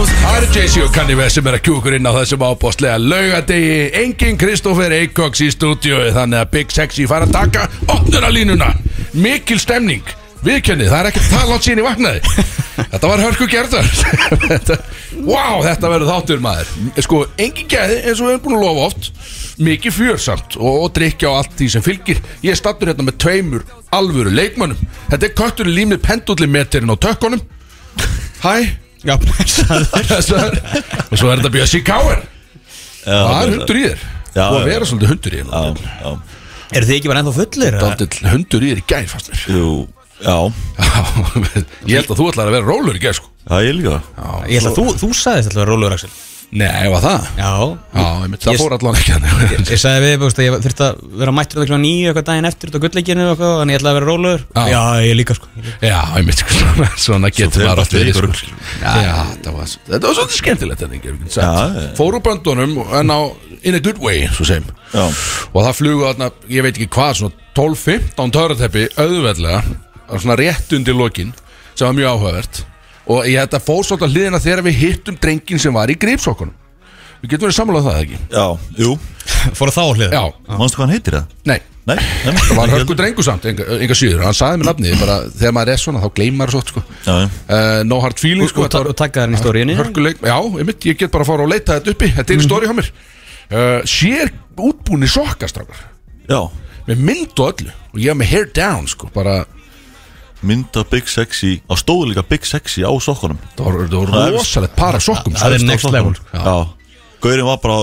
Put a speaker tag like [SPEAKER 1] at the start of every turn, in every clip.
[SPEAKER 1] Jay-Z og Kanye West sem er að kjúkur inn á þessum ábóstlega laugadegi Engin Kristoffer Eikoks í stúdíu Þannig að Big Sexy fara að taka opnunarlínuna Mikil stemning Viðkjönni, það er ekkert tala átt síðan í vaknaði Þetta var hörku gerðar Wow, þetta verður þáttur maður Sko, engin gæði eins og við erum búin að lofa oft Mikið fjörsamt og, og drikja á allt því sem fylgir Ég er stattur hérna með tveimur alvöru leikmönnum Þetta er köttur í límið pendulli metirinn á tökkunum Hæ,
[SPEAKER 2] Já, blessaður
[SPEAKER 1] Svo er- og svo er þetta Bjössi Káir það er hundur í þér
[SPEAKER 3] Já,
[SPEAKER 1] og að
[SPEAKER 3] já,
[SPEAKER 1] vera svolítið hundur í þér
[SPEAKER 3] Já, já
[SPEAKER 2] Eru þið ekki bara ennþá fullir? eða?
[SPEAKER 1] Dálítill hundur í þér í gæð fast mér
[SPEAKER 3] Jú, já
[SPEAKER 1] Já, ég held að þú ætlar að vera rólur í gæð sko
[SPEAKER 3] Það er líka
[SPEAKER 2] Ég held að þú, þú sagðist alltaf að róluður Axel
[SPEAKER 1] nei, var það?
[SPEAKER 2] Já
[SPEAKER 1] Já, einmitt, það
[SPEAKER 2] Ég-
[SPEAKER 1] fór allan ekki hérna. hann
[SPEAKER 2] Ég sagði við, búst, að ég þurfti að vera mættur eitthvað nýju eitthvað daginn eftir út á gullleikinu og eitthvað, þannig ég ætlaði að vera rólegur
[SPEAKER 1] Já.
[SPEAKER 2] Já, ég líka sko Ég líka.
[SPEAKER 1] já, einmitt, sko, svona, svona getur maður
[SPEAKER 3] fer
[SPEAKER 1] átt
[SPEAKER 3] allt í
[SPEAKER 1] verið sko.
[SPEAKER 3] ykkur.
[SPEAKER 1] já, þetta var þetta var svolítið skemmtilegt þetta, ég get sagt.
[SPEAKER 3] Já, já.
[SPEAKER 1] fór úr böndunum en á in a good way, svo segjum
[SPEAKER 3] Já,
[SPEAKER 1] og það flugu þarna, ég veit ekki hvað svona 12-15 töruteppi auðveldlega, það var svona rétt undir lokin sem var mjög áhugavert og ég þetta fór svolítið að hliðina þegar við hittum drengin sem var í gripsokkunum við getum verið samlega það eða ekki
[SPEAKER 3] já, jú
[SPEAKER 2] Fór þá hlið
[SPEAKER 1] já,
[SPEAKER 3] Manstu hvað hann heitir það?
[SPEAKER 1] nei,
[SPEAKER 3] Nei, nei
[SPEAKER 1] það var hörku drengu samt enga, enga síður, hann sagði mér nafnið bara þegar maður er svona þá gleymar svo sko.
[SPEAKER 3] Já, já
[SPEAKER 1] uh, no hard feelings sko,
[SPEAKER 2] Og
[SPEAKER 1] þetta var-
[SPEAKER 2] og taka þarna í stóriðinni
[SPEAKER 1] hörkuleik, já, einmitt, ég get bara að fara og leita þetta uppi
[SPEAKER 2] Mhm.
[SPEAKER 1] þetta er í stóri hjá mér uh, sér útbúni sokkastrákar
[SPEAKER 3] Já,
[SPEAKER 1] með mynd og öllu og ég var með hair down sko bara,
[SPEAKER 3] mynda Big Sexy Á stóðu líka Big Sexy á sokkunum
[SPEAKER 1] það voru, það
[SPEAKER 3] Það
[SPEAKER 1] voru
[SPEAKER 3] er-
[SPEAKER 1] rosalegt par af sokkum sko.
[SPEAKER 2] Það er
[SPEAKER 3] Efst á
[SPEAKER 2] next
[SPEAKER 3] sokkunum.
[SPEAKER 2] level.
[SPEAKER 3] Já, gaurinn var bara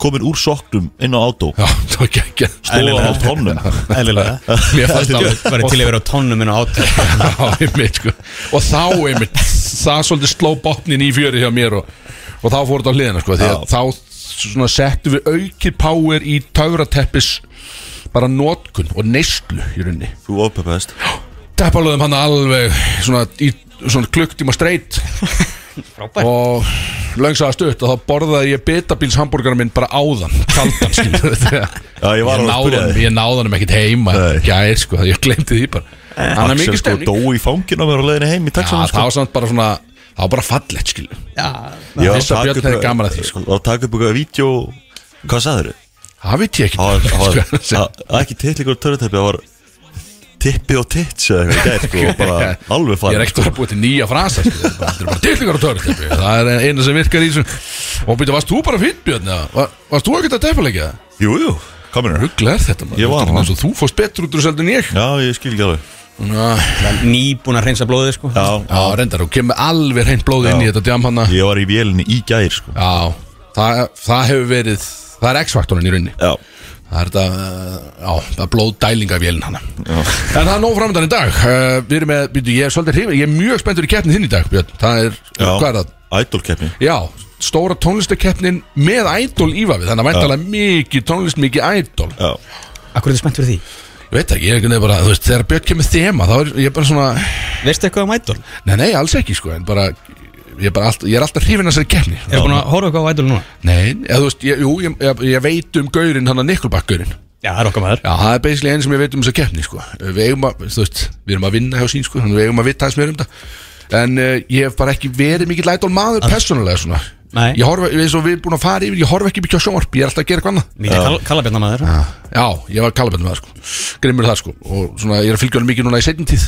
[SPEAKER 3] komin úr sokknum inn á átó
[SPEAKER 1] já, það var ekki ekki
[SPEAKER 3] Stóðu á tónnum
[SPEAKER 2] Ælilega
[SPEAKER 1] mér fannst
[SPEAKER 2] Það
[SPEAKER 1] alveg
[SPEAKER 2] var til að vera á tónnum minn á át
[SPEAKER 1] Já, einmitt, sko. og þá einmitt, það svolítið sló botnin í fjöri hjá mér og, og þá fór þetta á hliðina sko, því að
[SPEAKER 3] Já.
[SPEAKER 1] þá svona, settum við aukið power í töfrateppis bara notkun og neyslu í runni
[SPEAKER 3] Þú ofpeppast
[SPEAKER 1] teppalöðum hann alveg svona, í svona klukktíma streitt
[SPEAKER 2] Frábært
[SPEAKER 1] og löngsaða stutt og þá borðaði ég betabíls hambúrgarar minn bara áðan kaldan skilur þetta
[SPEAKER 3] Já, ég var alveg að
[SPEAKER 1] náði
[SPEAKER 3] spyrja
[SPEAKER 1] honum-
[SPEAKER 3] þig.
[SPEAKER 1] ég náði hann ekkert heima
[SPEAKER 3] Nei.
[SPEAKER 1] gæðir sko, það- ég glemdi því bara hann er
[SPEAKER 3] Axel
[SPEAKER 1] mikið
[SPEAKER 3] sko
[SPEAKER 1] stemning
[SPEAKER 3] dó í fangin á mér á leiðinni heim í
[SPEAKER 1] Já,
[SPEAKER 3] taxanum
[SPEAKER 1] það
[SPEAKER 3] sko
[SPEAKER 1] var samt bara svona það var bara fallegt skilur
[SPEAKER 2] Já,
[SPEAKER 3] Ég var
[SPEAKER 1] Fyrsta Björn hefði gaman að því, sko.
[SPEAKER 3] Var að taka upp eitthvað vídeo Hvað sagður þau?
[SPEAKER 1] það veit ég
[SPEAKER 3] Það
[SPEAKER 1] ekki
[SPEAKER 3] var-
[SPEAKER 1] Sko,
[SPEAKER 3] það var ekki tittlingur og töruteppi Það var tippi og tits eða eitthvað í gær, sko, og bara alveg sko.
[SPEAKER 1] ég er
[SPEAKER 3] farið
[SPEAKER 1] ekkert að búið til nýja frasa skilur, þetta er bara- þetta er bara dillingar og törn það er eina sem virkar í þessum og býta, varst þú bara fýtt Björn eða? Var- varst þú ekkert að teppalegja það?
[SPEAKER 3] Jú, jú, kominur
[SPEAKER 1] ruggla er þetta maður
[SPEAKER 3] Ég var
[SPEAKER 1] Þetta er
[SPEAKER 3] það.
[SPEAKER 1] eins og þú fórst betur út úr þessu heldur en ég
[SPEAKER 3] Já, ég skil ekki alveg
[SPEAKER 1] Ná,
[SPEAKER 2] nýbúin að hreinsa blóðið sko
[SPEAKER 3] Já,
[SPEAKER 1] Já, reyndar, þú kemur alveg hreint blóð inn í
[SPEAKER 3] Já.
[SPEAKER 1] þetta djam hana
[SPEAKER 3] ég var í vélinni í gær sko.
[SPEAKER 1] Já, það, það hefur verið Það er X-faktorinn í rauninni
[SPEAKER 3] Já,
[SPEAKER 1] Það er þetta, uh, já, það er blóð dælinga vélin hana En það er nóg framöndan í dag uh, Við erum með, býtu, ég er svolítið hrifin Ég er mjög spenntur í keppnin þinn í dag, Björn Það er,
[SPEAKER 3] já
[SPEAKER 1] hvað er það?
[SPEAKER 3] Idol-keppni
[SPEAKER 1] Já, stóra tónlistakeppnin með ædol ífa við Þannig að væntalega mikið tónlist, mikið ædol
[SPEAKER 3] Já,
[SPEAKER 2] Akkur er þið spennt fyrir því?
[SPEAKER 1] Ég veit ekki, ég er einhvern veginn bara, þú veist, þegar Björn kemur þema Þá er ég bara svona,
[SPEAKER 2] Veistu eitthvað um Idol?
[SPEAKER 1] nei, nei, alls ekki, sko En bara, ég er, bara alltaf, ég er alltaf hrifin að þessari keppni
[SPEAKER 2] Erum búin að horfa eitthvað á Idol núna?
[SPEAKER 1] Nei, eða, þú veist, ég, jú, ég, ég, ég veit um gaurinn, hann að Nikkelbakk-gaurinn
[SPEAKER 2] Já, það er okkar maður
[SPEAKER 1] Já, það er basically einn sem ég veit um þess að keppni, sko Við eigum að, þú veist, við erum að vinna hjá sín, sko Þannig við eigum að vita hans meira um þetta En uh, ég hef bara ekki verið mikill lætól maður persónulega, svona
[SPEAKER 2] Nei.
[SPEAKER 1] Ég horfa, eins og við erum búin að fara yfir, ég horfa ekki mikið á sjónvarp Ég er alltaf að gera eitthvað annað
[SPEAKER 2] Mikið kal kalabjarnar maður
[SPEAKER 1] Já, ég var kalabænd með það, sko Grimmur það, sko Og svona, ég er að fylgja hann mikið núna í seinni tíð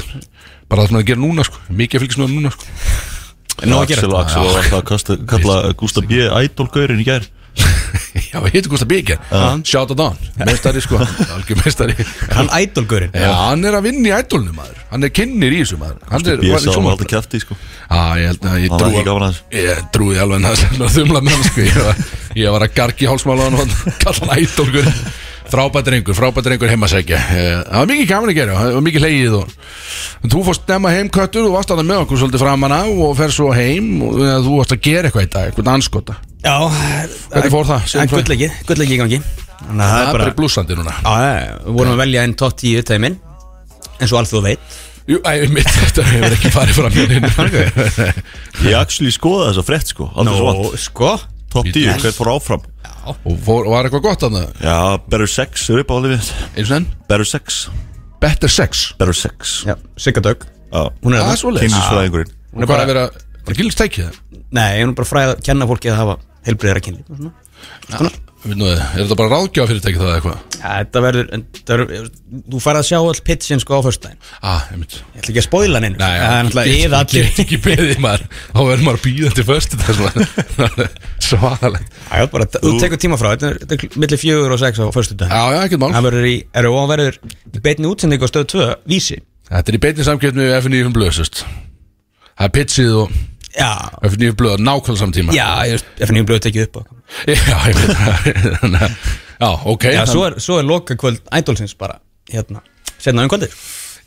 [SPEAKER 1] Bara það sem hann gerir núna, sko Mikið að fylgjast með honum núna, sko.
[SPEAKER 2] Nó að gera
[SPEAKER 3] Axel, Axel var alltaf að kasta, kalla Gustaf B. Idol-gaurin í gær
[SPEAKER 1] Já, ég heiti Gústa Bíker. Shout out on. Meistari, sko. Algjör meistari.
[SPEAKER 2] Hann Idol-gaurinn
[SPEAKER 1] Já, hann er að vinna í ædolnu maður Hann er kynnir í þessu maður Hann er var í
[SPEAKER 3] B. sá hann
[SPEAKER 1] sjónvarpinu.
[SPEAKER 3] alltaf kæfti sko.
[SPEAKER 1] Já, ég held að ég
[SPEAKER 3] Hann var ekki
[SPEAKER 1] trúi
[SPEAKER 3] gaman að þessu
[SPEAKER 1] Ég trúi alveg en það sem að þumla með hann sko Ég var, ég var að gargi hálsmála hann og kalla hann ædolgur Frábætt drengur, frábætt drengur heimasækja Eh, Það var mikið gaman að gera, það var mikið hlegið og En Þú fórst stemma heim köttur, þú varst að það með okkur svolítið framan á og fer svo heim og eh, þú varst að gera eitthvað í dag, eitthvað anskota
[SPEAKER 2] Já
[SPEAKER 1] Hvernig fór það? Segðu
[SPEAKER 2] En
[SPEAKER 1] frá.
[SPEAKER 2] gullegi, gullegi í gangi Þannig að
[SPEAKER 1] Það er bara í blúsandi núna
[SPEAKER 2] Já, já, já, við vorum að velja einn top 10 tæmin eins og allt þú veit
[SPEAKER 1] Jú, æ, mitt, þetta hefur ekki farið fram hjá neinum.
[SPEAKER 3] Ég actually skoða þess að frett sko Aldrei svo vant
[SPEAKER 2] sko
[SPEAKER 3] Top 10, hver fór áfram
[SPEAKER 1] Og fór, var eitthvað gott að það,
[SPEAKER 3] Já, Better Sex er upp á lifið
[SPEAKER 1] eins og enn
[SPEAKER 3] Better Sex
[SPEAKER 1] Better sex
[SPEAKER 3] Better Sex
[SPEAKER 2] Já, Sigga Dögg
[SPEAKER 3] Já,
[SPEAKER 2] Hún er
[SPEAKER 1] Það
[SPEAKER 2] það
[SPEAKER 1] er svoleiðis
[SPEAKER 3] kynlisfræðingurinn
[SPEAKER 1] Hún er bara að vera Bara gildist ekki það
[SPEAKER 2] Nei, ég er nú bara fræð að kenna fólki að hafa heilbreyðara kynlíf og svona.
[SPEAKER 1] Við nú, Er þetta bara ráðgjáð fyrirtæki það eða eitthvað?
[SPEAKER 2] Ja, þetta verður, en þetta verður, þú farið að sjá all pitchin sko á föstudaginn.
[SPEAKER 1] Ah, ég mynd
[SPEAKER 2] Ég ætla ekki að spoila hann einu. það er náttúrulega
[SPEAKER 1] ég
[SPEAKER 2] yða allir.
[SPEAKER 1] get ekki beðið maður Þá verður maður býðandi först Svaðalegt
[SPEAKER 2] Það er bara, þú tekur tíma frá, þetta er, þetta er millir fjögur og sex á föstudaginn.
[SPEAKER 1] Já, já, ekkert mál
[SPEAKER 2] Það verður í, er og hann verður í beinni útsendingu á stöð 2, vísi.
[SPEAKER 1] Þetta er í beinni samkjöfni við FNÍFum um blöð sérst. Það er pitsið og
[SPEAKER 2] Já,
[SPEAKER 1] FNÍFum um blöð á nákvæmlega samtíma
[SPEAKER 2] já, ég veist, ef hann blöðu tekið upp á.
[SPEAKER 1] Já, ég veit það Þannig að- Já, ok
[SPEAKER 2] Já,
[SPEAKER 1] þann-
[SPEAKER 2] svo er, svo er loka kvöld ædolsins bara, hérna, setna um kvöldið.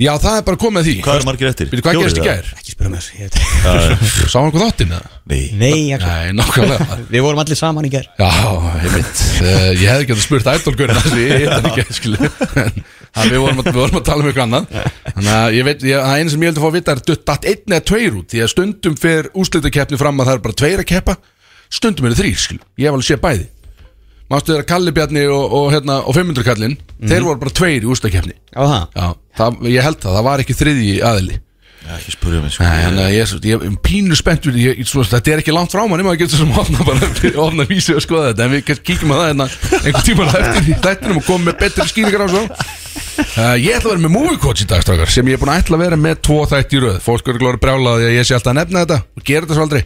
[SPEAKER 1] já, það er bara komið að því
[SPEAKER 3] Hvað eru margir eftir?
[SPEAKER 1] Býtu, hvað
[SPEAKER 3] Fjórir
[SPEAKER 1] gerist í
[SPEAKER 3] eða?
[SPEAKER 1] gær?
[SPEAKER 2] Ekki spyrja mér, ég veit ekki.
[SPEAKER 1] Sá hann hvað þáttinn eða?
[SPEAKER 3] Nei,
[SPEAKER 2] Nei, ég,
[SPEAKER 1] Nei, nákvæmlega maður.
[SPEAKER 2] við vorum allir saman í gerð.
[SPEAKER 1] Já, ég veit uh, Ég hefði getað spurt ædolgurinn Það ég hitt hann ekki, skilu En það, við, vorum að, við vorum að tala um eitthvað annað Þannig að ég veit, ég, það eina sem ég held að fá að vita er dutt datt einn eða tveir út Því að stundum fer úrslitakeppni fram að það er bara tveir að keppa Stundum eru þrýr, skilu Ég hef alveg séð bæði Mástu þeirra Kalli Bjarni og, og, hérna, og 500 kallinn Þeir voru bara tveir í úrslitakeppni
[SPEAKER 2] Á það?
[SPEAKER 1] Mhm. Já, það, ég held það, það var ekki þriðji aðili
[SPEAKER 3] Já, ekki spurja mig sko
[SPEAKER 1] Nei, þannig að ég er svo- ég er pínu spennt fyrir- ég- svo- Þetta er ekki langt frá manni maður getur svo sem ofna bara ofna vísi og skoða þetta en við kannski kíkjum að það hérna einhvern tíma eftir í þættinum og komum með betri skýringar á svo uh, Ég ætla að vera með movie coach í dag strákar sem ég er búin að ætla að vera með tvo þætti í röð Fólk eru glóri brjálaði að ég sé alltaf að nefna þetta og gera þetta svo aldrei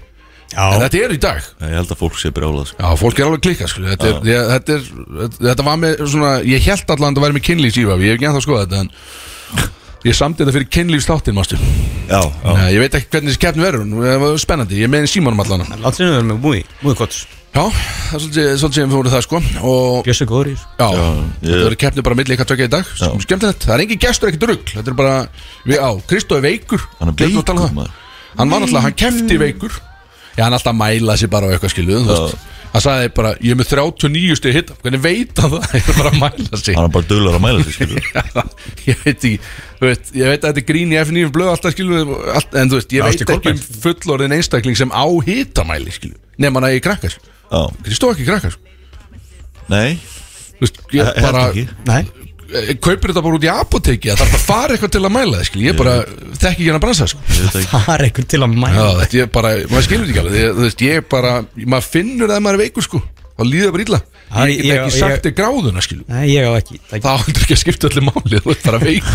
[SPEAKER 1] En
[SPEAKER 2] Já.
[SPEAKER 1] þetta er í dag
[SPEAKER 3] Ég held að fólk sé brjálað sko
[SPEAKER 1] Já, fólk er alveg klikkað sko. þetta, er, ég, þetta, er, þetta var með svona Ég held allan að það væri með kynlífsífafi Ég hef ekki ennþá skoðað þetta en Ég samdi þetta fyrir kynlífsláttinn, mástu
[SPEAKER 3] Já, já
[SPEAKER 1] Nei, ég veit ekki hvernig þessi keppni verður hún var spennandi, ég meðin símanum allan
[SPEAKER 2] Láttu við verðum með múi, múi kotts.
[SPEAKER 1] Já, það er svolítið, svolítið sem fóru það sko og já,
[SPEAKER 2] Bjössi góður í þessu.
[SPEAKER 3] ég-
[SPEAKER 1] þetta verður keppni bara milli ykkar tökja í dag skemmtilegt, það er engin gestur ekkert rugg þetta er bara, við, á, Kristó er veikur
[SPEAKER 3] Hann er
[SPEAKER 1] Gleymdu að tala um
[SPEAKER 3] beikur
[SPEAKER 1] það.
[SPEAKER 3] maður
[SPEAKER 1] hann var náttúrulega, hann keppti veikur já, hann er alltaf að mæla sér bara á eitthvað skiluð, þú veist hann sagði bara, ég er með 39 stið hitta hvernig veit hann það, ég er bara að mæla sig
[SPEAKER 3] Hann er bara dölur að mæla sig skilur
[SPEAKER 1] ég veit ekki þú veist, ég veit að þetta er grín í F9 blöð alltaf skilu allt, en þú veist, ég
[SPEAKER 2] Já,
[SPEAKER 1] veit
[SPEAKER 2] Ásgeir
[SPEAKER 1] ekki um fullorðin einstakling sem á hitamæli skilu nema hann að ég krakkar
[SPEAKER 3] Já,
[SPEAKER 1] Kristó ekki krakkar sko.
[SPEAKER 3] nei,
[SPEAKER 1] Þú veist, ég
[SPEAKER 3] held
[SPEAKER 1] bara
[SPEAKER 3] ekki
[SPEAKER 2] Nei.
[SPEAKER 1] ég kaupir þetta bara út í apoteki það þarf bara að fara eitthvað til að mæla það skilu ég bara þekki ekki hann að bransa sko.
[SPEAKER 3] Ég veit ekki
[SPEAKER 2] Það er einhvern til að
[SPEAKER 1] Já,
[SPEAKER 2] mæla.
[SPEAKER 1] þú veist, ég bara, maður skilur þetta ekki alveg ég, þú veist, ég bara, maður finnur það að maður er veikur sko þá líður það bara illa
[SPEAKER 2] Já,
[SPEAKER 1] ég get
[SPEAKER 2] ég-
[SPEAKER 1] ekki
[SPEAKER 2] ég-
[SPEAKER 1] sagt þig gráðuna skilu
[SPEAKER 2] Nei, ég á ekki. Það
[SPEAKER 1] Það ándur ekki að skipta öllu máli Þú ert bara veik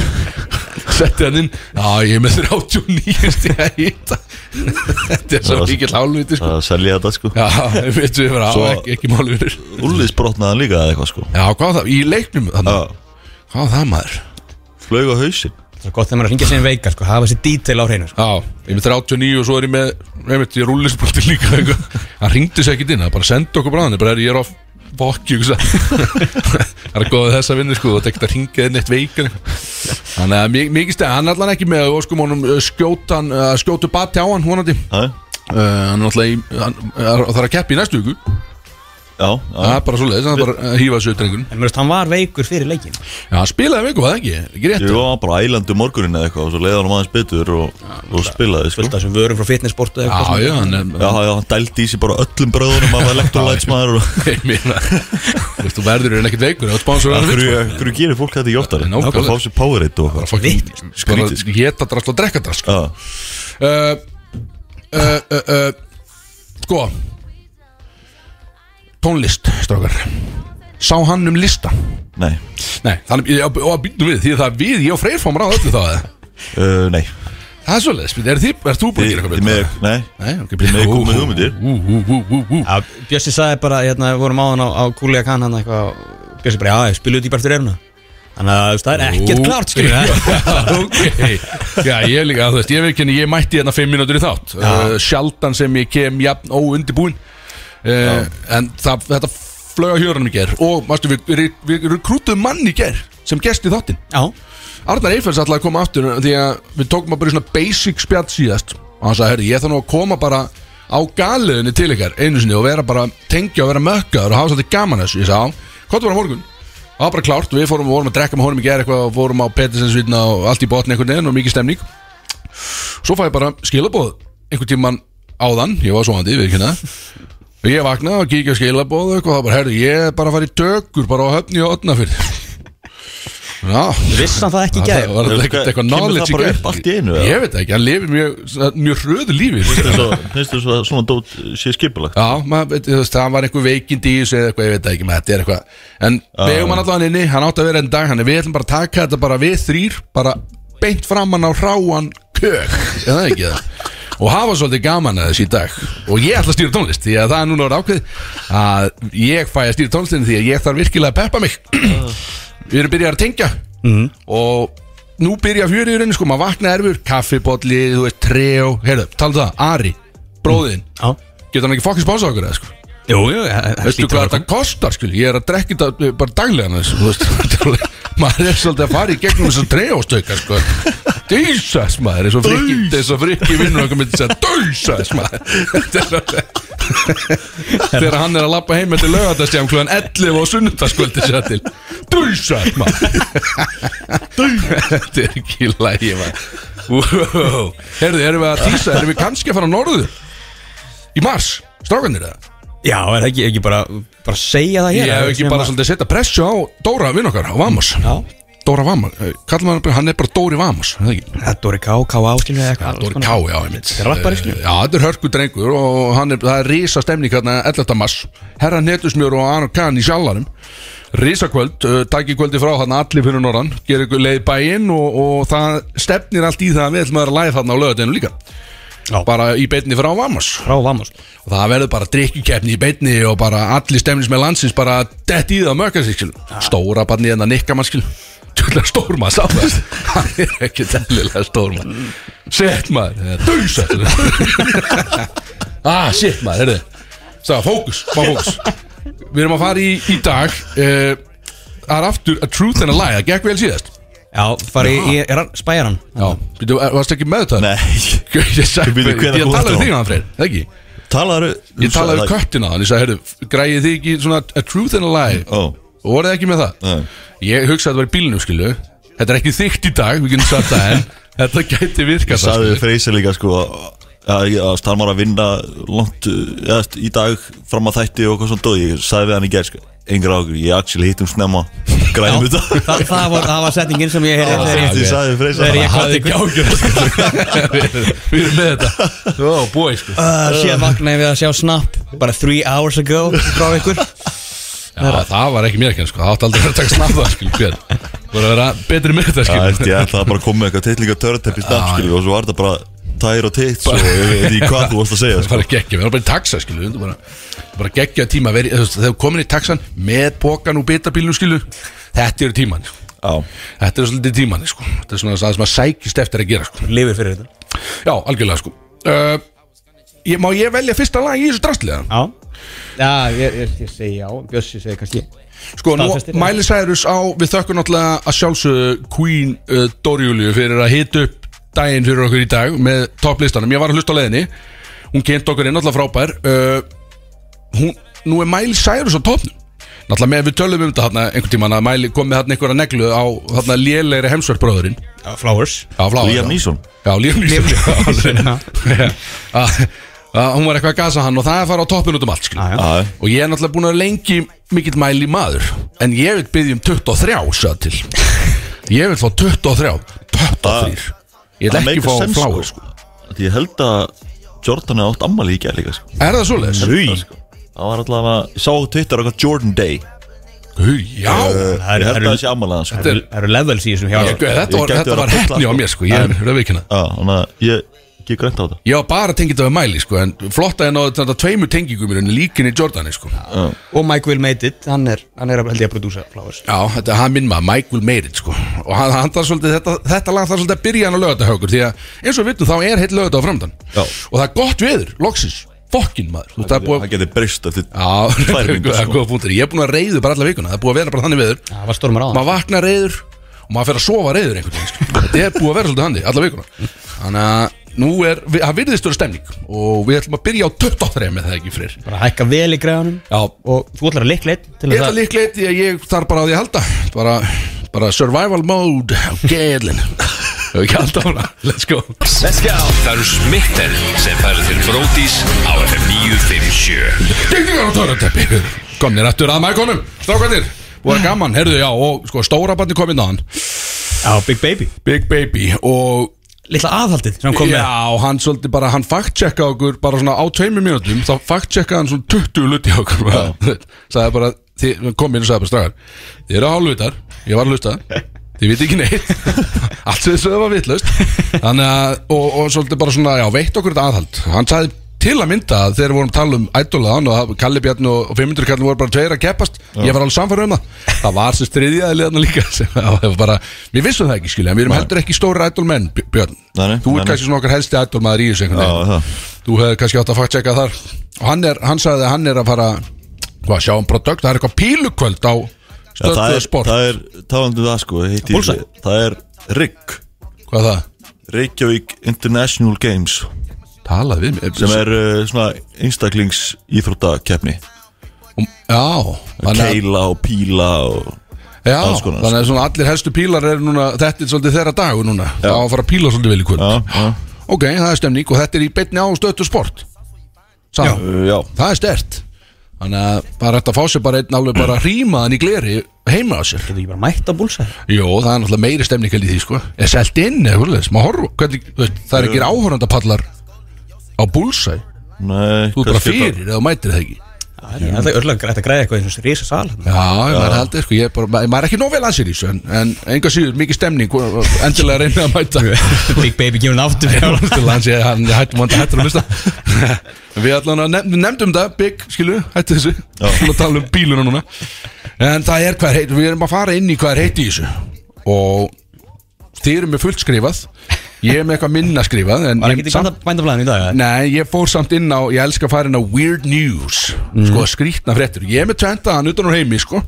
[SPEAKER 1] Setti hann inn Já, ég er með 39 stíð að hýta Þetta er svo
[SPEAKER 3] Það-
[SPEAKER 1] mikill álviti sko.
[SPEAKER 3] Það selja þetta sko
[SPEAKER 1] Já, við veitum við bara á,
[SPEAKER 3] Svo-
[SPEAKER 1] ekki, ekki máli verið
[SPEAKER 3] Úllis brotnaði hann líka eða eitthvað sko
[SPEAKER 1] Já, hvað það, í leiknum þannig,
[SPEAKER 3] Já,
[SPEAKER 1] Hvað var það maður?
[SPEAKER 3] flög á hausin
[SPEAKER 2] það er gott þegar maður er að ringja sinni veikar, sko. Hafa sér dítil á hreinu, sko.
[SPEAKER 1] Já, ég er með 39 og svo er ég með Ég veit, ég er rúllisbröldi líka eitthvað. Hann ringdi sér ekkert inn, hann bara sendi okkur bráðan Bara er ég er á fokki hugsa. Það er góðið þess að vinna sko Það er ekkert að ringa þinn eitt veikan Þannig að mi- mikið stæð, hann er allan ekki með Óskum honum uh, skjótan, uh, skjótu bati á hann Húnandi
[SPEAKER 3] Já,
[SPEAKER 1] Uh, hann er náttúrulega í- hann er- það er að keppi í næstu viku
[SPEAKER 3] já,
[SPEAKER 1] það
[SPEAKER 3] já
[SPEAKER 1] er bara svo leiðis, hann er bara að hýfa þessu drengun
[SPEAKER 2] En mér veist, hann var veikur fyrir leikin.
[SPEAKER 1] já, hann spilaði viku, var það ekki, ekki rétt
[SPEAKER 3] Ég var bara ælandi morgunin eða eitthvað og svo leiði hann aðeins betur og, og spilaði sko
[SPEAKER 2] Fullt af þessum vörum frá fitnessportu eða eitthvað
[SPEAKER 1] já,
[SPEAKER 2] svona.
[SPEAKER 1] já, hann er
[SPEAKER 3] Já, já, hann dældi í sig bara öllum bröðunum af electrolytes maður og
[SPEAKER 1] ég meina, þú veist, þú verður en ekkert veikur, það spánsur hann sko.
[SPEAKER 3] Hverju hverju gerir fólk þetta í óttari?
[SPEAKER 1] Nákvæmlega.
[SPEAKER 3] Nákvæmlega Fá sér Powerade og eitthvað
[SPEAKER 1] skrítið geta drast og drekka Eh, drast
[SPEAKER 3] Já,
[SPEAKER 1] eh, sko tónlist, strákar sá hann um lista
[SPEAKER 3] nei
[SPEAKER 1] nei, þannig, og að býtum við því að það er við, ég og Freyr fáum ráð öllu þá eða.
[SPEAKER 3] Uh, Nei
[SPEAKER 1] það er svolítið, er þið- ert þú búin að gera
[SPEAKER 3] Þið
[SPEAKER 1] eitthvað
[SPEAKER 3] með,
[SPEAKER 1] betur?
[SPEAKER 3] nei
[SPEAKER 1] Nei, ok,
[SPEAKER 3] Þið með komið hugmyndir
[SPEAKER 1] Ú, ú, ú, ú, ú
[SPEAKER 2] Já, Bjössi sagði bara, hérna, við vorum áðan á, á Kúlia Khan hann eitthvað og Bjössi bara, já, ég spilu þetta í bara eftir eruna Þannig að þú veist, það er ekkert klart, skilur
[SPEAKER 1] Já, ok Já, ég líka, þú veist, ég veit ekki, ég mætti hérna fimm mínútur í þátt uh, Sjaldan sem ég kem jafn óundibúin uh, En það, þetta flög á hjörunum í ger Og, mástu, við, við, við rekrútuðum mann í ger Sem gest í þáttinn
[SPEAKER 2] Já,
[SPEAKER 1] Arnar Eiffels ætlaði að koma aftur Því að við tókum að bara í svona basic spjall síðast Og hann sagði, herri, ég þarf nú að koma bara á galiðinni til ykkar einu sinni og vera bara tengja og vera mökkaður og hafa svolítið gaman að þessu ég sagði, "Já, hvað þú var á morgun? Það var bara klárt, við fórum og vorum að drekka með honum í gær eitthvað og fórum á Pettersensvítina og allt í botni einhvern veginn og mikið stemning Svo fæ ég bara skilabóð einhvern tíman áðan, ég var svoandi, við ekki hérna og ég vaknaði og kíkja skilabóð og eitthvað og það bara, herri, ég er bara að fara í tökur bara á höfni og otna fyrir Já
[SPEAKER 2] Vissan það ekki í
[SPEAKER 1] Það
[SPEAKER 2] gær
[SPEAKER 1] var þetta ekkert eitthvað
[SPEAKER 3] Kemur það
[SPEAKER 1] knowledge í
[SPEAKER 3] bara
[SPEAKER 1] gær?
[SPEAKER 3] upp allt í einu, eða?
[SPEAKER 1] Ég veit ekki, hann lifir mjög, svona mjög hröðu lífi
[SPEAKER 3] Finnst þér svo- finnst þér svo að svona dót sé skipulagt
[SPEAKER 1] Já, maður, veit, þú veist, það var einhver veikind í þessu eða eitthvað, ég veit það ekki, maður, þetta er eitthvað En við eigum hann allan inni, hann átti að vera einn dag Þannig við ætlum bara að taka þetta bara við þrýr Bara beint framann á hráan kök Eða það ekki það Og hafa svolítið gaman að þessu í dag Og ég ætla að stýra tónlist, því að það er núna orðið ákveð Að ég fæ að stýra tónlistinni Því að ég þarf virkilega að peppa mig Við erum byrjað að tengja Og nú byrja fjörið í rauninni sko Maður vakna erfur, kaffibolli, þú veist, treo Heyrðu, talaðu um það, Ari, bróðin
[SPEAKER 2] Já
[SPEAKER 1] Getur hann ekki fokkið spása okkur eða sko
[SPEAKER 2] Jú, jú, það
[SPEAKER 1] Veistu hvað þetta kostar skil Ég er að drekka þetta eh, bara daglega annars, þú veist, þetta er alveg- Maður er svolítið að fara í gegnum þessu trejástöka sko Dýsas maður Þessu frikki, þessu frikki vinnur okkur myndi segja Dýsas maður Þetta er alveg- Þegar hann er að lappa heim eftir laugardagstjám klugan 11 og sunnundaskvöldi sér til Dýsas maður Þetta er ekki lægi maður wow. Herðu, erum við að týsa Erum við kannski að fara á norður Í mars, strákanir það
[SPEAKER 2] Já, er það ekki, ekki bara, bara segja það
[SPEAKER 1] Ég
[SPEAKER 2] hér
[SPEAKER 1] hef
[SPEAKER 2] Það
[SPEAKER 1] ekki
[SPEAKER 2] sem
[SPEAKER 1] bara
[SPEAKER 2] að-
[SPEAKER 1] svolítið að setja pressu á Dóra vinn okkar, á Vamos
[SPEAKER 2] Já,
[SPEAKER 1] Dóra Vamos, kallum hann, hann er bara Dóri Vamos er það ekki?
[SPEAKER 2] það er Dóri Ká, Ká Áskilni eða eitthvað
[SPEAKER 1] Dóri K, já, ég mitt
[SPEAKER 2] Þetta er rappari, skilur.
[SPEAKER 1] Já, þetta er hörku drengur og hann er, það er risa stemning hérna 11. mars Herra Netusmjör og Aron Kahn í sjallarum Risa kvöld, uh, takki kvöldi frá hann allir fyrir norðan, gerir ykkur leið í bæinn og, og það stefnir allt í það að við ætlum að vera live hann á lögadeginu líka
[SPEAKER 2] Já.
[SPEAKER 1] Bara í beinni frá Vamos
[SPEAKER 2] Frá Vamos
[SPEAKER 1] og það verður bara drikkikeppni í beinni og bara allir stemnis með landsins bara dett í það að mögka sig skil stóra barni en að nikka mann skil tjóðlega stór maður sá það hann er ekki tellilega stór maður shit maður, dösa ah shit maður, heyrðu Sá, fókus, fá fókus Við erum að fara í, í dag eh, Það er aftur a truth and a lie Það gekk vel síðast
[SPEAKER 2] Já, fari í, í rann- spæjaran
[SPEAKER 1] Já, býttu, er- varstu ekki með þetta?
[SPEAKER 3] Nei,
[SPEAKER 1] Ég sagði,
[SPEAKER 3] Býttu,
[SPEAKER 1] ég
[SPEAKER 3] hvenær þú varst
[SPEAKER 1] talaði
[SPEAKER 3] á?
[SPEAKER 1] þig á hann freyr, það ekki?
[SPEAKER 3] talaðu
[SPEAKER 1] Ég talaði við köttina á hann, ég sagði, heyrðu, græði þið ekki svona a truth and a lie
[SPEAKER 3] Ó,
[SPEAKER 1] og voruð þið ekki með það?
[SPEAKER 3] Nei.
[SPEAKER 1] Ég hugsaði að þetta var í bílnum, skilu Þetta er ekki þygt í dag, við getum sagt það en þetta gæti virka það,
[SPEAKER 3] sagði
[SPEAKER 1] skilu
[SPEAKER 3] við Freysa líka sko að ég- að starmar að vinna langt uh, eða, í dag fram að þætti og eitthvað svona dóð ég sagði við hann í gerð sko engra águr, ég actually hittum snemma grænum þetta
[SPEAKER 2] Það, það, var, það var setningin sem ég heyrði þegar ég-
[SPEAKER 3] Ég sagði við Freysa
[SPEAKER 2] Þegar ég
[SPEAKER 1] Það
[SPEAKER 2] kvaddi
[SPEAKER 1] hafði ekki
[SPEAKER 2] ykkur
[SPEAKER 1] ágjör Við erum með þetta Ó, búi, sko
[SPEAKER 2] Uh, Síðan vaknaði við að sjá snapp Bara three hours ago frá ykkur
[SPEAKER 1] Já, það var ekki mér ekki, sko, það átti aldrei að vera að taka snabba, skilu Hver, voru að vera betri með þetta,
[SPEAKER 3] Já, þú veist,
[SPEAKER 1] skilu
[SPEAKER 3] ég ætlaði bara að koma með eitthvað titlinga törnteppi snabbt,
[SPEAKER 1] Já,
[SPEAKER 3] skilju, og svo var þetta bara tær og tits og ég veit ekki hvað þú varst að segja,
[SPEAKER 1] Það
[SPEAKER 3] sko.
[SPEAKER 1] var geggja, við erum bara í taxa, skilu Þetta er bara, bara geggja tíma að vera, í- þú veist, þegar við komin í taxan með bókan og betabílnum, skilu Þetta eru tíman, sko
[SPEAKER 3] Já,
[SPEAKER 1] Þetta er svolítið tímanni sko Þetta er svona það sem að sækist eftir að gera sko
[SPEAKER 2] Lifir fyrir þetta
[SPEAKER 1] Já, algjörlega sko uh, ég, Má ég velja fyrsta lag í þessu drastlega?
[SPEAKER 2] Já Já, ég, ég, ég segi já Bjössi segi kannski
[SPEAKER 1] Sko, nú
[SPEAKER 2] Staðfestir, já.
[SPEAKER 1] Miley Cyrus á Við þökkum náttúrulega að sjálfsögðu Queen uh, Dorjúliu fyrir að hita upp daginn fyrir okkur í dag með topplistanum Ég var að hlusta á leiðinni Hún kynnt okkur inn náttúrulega frábær uh, hún, Nú er Miley Cyrus á topnum Náttúrulega með við tölum um þetta þarna einhvern tímann að Miley kom með þarna einhverja neglu á þarna lélegri hemsverðbróðurinn
[SPEAKER 2] Já, Flowers
[SPEAKER 1] Já, flá
[SPEAKER 3] Liam Neeson.
[SPEAKER 1] Já, Liam Neeson Já, alveg.
[SPEAKER 2] Já.
[SPEAKER 1] Já. Að- að Hún var eitthvað að gasa hann og það er að fara á toppin út um allt skilur.
[SPEAKER 2] Já, já.
[SPEAKER 3] Já,
[SPEAKER 1] Og ég er náttúrulega búin að vera lengi mikill mæli maður En ég vil byggja um 23 sagði til Ég vil fá 23 23 Ég vil
[SPEAKER 3] það
[SPEAKER 1] ekki
[SPEAKER 3] meikar
[SPEAKER 1] fá
[SPEAKER 3] sens,
[SPEAKER 1] fláir sko.
[SPEAKER 3] Því Ég held að Jordan hefði átt ammali í gerð líka, sko.
[SPEAKER 1] Er það svoleiðis?
[SPEAKER 2] Því
[SPEAKER 3] Það var alltaf að, ég sá á Twitter eitthvað Jordan Day.
[SPEAKER 1] Hú, já
[SPEAKER 3] Uh,
[SPEAKER 2] það
[SPEAKER 3] Ég held
[SPEAKER 2] eru-
[SPEAKER 3] að
[SPEAKER 2] það
[SPEAKER 3] það sé ammali hann, sko.
[SPEAKER 1] Þetta er-
[SPEAKER 2] Það eru levels í þessum hjá
[SPEAKER 1] Ég- Þetta var,
[SPEAKER 3] gæti
[SPEAKER 1] þetta var
[SPEAKER 3] verið að bulla,
[SPEAKER 1] hefni á
[SPEAKER 3] sko.
[SPEAKER 1] mér sko Ég er verið að vikina
[SPEAKER 3] Já, þannig að ég, ég grænt á þetta.
[SPEAKER 1] Ég var bara að tengja þetta við mæli sko En flotta en á þetta tveimur tengingum mér Líkinni Jordani sko
[SPEAKER 2] Og Mike Will made it Hann er, hann er að- held ég að prodúsa Flowers
[SPEAKER 1] Já, þetta er hann minn maður, Michael Meirit sko. og hann, hann þarf svolítið, þetta, þetta lag þarf svolítið að byrja hann á lögatahaukur því að eins og við vitum þá er heitt lögata á framdann
[SPEAKER 3] Já.
[SPEAKER 1] og það er gott veður, loksins, fokkin maður þú veist það er búið
[SPEAKER 3] Það geti breyst eftir
[SPEAKER 1] að
[SPEAKER 3] tvær
[SPEAKER 1] Já,
[SPEAKER 3] vingur,
[SPEAKER 1] það er
[SPEAKER 3] sko.
[SPEAKER 1] góða punktur, ég er búin að reyðu bara alla vikuna það er búið að vera bara þannig veður
[SPEAKER 2] Það var stormur á hann
[SPEAKER 1] maður vaknar reyður og maður fer að sofa reyður einhvern veginn sko. þetta er búið að vera svolítið handi, alla vikuna þannig að nú er, við- það virðist vera stemning og við ætlum að byrja á 23 með það ekki frir
[SPEAKER 2] Bara hækka vel í græðanum
[SPEAKER 1] Já,
[SPEAKER 2] Og þú ætlar að likla einn til
[SPEAKER 1] Ég ætla
[SPEAKER 2] að
[SPEAKER 1] líklega eitt því að ég þarf bara á því að halda Bara, bara survival mode á Gellin Hefur ekki alltaf hana Let's go
[SPEAKER 4] Það eru smitten sem færðu til Bródís á FM 957
[SPEAKER 1] Diggingar og törrateppi Komnir aftur að mækonum Strákanir og það er gaman, herðu, já, og sko, stóra barni kom inn á hann
[SPEAKER 2] Já, Big Baby
[SPEAKER 1] Big Baby og
[SPEAKER 2] Lilla aðhaldið sem hann kom með
[SPEAKER 1] Já, hann svolítið bara, hann fact-checka okkur bara svona á tveimur mínútum, þá fact-checka hann svona 20 luti á okkur bara. sagði bara, þið, hann kom inn og sagði bara stragar þið eru hálfvitar, ég var að hlusta þið viti ekki neitt allt sem þið sögðu var vitlaust þannig að, og, og svolítið bara svona, já, veitt okkur þetta aðhald, hann sagði til að mynda að þegar við vorum að tala um ædolaðan og Kalli Bjarn og 500 kallin voru bara tveir að keppast ég var alveg samfæra um það það var sem striðjaði liðan líka sem, já, það var bara, við vissum það ekki skilja en við erum heldur ekki stóri ædolmenn Björn þú
[SPEAKER 3] Nei, nei,
[SPEAKER 1] ert
[SPEAKER 3] nei, nei.
[SPEAKER 1] kannski svona okkar helsti ædolmaður í þessu einhvern
[SPEAKER 3] Já,
[SPEAKER 1] veginn
[SPEAKER 3] það
[SPEAKER 1] þú hefði kannski átt að fakt checka þar og hann, er, hann sagði að hann er að fara hvað, sjá um produkt, það er eitthvað pílukvöld á
[SPEAKER 3] Já, það
[SPEAKER 1] stöðtöðu
[SPEAKER 3] er,
[SPEAKER 1] sport
[SPEAKER 3] það er, talandu um það sko heiti,
[SPEAKER 2] Bullseye.
[SPEAKER 3] Það er RIG
[SPEAKER 1] hvað er það?
[SPEAKER 3] Reykjavík International Games
[SPEAKER 1] Talaði við mér
[SPEAKER 3] sem er uh, svona einstaklings íþróttakefni
[SPEAKER 1] Um, Já, þannig að,
[SPEAKER 3] Keila og píla og
[SPEAKER 1] já,
[SPEAKER 3] alls konar,
[SPEAKER 1] þannig að svona allir helstu pílar er núna, þetta er svolítið þeirra dagu núna já. það á að fara að píla svolítið vel í kvöld
[SPEAKER 3] Já, já,
[SPEAKER 1] ok, það er stemning og þetta er í beinni á stöðtöðu sport Sá,
[SPEAKER 3] uh, já.
[SPEAKER 1] það er stert þannig að það er hægt að fá sér bara einn alveg bara rýmaðan í gleri heima á sér
[SPEAKER 2] Getur ekki bara mætt að búlsa
[SPEAKER 1] Jó, það er náttúrulega meiri stemning heldur í því sko Er selt inn eða hvernig, maður horfa hvernig, þú veist, Það er ekki áhorandapallar á búlsæ
[SPEAKER 3] Nei,
[SPEAKER 1] Þú er bara
[SPEAKER 3] kannski
[SPEAKER 1] fyrir eða þú mætir það ekki
[SPEAKER 2] Það er alltaf örlega grætt að græða eitthvað í þessu risa sal þarna.
[SPEAKER 1] Já, ég maður heldur sko, ég er bara, ma- maður er ekki nóg vel að sér í þessu En, en enga síður, mikið stemning og- og Endilega reyna að mæta
[SPEAKER 2] Big Baby gefur hann aftur
[SPEAKER 1] Já, náttúrulega, hann sé, hann hættum hann hættur að hlusta Við allan að nefndum, nefndum það, Big, skilu, hættu þessu Við að tala um bíluna núna En það er hvað er heiti, við erum að fara inn í hvað er heiti í þessu Og þið eru með fullt skrifað Ég er með eitthvað minna skrifað en
[SPEAKER 2] Var
[SPEAKER 1] ég-
[SPEAKER 2] ekki
[SPEAKER 1] samt-
[SPEAKER 2] þetta bændaflæðin í dag? eða?
[SPEAKER 1] Nei, ég fór samt inn á, ég elska að fara inn á Weird News, sko, skrítna fréttur Ég er með tventaðan utan á heimi, sko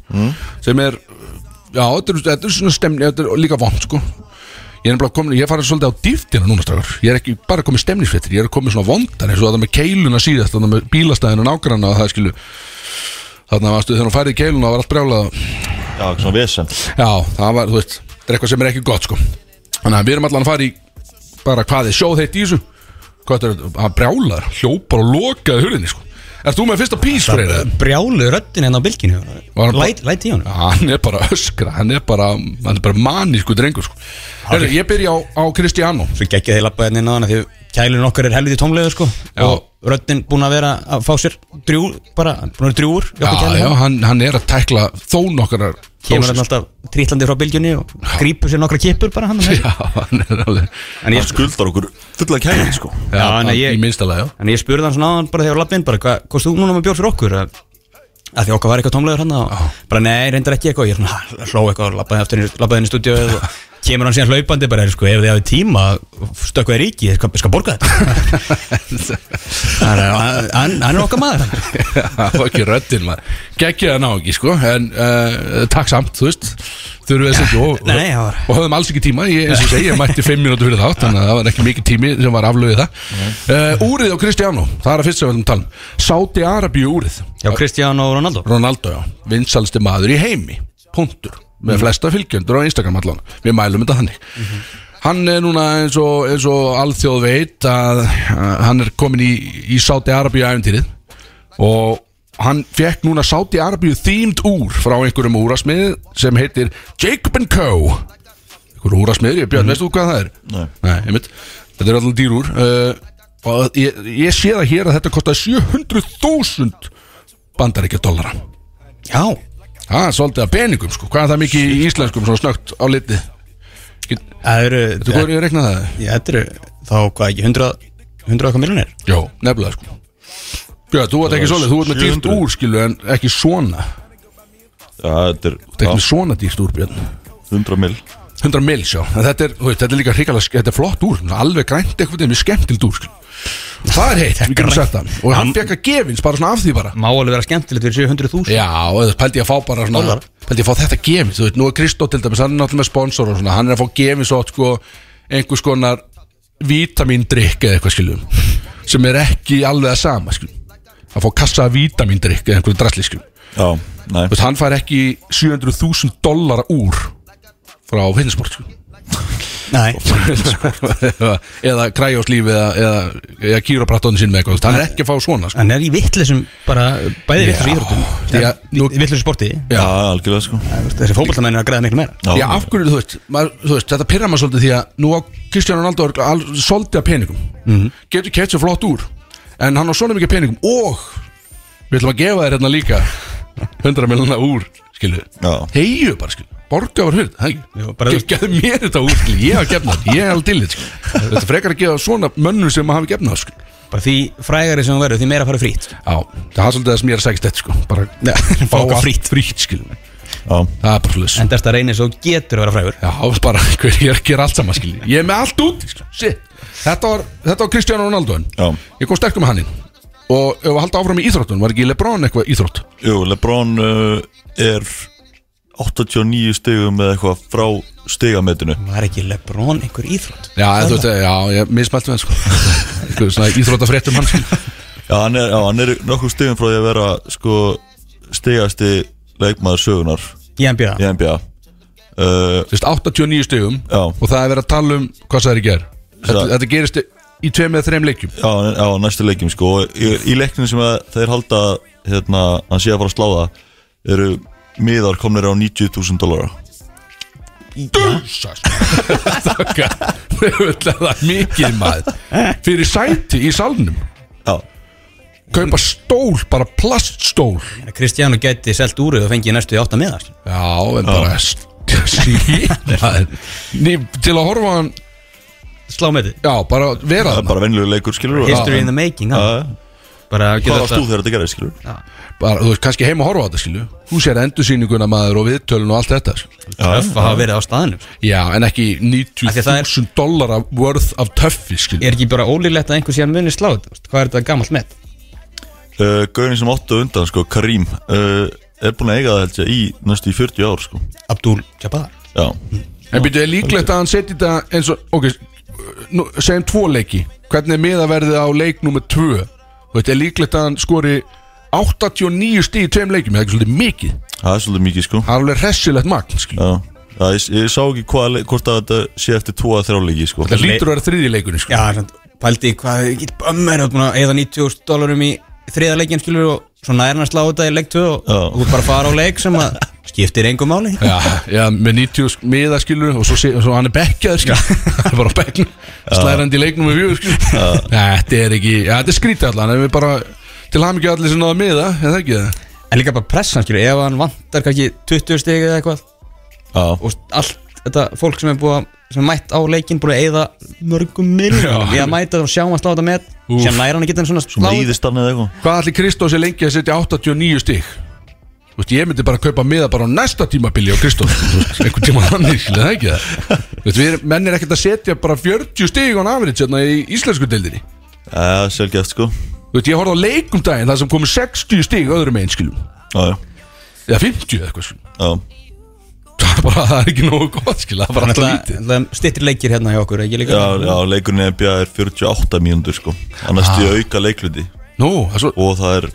[SPEAKER 1] Sem er, já, þetta er, þetta er svona stemni, þetta er líka vond, sko Ég er nefnilega komin, ég farið svolítið á dýftina núna strafur Ég er ekki bara komið stemnisfréttir, ég er komið svona vondar eins og það með keiluna síðast, þannig með bílastæðinu og nágranna og það skilu Þannig að þegar hún færið í keiluna var allt brjálað og-
[SPEAKER 3] bara- Já, svona vesen
[SPEAKER 1] Já, það var, þú veist, það er eitthvað sem er ekki gott sko Þannig að við erum allan að fara í bara hvað er sjóð heitt í þessu Hvað þetta er þetta, hann brjálar, hljópar og lokaði hurðinni sko Ert þú með fyrsta pís fyrir það?
[SPEAKER 2] Brjálu röddin hérna á bylginu
[SPEAKER 1] Var hann bara-
[SPEAKER 2] Læt læt í honum
[SPEAKER 1] Hann er bara að öskra, hann er bara, hann er bara manísku drengur sko Herru, ég byrja á, á Cristiano
[SPEAKER 2] Svo geggja þeir lappa hérna inn á hana Því kælun okkar er helviti tómlega sko
[SPEAKER 1] Já.
[SPEAKER 2] Og röddin búin að vera að fá sér drjú Bara, búin að vera drjúur í
[SPEAKER 1] Já,
[SPEAKER 2] okkar kælu.
[SPEAKER 1] já, hann, hann er að tækla þó nokkar
[SPEAKER 2] Kemur hann alltaf trítlandi frá bylgjunni Og grípur sér nokkra kippur bara hann hérna.
[SPEAKER 1] Já, hann er alveg
[SPEAKER 2] En
[SPEAKER 3] Hann
[SPEAKER 2] ég
[SPEAKER 3] skuldar okkur fulla kæri sko
[SPEAKER 1] Já,
[SPEAKER 2] Já, en
[SPEAKER 1] hann,
[SPEAKER 2] ég-
[SPEAKER 1] í minnstalega, já
[SPEAKER 2] En ég spurði hann svona áðan bara þegar lappin bara, hvað kostu þú núna með bjór fyrir okkur? Að, að því okkar var eitthvað tómlegur hann og bara nei, reyndar ekki eitthvað, ég er svona "Ha, hló eitthvað og lappaði aftur inn í- labbaði inn í stúdíu og kemur hann síðan hlaupandi bara, "Heyrðu, sko, ef þið hafið tíma stökku þér ríki, ég skal, skal borga þetta Þannig að hann- hann, hann er okkar maður
[SPEAKER 1] Það var ekki röddinn maður Gekkið að ná ekki sko En uh, takk samt, þú veist Þurfum við að segja og,
[SPEAKER 2] Nei, það var-
[SPEAKER 1] og höfðum alls ekki tíma Ég, eins og ég segi, ég mætti fimm mínútur fyrir þátt Þannig að það var ekki mikið tími sem var aflögið það uh, Úrið á Kristjánó, það er að fyrst sem við viljum tala um Saudi Arabíu úrið
[SPEAKER 2] Já, Kristján og Ronaldo
[SPEAKER 1] Ronaldo, já, vinsalsti maður í heimi Puntur, með flesta fylgjendur á Instagram allan Við mælum þetta þannig Hann er núna eins og, eins og alþjóð veit að, að hann er komin í, í Saudi Arabíu æfintýrið og hann fekk núna Saudi Arabíu themed úr frá einhverjum úrasmið sem heitir Jacob Co einhver úrasmiður, ég björn, mm. veistu þú hvað það er?
[SPEAKER 3] Nei.
[SPEAKER 1] Nei, einmitt, þetta er alltaf dýrúr uh, og ég, ég sé það hér að þetta kostar 700.000 bandaríkja dollara
[SPEAKER 2] Já,
[SPEAKER 1] það er svolítið að peningum sko, hvað er það mikið í íslenskum svona snögt á litið
[SPEAKER 2] það eru
[SPEAKER 1] þú
[SPEAKER 2] það-
[SPEAKER 1] góður ég að rekna það?
[SPEAKER 2] já, Þetta eru þá hvað ekki, 100 100 okkar miljonir
[SPEAKER 1] Jó, nefnilega sko Björn, þú ert ekki svolítið, þú ert með dýrt
[SPEAKER 3] 700.
[SPEAKER 1] úr skilu en ekki svona,
[SPEAKER 3] Já, þetta er
[SPEAKER 1] þú ert ekki
[SPEAKER 3] já,
[SPEAKER 1] með svona dýrt úr Björn
[SPEAKER 3] 100 mil
[SPEAKER 1] 100 mil sjá, en þetta er, þú veist, þetta er líka hrikalega, ske- þetta er flott úr, svona alveg grænt eitthvað þetta er mjög skemmtild úr skilu. það er heitt, við getum sagt það og hann fekk að gefins bara svona af því bara
[SPEAKER 2] Má alveg vera skemmtilegt fyrir 700.000
[SPEAKER 1] Já, og þú pældi ég að fá bara svona
[SPEAKER 2] Dólar.
[SPEAKER 1] Pældi ég að fá þetta gefið, þú veit, nú er Kristó til dæmis Hann er náttúrulega með sponsor og svona Hann er að fá gefið svo sko, einhvers konar Vítamindrykk eða eitthvað skiljum Sem er ekki alveg að sama skiljum Að fá kassa af vítamindrykk eða einhverju drasli skiljum Þú
[SPEAKER 3] Já, nei
[SPEAKER 1] veist, hann fær ekki 700.000 dollara úr Frá hinsport skiljum
[SPEAKER 2] Nei.
[SPEAKER 1] eða kræjóslíf eða, eða, eða kýróprattónu sín með eitthvað þú veist, hann er ekki að fá svona sko.
[SPEAKER 2] Hann er í vittlisum bara Bæði vittlisum
[SPEAKER 1] Já.
[SPEAKER 2] íþróttum
[SPEAKER 1] Því að nú-
[SPEAKER 2] Vittlisum sporti
[SPEAKER 1] Já.
[SPEAKER 3] Já, algjörlega sko
[SPEAKER 2] Þessi fótboltamenn er að græða miklu meira
[SPEAKER 1] Já, af hverju, þú veist, maður, þú veist, þetta pyrra maður svolítið því að nú á Kristján Ronaldo er al- svolítið að peningum
[SPEAKER 2] Mhm.
[SPEAKER 1] getur keitt sér flott úr en hann á svona mikið peningum og við ætlum að gefa þér hérna líka 100 miljonar úr, skilu
[SPEAKER 3] Já.
[SPEAKER 1] heiðu bara, skilu, borga var
[SPEAKER 2] Jú,
[SPEAKER 1] hurð
[SPEAKER 2] bara þú-
[SPEAKER 1] gefðu mér þetta úr, skilu, ég hafa gefnað þetta, ég er alveg til þetta, skilu þetta er frekar að gefa svona mönnum sem maður hafi gefnað, skilu
[SPEAKER 2] Bara því frægari sem hún verður Því meira fara frýtt
[SPEAKER 1] Já, það er svolítið það sem ég er að segja þetta, sko bara
[SPEAKER 2] Nei, fá
[SPEAKER 1] fá
[SPEAKER 2] eitthvað
[SPEAKER 1] frýtt, frýtt, skilu
[SPEAKER 3] Já,
[SPEAKER 1] það er bara svolítið
[SPEAKER 2] En þetta reynir svo getur að vera frægur
[SPEAKER 1] Já, bara, hver ég er að gera allt saman, skilji Ég er með allt út, skilji Shit. Þetta var, þetta var Kristján Ronaldo
[SPEAKER 3] Já.
[SPEAKER 1] Ég kom sterkur með hann inn Og ef að halda áfram í íþróttun, var ekki Lebron eitthvað íþrótt?
[SPEAKER 3] jú, Lebron uh, er 89 stigum eða eitthvað frá stigametinu
[SPEAKER 2] Var ekki Lebron einhver íþrótt?
[SPEAKER 1] Já, en þú veit, já, ég mismælti með hann, sko Eitthvað svona íþróttafréttum hann, skilji
[SPEAKER 3] Já, hann er, já, hann er nokkuð stigum frá því að vera sko stigasti leikmaður sögunar
[SPEAKER 2] Í NBA
[SPEAKER 3] í NBA uh,
[SPEAKER 1] Þú veist, 89 stegum
[SPEAKER 3] Já.
[SPEAKER 1] Og það er verið að tala um hvað það er í ger þetta,
[SPEAKER 3] Svo-
[SPEAKER 1] þetta gerist í tveim eða þreim leikjum
[SPEAKER 3] Já, en- já, næstu leikjum sko Og í, í leiknum sem að þeir halda hérna, hann sé að fara að sláða eru miðar komnir á 90.000 dólara
[SPEAKER 1] Dúsa, sko Það er mikið maður Fyrir sæti í salnum
[SPEAKER 3] Já,
[SPEAKER 1] Kaupa stól, bara plaststól
[SPEAKER 2] Kristjánu gæti selt úr og fengið næstu í átta miða skilur.
[SPEAKER 1] Já, en bara Sýn Til að horfa á hann
[SPEAKER 2] Slá með þið
[SPEAKER 1] Já, bara vera
[SPEAKER 3] það er
[SPEAKER 1] hann
[SPEAKER 3] bara venlulegu leikur skilur og-
[SPEAKER 2] History in the
[SPEAKER 3] Já,
[SPEAKER 2] making hann.
[SPEAKER 3] já.
[SPEAKER 2] Bara
[SPEAKER 3] Hvað
[SPEAKER 2] geta
[SPEAKER 3] varst þú þegar þetta gerði skilur?
[SPEAKER 1] bara, Þú veist, kannski heim að horfa á þetta, skilju Þú sér endursýninguna maður og viðtölun og allt þetta skilju.
[SPEAKER 2] Töff að hafa verið á staðinu
[SPEAKER 1] Já, en ekki
[SPEAKER 2] Af því að það er-
[SPEAKER 1] 90.000 dollara worth af töffi, skilju
[SPEAKER 2] Er ekki bara ólíklegt að einhver sé að muni slá þetta? veist? Hvað er þetta gammalt með?
[SPEAKER 3] Uh, Gaurin sem áttu undan sko, Karim uh, er búin að eiga það held ég í næstu í 40 ár sko
[SPEAKER 2] Abdul Jabbar
[SPEAKER 3] Já,
[SPEAKER 1] En býtu, er líklegt að hann setji þetta eins og Ok, nú, segjum tvo leiki Hvernig er miðaverðið á leik nummer tvö Þú veist, er líklegt að hann skori 89 stíð í tveim leikjum Það er ekki svolítið mikið
[SPEAKER 3] það er svolítið mikið sko
[SPEAKER 1] Það er alveg hressilegt magn, skilju
[SPEAKER 3] Já, já ég, ég sá ekki hvað, leik- hvort að þetta sé eftir 2 að 3 leiki sko
[SPEAKER 1] Það lítur að vera þriðji leikunni, skilju
[SPEAKER 2] Já, sant, pældi í hvað ég get bömmir og búin að eða 90.000 dólarum í þriða leikin skilur og svo nær hann að slá þetta í leik 2 og
[SPEAKER 3] Já.
[SPEAKER 2] og þú bara fara á leik sem að skiptir engum máli
[SPEAKER 1] Já, já, með 90 miða skilur og svo, sé- svo hann er bekkjaður skilur hann er bara á bekknum, slærandi í leiknum með fjögur skilur Þetta er ekki, já, þetta er skrítið allan en við bara, til hann ekki allir sem náða miða er það ekki það?
[SPEAKER 2] En líka bara pressan skilur, ef hann vantar kannski 20 stig eða eitthvað
[SPEAKER 3] Já,
[SPEAKER 2] og allt þetta fólk sem er búið að sem er mætt á leikin búið að eða mörgum miljónum
[SPEAKER 1] Já.
[SPEAKER 2] við að mæta og sjá hann slá þetta með
[SPEAKER 1] Úff.
[SPEAKER 2] sem nær hann að geta hann svona
[SPEAKER 3] svona
[SPEAKER 2] slá
[SPEAKER 3] íðist hann eða eitthvað
[SPEAKER 1] Hvað allir Kristóð sé lengi að setja 89 stig? Þú veist, ég myndi bara að kaupa miða bara á næsta tímabili á Kristóð einhvern tíma hann er skilur, er það ekki það? Þú veist, við, menn er ekkert að setja bara 40 stig án afrið sérna í íslensku deildinni
[SPEAKER 3] Já, sjálfgeft sko
[SPEAKER 1] Þú veist, ég horfði á leikum daginn þar sem komu 60 stig öðrum einn skilum
[SPEAKER 3] Já, já,
[SPEAKER 1] eða 50 eða eitthvað skilur
[SPEAKER 3] já
[SPEAKER 1] það er bara, það er ekki nógu gott skil það er bara alltaf lítið
[SPEAKER 2] stittir leikir hérna hjá okkur ekki líka
[SPEAKER 3] Já, já leikurinn í NBA er 48 mínútur sko Annars ah. ég auka leikluti
[SPEAKER 1] nú, það er svo,
[SPEAKER 3] Og það er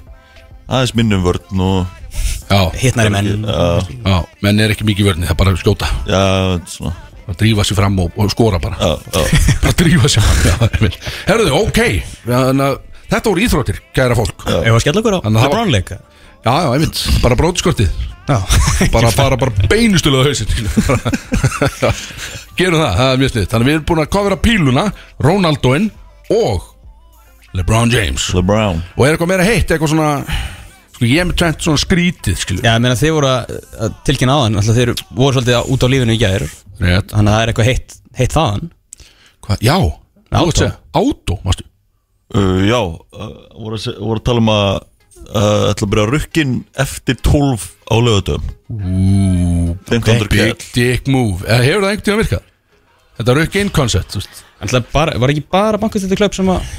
[SPEAKER 3] aðeins minnum vörn og
[SPEAKER 1] já,
[SPEAKER 2] hittnari menn
[SPEAKER 3] Já,
[SPEAKER 1] já menn er ekki mikið í vörni, það er bara að skjóta
[SPEAKER 3] já, svona
[SPEAKER 1] að drífa sér fram og, og skora bara
[SPEAKER 3] Já, já,
[SPEAKER 1] bara drífa sér fram já, það er vel. herruðu, ok Þannig að þetta voru íþróttir, kæra fólk já,
[SPEAKER 2] ef að skella okkur á
[SPEAKER 1] Þannig að það var-
[SPEAKER 2] LeBron leika
[SPEAKER 1] já, einmitt, bara bróðskortið
[SPEAKER 2] já
[SPEAKER 1] bara fara bara beinustulega hausinn gerum það, það er mjög snið þannig að við erum búin að kofra píluna Ronaldoinn og LeBron James
[SPEAKER 3] LeBron
[SPEAKER 1] og er eitthvað meira heitt, eitthvað svona sko ég er með tvent svona skrítið skilu
[SPEAKER 2] Já, ég meina þið voru að að tilkynna á hann Alltaf þeir voru svolítið á- út á lífinu í gæður
[SPEAKER 1] Rétt.
[SPEAKER 2] Þannig að það er eitthvað heitt, heitt þaðan
[SPEAKER 1] Hva? Já,
[SPEAKER 2] Átó.
[SPEAKER 1] átó Átó, mástu
[SPEAKER 3] uh, Já, uh, voru, að, se- voru að tala um að uh, ætla að byrja rukkin eftir 12 á lögutum Ú, okay.
[SPEAKER 1] Big dick move, Eða hefur það einhvern tíma virkað? Þetta er ekki einn koncept
[SPEAKER 2] Alltaf bara, var ekki bara bankast þetta klöp sem að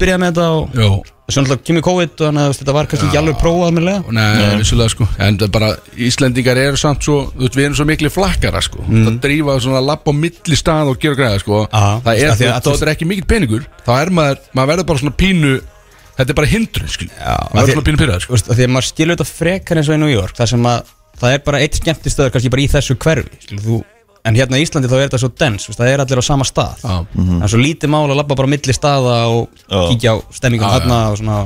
[SPEAKER 2] byrjaði með þetta og
[SPEAKER 1] Jó,
[SPEAKER 2] Svo alltaf kemur COVID og þannig að þú veist, þetta var kannski ekki alveg prófað með lega
[SPEAKER 1] nei, vissulega sko En það er bara, Íslendingar eru samt svo þú veist, Við erum svo miklu flakkara sko
[SPEAKER 2] Mm.
[SPEAKER 1] Það drífa svona lapp á milli stað og gera græða sko
[SPEAKER 2] Já,
[SPEAKER 1] Það er,
[SPEAKER 2] af því
[SPEAKER 1] það,
[SPEAKER 2] að
[SPEAKER 1] það, er ekki mikill peningur Þá er maður, maður verður bara svona pínu Þetta er bara hindrun sko Maður verður svona pínu pyrraður
[SPEAKER 2] Þú
[SPEAKER 1] sko
[SPEAKER 2] veist, af Því að maður skilur þetta frekar eins og í New York Það sem að það er bara eitt skemmtistöður kannski bara í þessu hverfi skilur, Þú en hérna í Íslandi þá er þetta svo dens það er allir á sama stað
[SPEAKER 1] Já.
[SPEAKER 2] það er svo lítið mál að labba bara á milli staða og
[SPEAKER 3] Já.
[SPEAKER 2] kíkja á stemmingum
[SPEAKER 1] Já,
[SPEAKER 2] þarna og svona,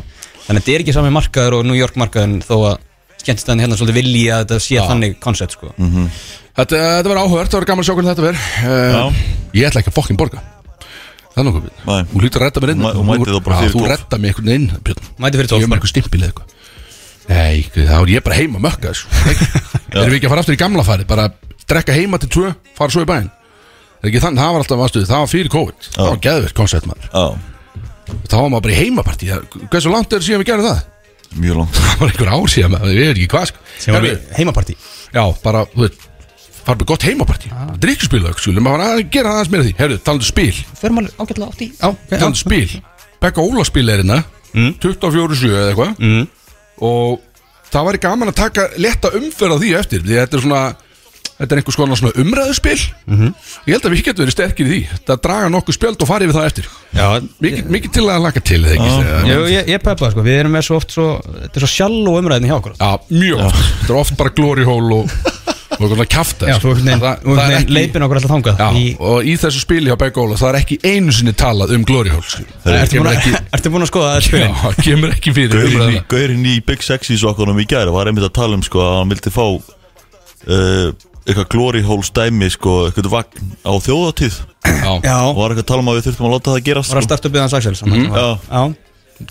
[SPEAKER 2] þannig að þetta er ekki sami markaður og New York markaðin þó að skemmtistæðin hérna svolítið vilji að þetta sé þannig koncept sko.
[SPEAKER 1] Þetta, þetta var áhört, það var gaman að sjá hvernig þetta verð uh, Ég ætla ekki að fokkin borga Það er nokkuð
[SPEAKER 3] Nei.
[SPEAKER 1] Björn. Þú lítur að redda mér inn
[SPEAKER 3] Þú mæ- þú mætir þá
[SPEAKER 1] Já,
[SPEAKER 3] bara fyrir
[SPEAKER 1] Þú
[SPEAKER 3] 12.
[SPEAKER 1] redda mér einhvern veginn Björn.
[SPEAKER 2] Mætir fyrir 12
[SPEAKER 1] Ég er með eitthvað stimpil eða eitthvað Nei, guð, þá er ég bara heima að mökka þessu Erum við ekki að fara aftur í gamla farið Bara drekka heima til tvö, fara svo í bæinn Það er ekki þannig, það var alltaf aðstuð Það var fyrir COVID, það var geðvirt koncept maður
[SPEAKER 3] Já,
[SPEAKER 1] Þá var maður bara í heimapartí Hversu langt er síðan við gerum það?
[SPEAKER 3] mjög langt
[SPEAKER 1] Það var einhver ár síðan, maður, við erum ekki hvað sko.
[SPEAKER 2] sem var
[SPEAKER 1] Herðu,
[SPEAKER 2] heimapartí
[SPEAKER 1] Já, bara, þú veit fara með gott heimapartí, ah. drikkspila skulum að fara að gera aðeins meira af því, herru, talandu spil
[SPEAKER 2] fyrir maður ágætlega átt í
[SPEAKER 1] já, talandu spil Bekka Óla spil er hérna
[SPEAKER 2] Mm.
[SPEAKER 1] 24-7 eða eitthvað mm. og það væri gaman að taka letta umferð á því eftir, því að þetta er svona þetta er einhvers konar svona umræðuspil
[SPEAKER 2] Mhm.
[SPEAKER 1] ég held að við getum verið sterkir í því það draga nokkuð spjöld og fara yfir það eftir mikið, mikið til að laka til, eða ekki ah.
[SPEAKER 2] Jú, ég, ég peppa sko, við erum með svo oft svo, þetta er svo sjálf og umræðin hjá okkur
[SPEAKER 1] Já, mjög oft Þetta er oft bara glory hole og, og eitthvað kjafta
[SPEAKER 2] Já, þú Sko, einhvern
[SPEAKER 1] sko. Það-
[SPEAKER 2] veginn- þú
[SPEAKER 1] það er
[SPEAKER 2] einhvern veginn
[SPEAKER 1] ekki-
[SPEAKER 2] leipin okkur alltaf þangað
[SPEAKER 1] Já,
[SPEAKER 2] í,
[SPEAKER 1] og í þessu spili hjá Begg Óla það er ekki einu sinni talað um glory hole skilur. Það
[SPEAKER 2] ertu,
[SPEAKER 1] kemur
[SPEAKER 2] búin
[SPEAKER 1] ekki
[SPEAKER 2] að, ertu búin að skoða það
[SPEAKER 1] Já,
[SPEAKER 2] spilin?
[SPEAKER 1] það kemur ekki fyrir
[SPEAKER 3] Gaurinn í,
[SPEAKER 1] umræðuna.
[SPEAKER 3] gaurin í Big Sexy sokkunum í gæri var einmitt að tala um sko að hann vildi fá uh, eitthvað glory hole stæmi sko, eitthvað vagn á þjóðatíð
[SPEAKER 1] Já,
[SPEAKER 2] Já,
[SPEAKER 3] og var eitthvað að tala um að við þurftum að láta það gerast
[SPEAKER 2] var að
[SPEAKER 3] sko.
[SPEAKER 2] starta upp við hans Axels
[SPEAKER 1] Mhm.
[SPEAKER 2] mm.
[SPEAKER 3] Já.
[SPEAKER 2] Já,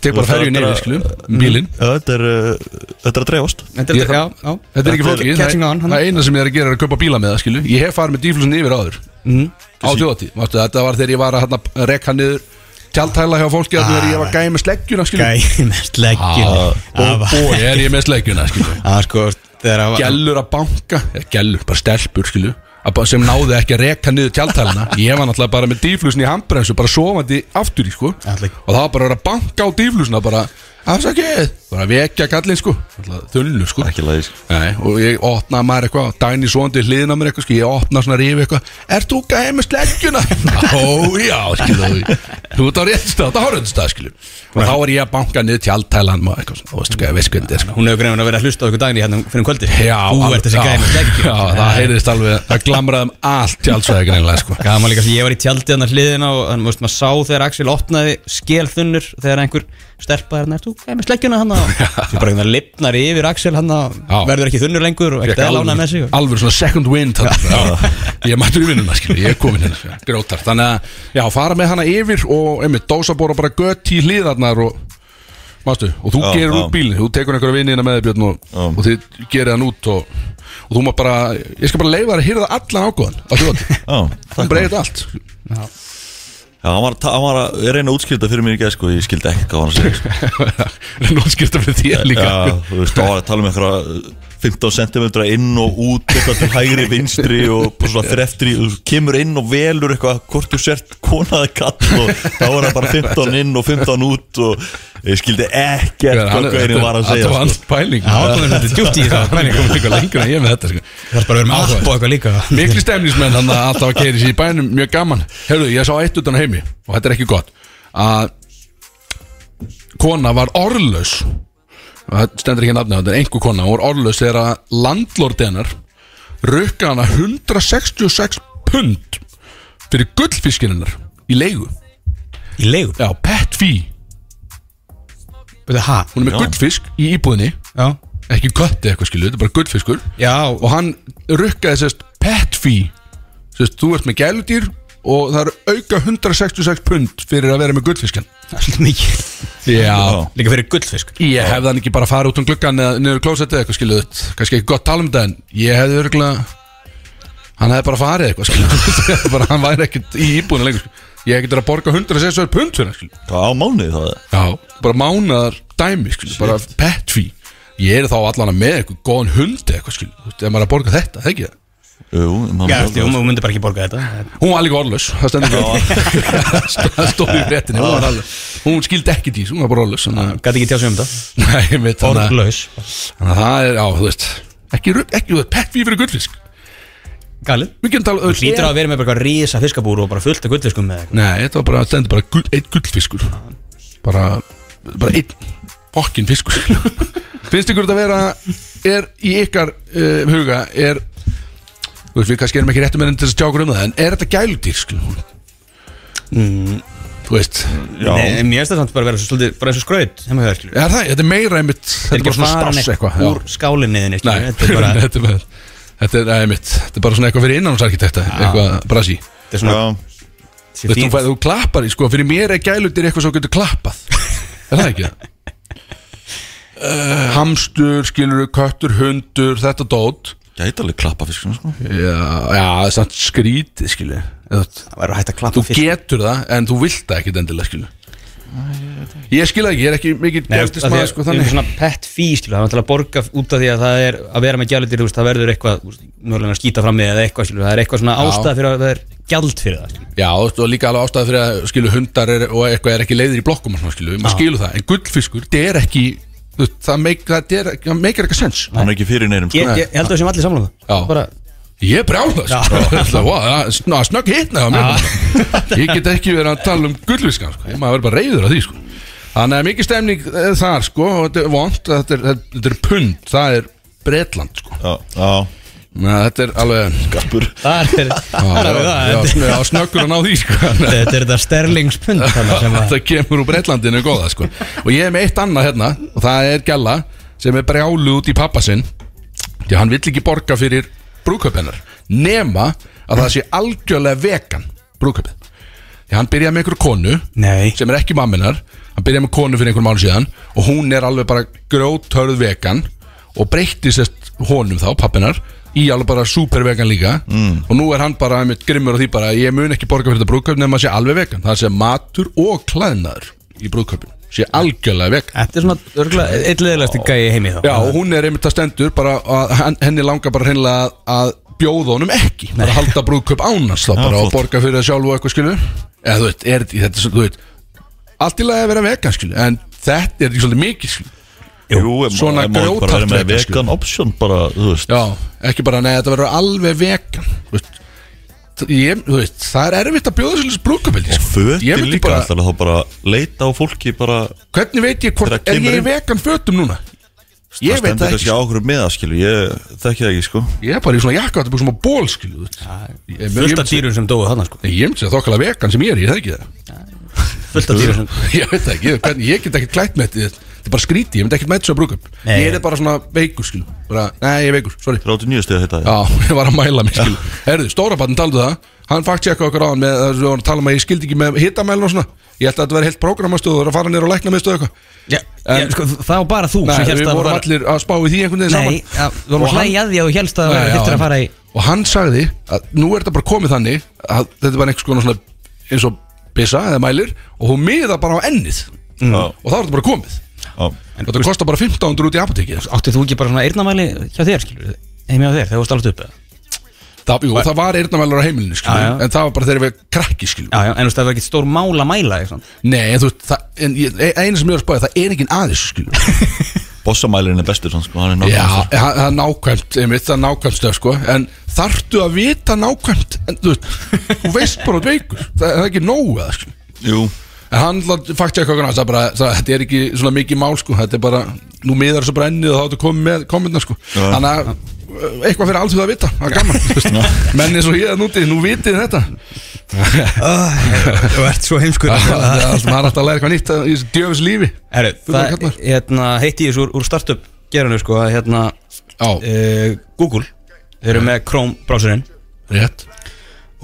[SPEAKER 1] tek bara
[SPEAKER 3] Það
[SPEAKER 1] ferju
[SPEAKER 3] er
[SPEAKER 1] neyri,
[SPEAKER 3] bara-
[SPEAKER 1] skilum, bílinn
[SPEAKER 3] Já, þetta er, uh, þetta er að dreifast
[SPEAKER 2] þetta er
[SPEAKER 1] Ég-
[SPEAKER 2] já,
[SPEAKER 1] Þetta er ekki
[SPEAKER 2] já.
[SPEAKER 3] Þetta er
[SPEAKER 1] flókið, það
[SPEAKER 2] catching on,
[SPEAKER 1] er-
[SPEAKER 2] hann-
[SPEAKER 1] það er eina sem ég er að gera er að köpa bíla með það, skilu Ég hef farið með díflusin yfir áður Á þjóðatí, þetta var þegar ég var að hérna, rekka niður tjaldtæla hjá fólki að þegar ég var gæði með sleggjuna, skilu
[SPEAKER 2] Gæi með sleggjun
[SPEAKER 1] Og bói er ég með sleggjuna, skilu
[SPEAKER 2] Það sko, þegar að
[SPEAKER 1] gellur að banka eða gellur, bara stelpur skilu að bara- sem náðu ekki að reka niður tjaldtælina ég var náttúrulega bara með dýflusin í handbremsu bara sofandi aftur í sko
[SPEAKER 2] Ætli.
[SPEAKER 1] og það var bara að vera að banka á dýflusina bara afsakið, bara að vekja kallin sko þullu sko
[SPEAKER 3] Ekki lægis
[SPEAKER 1] Nei, og ég opnaði maður eitthvað dæni svondi hliðin á mér eitthvað sko, ég opnaði svona rífi eitthvað er þú gæði með sleggjuna? ó já, skilu þú ert á réttstað, þetta horfðustað skilu og þá er ég að banka niður tjaldtælan og eitthvað, svona, og veistu hvað, veist hvernig þetta er sko
[SPEAKER 2] Hún hefur greifin að vera að hlusta á okkur daginn í hérna fyrir um kvöldi
[SPEAKER 1] Já,
[SPEAKER 2] Þú
[SPEAKER 1] alveg-
[SPEAKER 2] ert þessi
[SPEAKER 1] já,
[SPEAKER 2] gæi með
[SPEAKER 1] Já,
[SPEAKER 2] sleggjun
[SPEAKER 1] það heyrðist alveg, það glamraði um allt tjálsvæði greinlega sko
[SPEAKER 2] Gaman líka sem ég var í tjaldi hann að hliðina og hann, veist, maður sá þegar Axel opnaði skelþunnur þegar einhver stelpa hérna, er þú gæmi sleggjuna hann og því bara hann lipnar yfir Axel hann að
[SPEAKER 1] Já.
[SPEAKER 2] verður ekki þunnur lengur og ekkert eða lánað með sig og-
[SPEAKER 1] alveg svona second wind þarna. Já. Ég mættur í vinnuna, skilur, ég er komin hérna sko, Grótar, þannig að, já, fara með hana yfir og einmitt, dósa bóra bara gött í hliðarnar og Mástu, og þú
[SPEAKER 3] Já,
[SPEAKER 1] gerir
[SPEAKER 3] já.
[SPEAKER 1] út bílinn, þú tekur einhverja vinnina með þér Björn og,
[SPEAKER 3] Já.
[SPEAKER 1] og þið gerir hann út og, og þú maður bara, ég skal bara leifa þér að hýrða allan ágóðan á þjóti,
[SPEAKER 3] Já,
[SPEAKER 1] hún breyðið allt
[SPEAKER 3] Já, hann var, að ta- hann var að reyna að útskýrta fyrir mér í gæð sko, ég skildi ekki hvað hann segir sko.
[SPEAKER 1] Nú skipta fyrir þér líka
[SPEAKER 3] Já, þú veist, það var að tala um eitthvað 15 cm inn og út eitthvað til hægri, vinstri og bara svona þreftri, þú kemur inn og velur eitthvað hvort þú sért konaði kall og þá var það bara 15 inn og 15 út og ég skildi ekkert hvað gæri var að segja
[SPEAKER 1] Þetta var
[SPEAKER 3] sko.
[SPEAKER 1] hans pæling
[SPEAKER 2] Já, það er svolítið djúpt í þessu
[SPEAKER 1] Hann
[SPEAKER 2] pælingu.
[SPEAKER 1] kom líka lengur en ég með þetta sko.
[SPEAKER 2] Það er bara að vera með app og eitthvað líka
[SPEAKER 1] Mikli stemningsmenn hann að alltaf að keiri sér í bænum Mjög gaman Herðu, ég sá eitt utan á heimi Og þetta er ekki gott Að Kona var orðlaus Það stendur ekki nafnið á þetta er Engu kona Hún var orðlaus þegar að landlordenar Rukka hana 166 pund Fyrir gullfiskininnar Í leigu
[SPEAKER 2] Í leigur
[SPEAKER 1] Já, pet fee
[SPEAKER 2] Búið það, hæ?
[SPEAKER 1] Hún er með
[SPEAKER 3] Já.
[SPEAKER 1] gullfisk í íbúðinni
[SPEAKER 2] Já
[SPEAKER 1] Ekki kötti eitthvað skilu, þetta er bara gullfiskur
[SPEAKER 2] Já,
[SPEAKER 1] og hann rukkaði sérst pet fee sérst, þú ert með gæludýr og það eru auka 166 pund fyrir að vera með gullfiskan
[SPEAKER 2] það er svolítið mikið
[SPEAKER 1] já
[SPEAKER 2] Líka fyrir gullfisk
[SPEAKER 1] ég hefði hann ekki bara farið út um gluggan eða niður klósettið eitthvað skiluðu kannski ekki gott tala um það en ég hefði örgulega hann hefði bara farið eitthvað skiluðu bara hann væri ekkert í íbúinu lengur skilurðu. ég hef ekki verið að borga 166 pund fyrir hann skiluðu
[SPEAKER 3] Hvað á mánuði það?
[SPEAKER 1] Já, bara mánaðar dæmi skil, bara pet fee ég er þá allan að með eitthvað góðan hund eða eitthvað skil, þegar maður er að borga þetta, það ekki það
[SPEAKER 3] Jú, um maður-
[SPEAKER 2] Já, um- þú hún myndi bara ekki borga þetta
[SPEAKER 1] Hún var líka orðlaus, það stendur ekki Það stóð í fréttinni, hún var orðlaus Hún skildi ekki dís, hún var bara orðlaus þannig að-
[SPEAKER 2] Gæti ekki tjá sig um þetta
[SPEAKER 1] Nei, með þannig að-
[SPEAKER 2] Orðlaus
[SPEAKER 1] þannig að það er, já, þú veist Ekki, rugl- ekki, þú veist, pett fyrir gullfisk
[SPEAKER 2] Galið
[SPEAKER 1] Við getum talað
[SPEAKER 2] Þú hlýtur að vera með bara eitthvað rísa fiskabúru og bara fullt af gullfiskum með eitthvað
[SPEAKER 1] Nei, þetta var bara, stendur bara gull, eitt gullfiskur Bara, bara einn fokkin fiskur Finnst ykkur þetta vera, er í ykkar uh, huga, er eh, þú þú veist, við kannski erum ekki réttum enn til þess að tjákur um það, en er þetta gæludýr, skilur mm.
[SPEAKER 2] Mm.
[SPEAKER 1] þú veist,
[SPEAKER 3] Já.
[SPEAKER 2] Nei, mér finnst það samt bara að vera svo svolítið bara eins og skraut heima hjá þér, skilur.
[SPEAKER 1] er það, þetta er meira einmitt, þetta er bara svona
[SPEAKER 2] fara
[SPEAKER 1] stass
[SPEAKER 2] neitt
[SPEAKER 1] eitthvað já.
[SPEAKER 2] úr skálinniðinni
[SPEAKER 1] Nei,
[SPEAKER 2] þetta er bara
[SPEAKER 1] þetta er bara Þetta er, æ, mitt, þetta er bara svona eitthvað fyrir innámsarkitekta Eitthvað brasi Þú
[SPEAKER 2] þetta er svona
[SPEAKER 3] Já.
[SPEAKER 2] þessi
[SPEAKER 1] veist, þú,
[SPEAKER 2] fín-
[SPEAKER 1] fæ- þú klappar í, sko, fyrir mér er gælutir eitthvað svo getur klappað Er það ekki það? Uh, hamstur, skilur, köttur, hundur, þetta dót
[SPEAKER 3] Gæti alveg klappa fiskunum sko
[SPEAKER 1] Já, já það er samt skrítið, skilur Eða þú-
[SPEAKER 2] það væri hægt að klappa
[SPEAKER 1] Þú getur það, en þú vilt það ekkit endilega, skilur Ég skil það ekki, ég er ekki mikill
[SPEAKER 2] Gældist
[SPEAKER 1] gældismæð,
[SPEAKER 2] maður
[SPEAKER 1] sko,
[SPEAKER 2] Það er
[SPEAKER 1] þannig
[SPEAKER 2] svona pet fee, skilur, það er náttúrulega að borga út af því að það er að vera með gjaldir, þú veist, það verður eitthvað, þú veist, mögulega að skýta fram í eða eitthvað, skilur, það er eitthvað svona ástæð fyrir að það er gjald fyrir það, skilur.
[SPEAKER 1] Já, þú veist, og líka alveg ástæða fyrir að skilu hundar er, og eitthvað er ekki leiðir í blokkum og svona, skilu, maður skilur það, en gullfiskur það er ekki, þú veist, það meik- það er- það meikir eitthvað sens
[SPEAKER 3] Hann er ekki fyrir neinum sko
[SPEAKER 2] Ég, ég, ég held að það sem allir samlega
[SPEAKER 1] Já.
[SPEAKER 2] það. Bara,
[SPEAKER 1] Ég er brjálast wow, Snögg hitna á mér Ég get ekki verið að tala um gullfiskan sko. Ég maður verið bara reyður að því sko. Þannig að mikið stemning eh, þar sko, og þetta er vond, þetta er, þetta er pund það er Bretland sko.
[SPEAKER 3] Já, já,
[SPEAKER 1] Næ, Þetta er alveg
[SPEAKER 3] garpur
[SPEAKER 2] það er, það er alveg það,
[SPEAKER 1] Já,
[SPEAKER 2] þetta-
[SPEAKER 1] snö- já, snöggur að ná því sko. Þannig að-
[SPEAKER 2] þetta er þetta sterlingspund þannig sem að,
[SPEAKER 1] það kemur úr Breitlandinu góða sko. og ég er með eitt annað hérna og það er Gjalla sem er brjálu út í pappa sinn því að hann vill ekki borga fyrir brúköpennar nema að það sé algjörlega vegan brúköpið því að hann byrjaði með einhverju konu
[SPEAKER 2] nei,
[SPEAKER 1] sem er ekki mamminar hann byrjaði með konu fyrir einhverjum mánu síðan og hún er alveg bara grjóthörð vegan og breytti sérst honum þá pappinar í alveg bara super vegan líka og nú er hann bara einmitt grimmur á því bara ég mun ekki borga fyrir þetta brúðkaup nema að sé alveg vegan það sé matur og klæðnaður í brúðkaupin sé algjörlega vegan
[SPEAKER 2] þetta er svona örgulega, eitt leðilegasti gæi í heimi þá.
[SPEAKER 1] Já, og hún er einmitt að stendur bara að hen- henni langar bara hreinlega að- að bjóða honum ekki bara að halda brúðkaup ánast þá bara og
[SPEAKER 3] flott.
[SPEAKER 1] borga fyrir það sjálf og eitthvað skilu eða þú veit, er þetta, þetta, er svo- þú veit allt í lagi að vera vegan skilu en þetta er ekki svolítið mikið skilu
[SPEAKER 3] Jú, ef
[SPEAKER 1] svona
[SPEAKER 3] maður- ef maður bara er
[SPEAKER 1] grjótart
[SPEAKER 3] með
[SPEAKER 1] vegan, sko.
[SPEAKER 3] vegan option bara, þú veist
[SPEAKER 1] Já, ekki bara, nei, þetta verður alveg vegan Þú veist, Þ- ég, þú veist það er erfitt að bjóða svolítið brúðkaupildi
[SPEAKER 3] Og fötin líka bara...
[SPEAKER 1] sko. bara,
[SPEAKER 3] alltaf þá bara leita á fólki bara
[SPEAKER 1] Hvernig veit ég hvort,
[SPEAKER 3] Þegar
[SPEAKER 1] er
[SPEAKER 3] kemur
[SPEAKER 1] ég í
[SPEAKER 3] inn-
[SPEAKER 1] vegan fötum núna? Ég veit það
[SPEAKER 3] stendur
[SPEAKER 1] ekki sko.
[SPEAKER 3] kannski á okkur með það skilju Ég þekki það ekki sko
[SPEAKER 1] Ég er bara í svona jakka, þetta er búin svona ból, skilu Ég ég-
[SPEAKER 2] fullt af dýrum sem dóu þarna sko,
[SPEAKER 1] Ég myndi að þokkala vegan sem ég er, ég það ekki það
[SPEAKER 2] fullt af dýrum sem
[SPEAKER 1] Ég veit það ekki, ég- hvernig, ég get ekkert klætt með þetta Þetta er bara skríti, ég myndi ekkert með þessu að brúka upp
[SPEAKER 2] Nei.
[SPEAKER 1] Ég er bara svona veikur, skilu bara, Nei, ég er veikur, sorry
[SPEAKER 3] 39 stiga þetta
[SPEAKER 1] Já, ég var að mæla mig, skilu Herðu, stórabatn taldu það Hann fakt tjekka okkur á hann með að við vorum að tala um að ég skildi ekki með hitamælun og svona Ég held að þetta veri heilt prógramastuð og að fara niður og lækna með eitthvað
[SPEAKER 2] Já, já, sko, það var bara þú
[SPEAKER 1] Nei,
[SPEAKER 2] sem hélst
[SPEAKER 1] við
[SPEAKER 2] að það
[SPEAKER 1] vorum
[SPEAKER 2] var
[SPEAKER 1] allir að spá í því einhvern veginn
[SPEAKER 2] Nei,
[SPEAKER 1] saman
[SPEAKER 2] ja, við vorum
[SPEAKER 1] Og
[SPEAKER 2] að
[SPEAKER 1] hann-
[SPEAKER 2] hlæja að því að þú hélst að
[SPEAKER 1] Já,
[SPEAKER 2] það
[SPEAKER 1] já,
[SPEAKER 2] þurftir að
[SPEAKER 1] en-
[SPEAKER 2] fara í
[SPEAKER 1] Og hann sagði að nú er þetta bara komið þannig að þetta er bara einhvers konar svona eins og pissa eða mælir og hún miða bara á ennið
[SPEAKER 3] Já,
[SPEAKER 1] og þá er þetta bara komið
[SPEAKER 3] já
[SPEAKER 1] og þetta kostar bara 1500 út í sko. apotekið
[SPEAKER 2] Áttið þú ekki bara svona eyrnamæli hjá þér, skilur Heimi á þér, þegar þú varst alveg upp eða?
[SPEAKER 1] það, jú, það var eyrnamælur á heimilinu skilur,
[SPEAKER 2] Já, já.
[SPEAKER 1] en það var bara þegar við krakki skilur
[SPEAKER 2] Já, já, en þú veist, það var ekkert stór mál að mæla eitthvað.
[SPEAKER 1] Nei, en þú veist, það- en ég- e- eina sem ég er að spáði, það er engin aðeins skilur
[SPEAKER 3] Bossamælirinn er bestur sann sko Hann er
[SPEAKER 1] Já,
[SPEAKER 3] náttúrulega
[SPEAKER 1] það það er nákvæmt, einmitt, það er nákvæmt stöf sko En þarftu að vita nákvæmt en, þú, veist, þú veist bara að þú ert veikur Það, það er ekki nógu eða skilur
[SPEAKER 3] Jú
[SPEAKER 1] En hann fakti eitthvað annars, það bara, það, þetta er ekki svona mikið mál sko, þetta er bara, nú miðar þessu bara ennið og þá ertu komið með komendna sko,
[SPEAKER 3] Já.
[SPEAKER 1] þannig að uh, eitthvað fyrir allt að vita, það er gaman, þú veist. menn eins og ég að núti, nú vitið þetta,
[SPEAKER 2] Ah, Þú ert svo heimskur
[SPEAKER 1] það það er allt- maður er alltaf að læra eitthvað nýtt eh, í þessu djöfis lífi.
[SPEAKER 2] Herru,
[SPEAKER 1] Fullar
[SPEAKER 2] það,
[SPEAKER 1] kallar.
[SPEAKER 2] hérna, heitti ég þessu úr, úr startup gerinu, sko, að hérna
[SPEAKER 1] Já,
[SPEAKER 2] uh, Google, þeir eru með Chrome browserinn
[SPEAKER 1] rétt,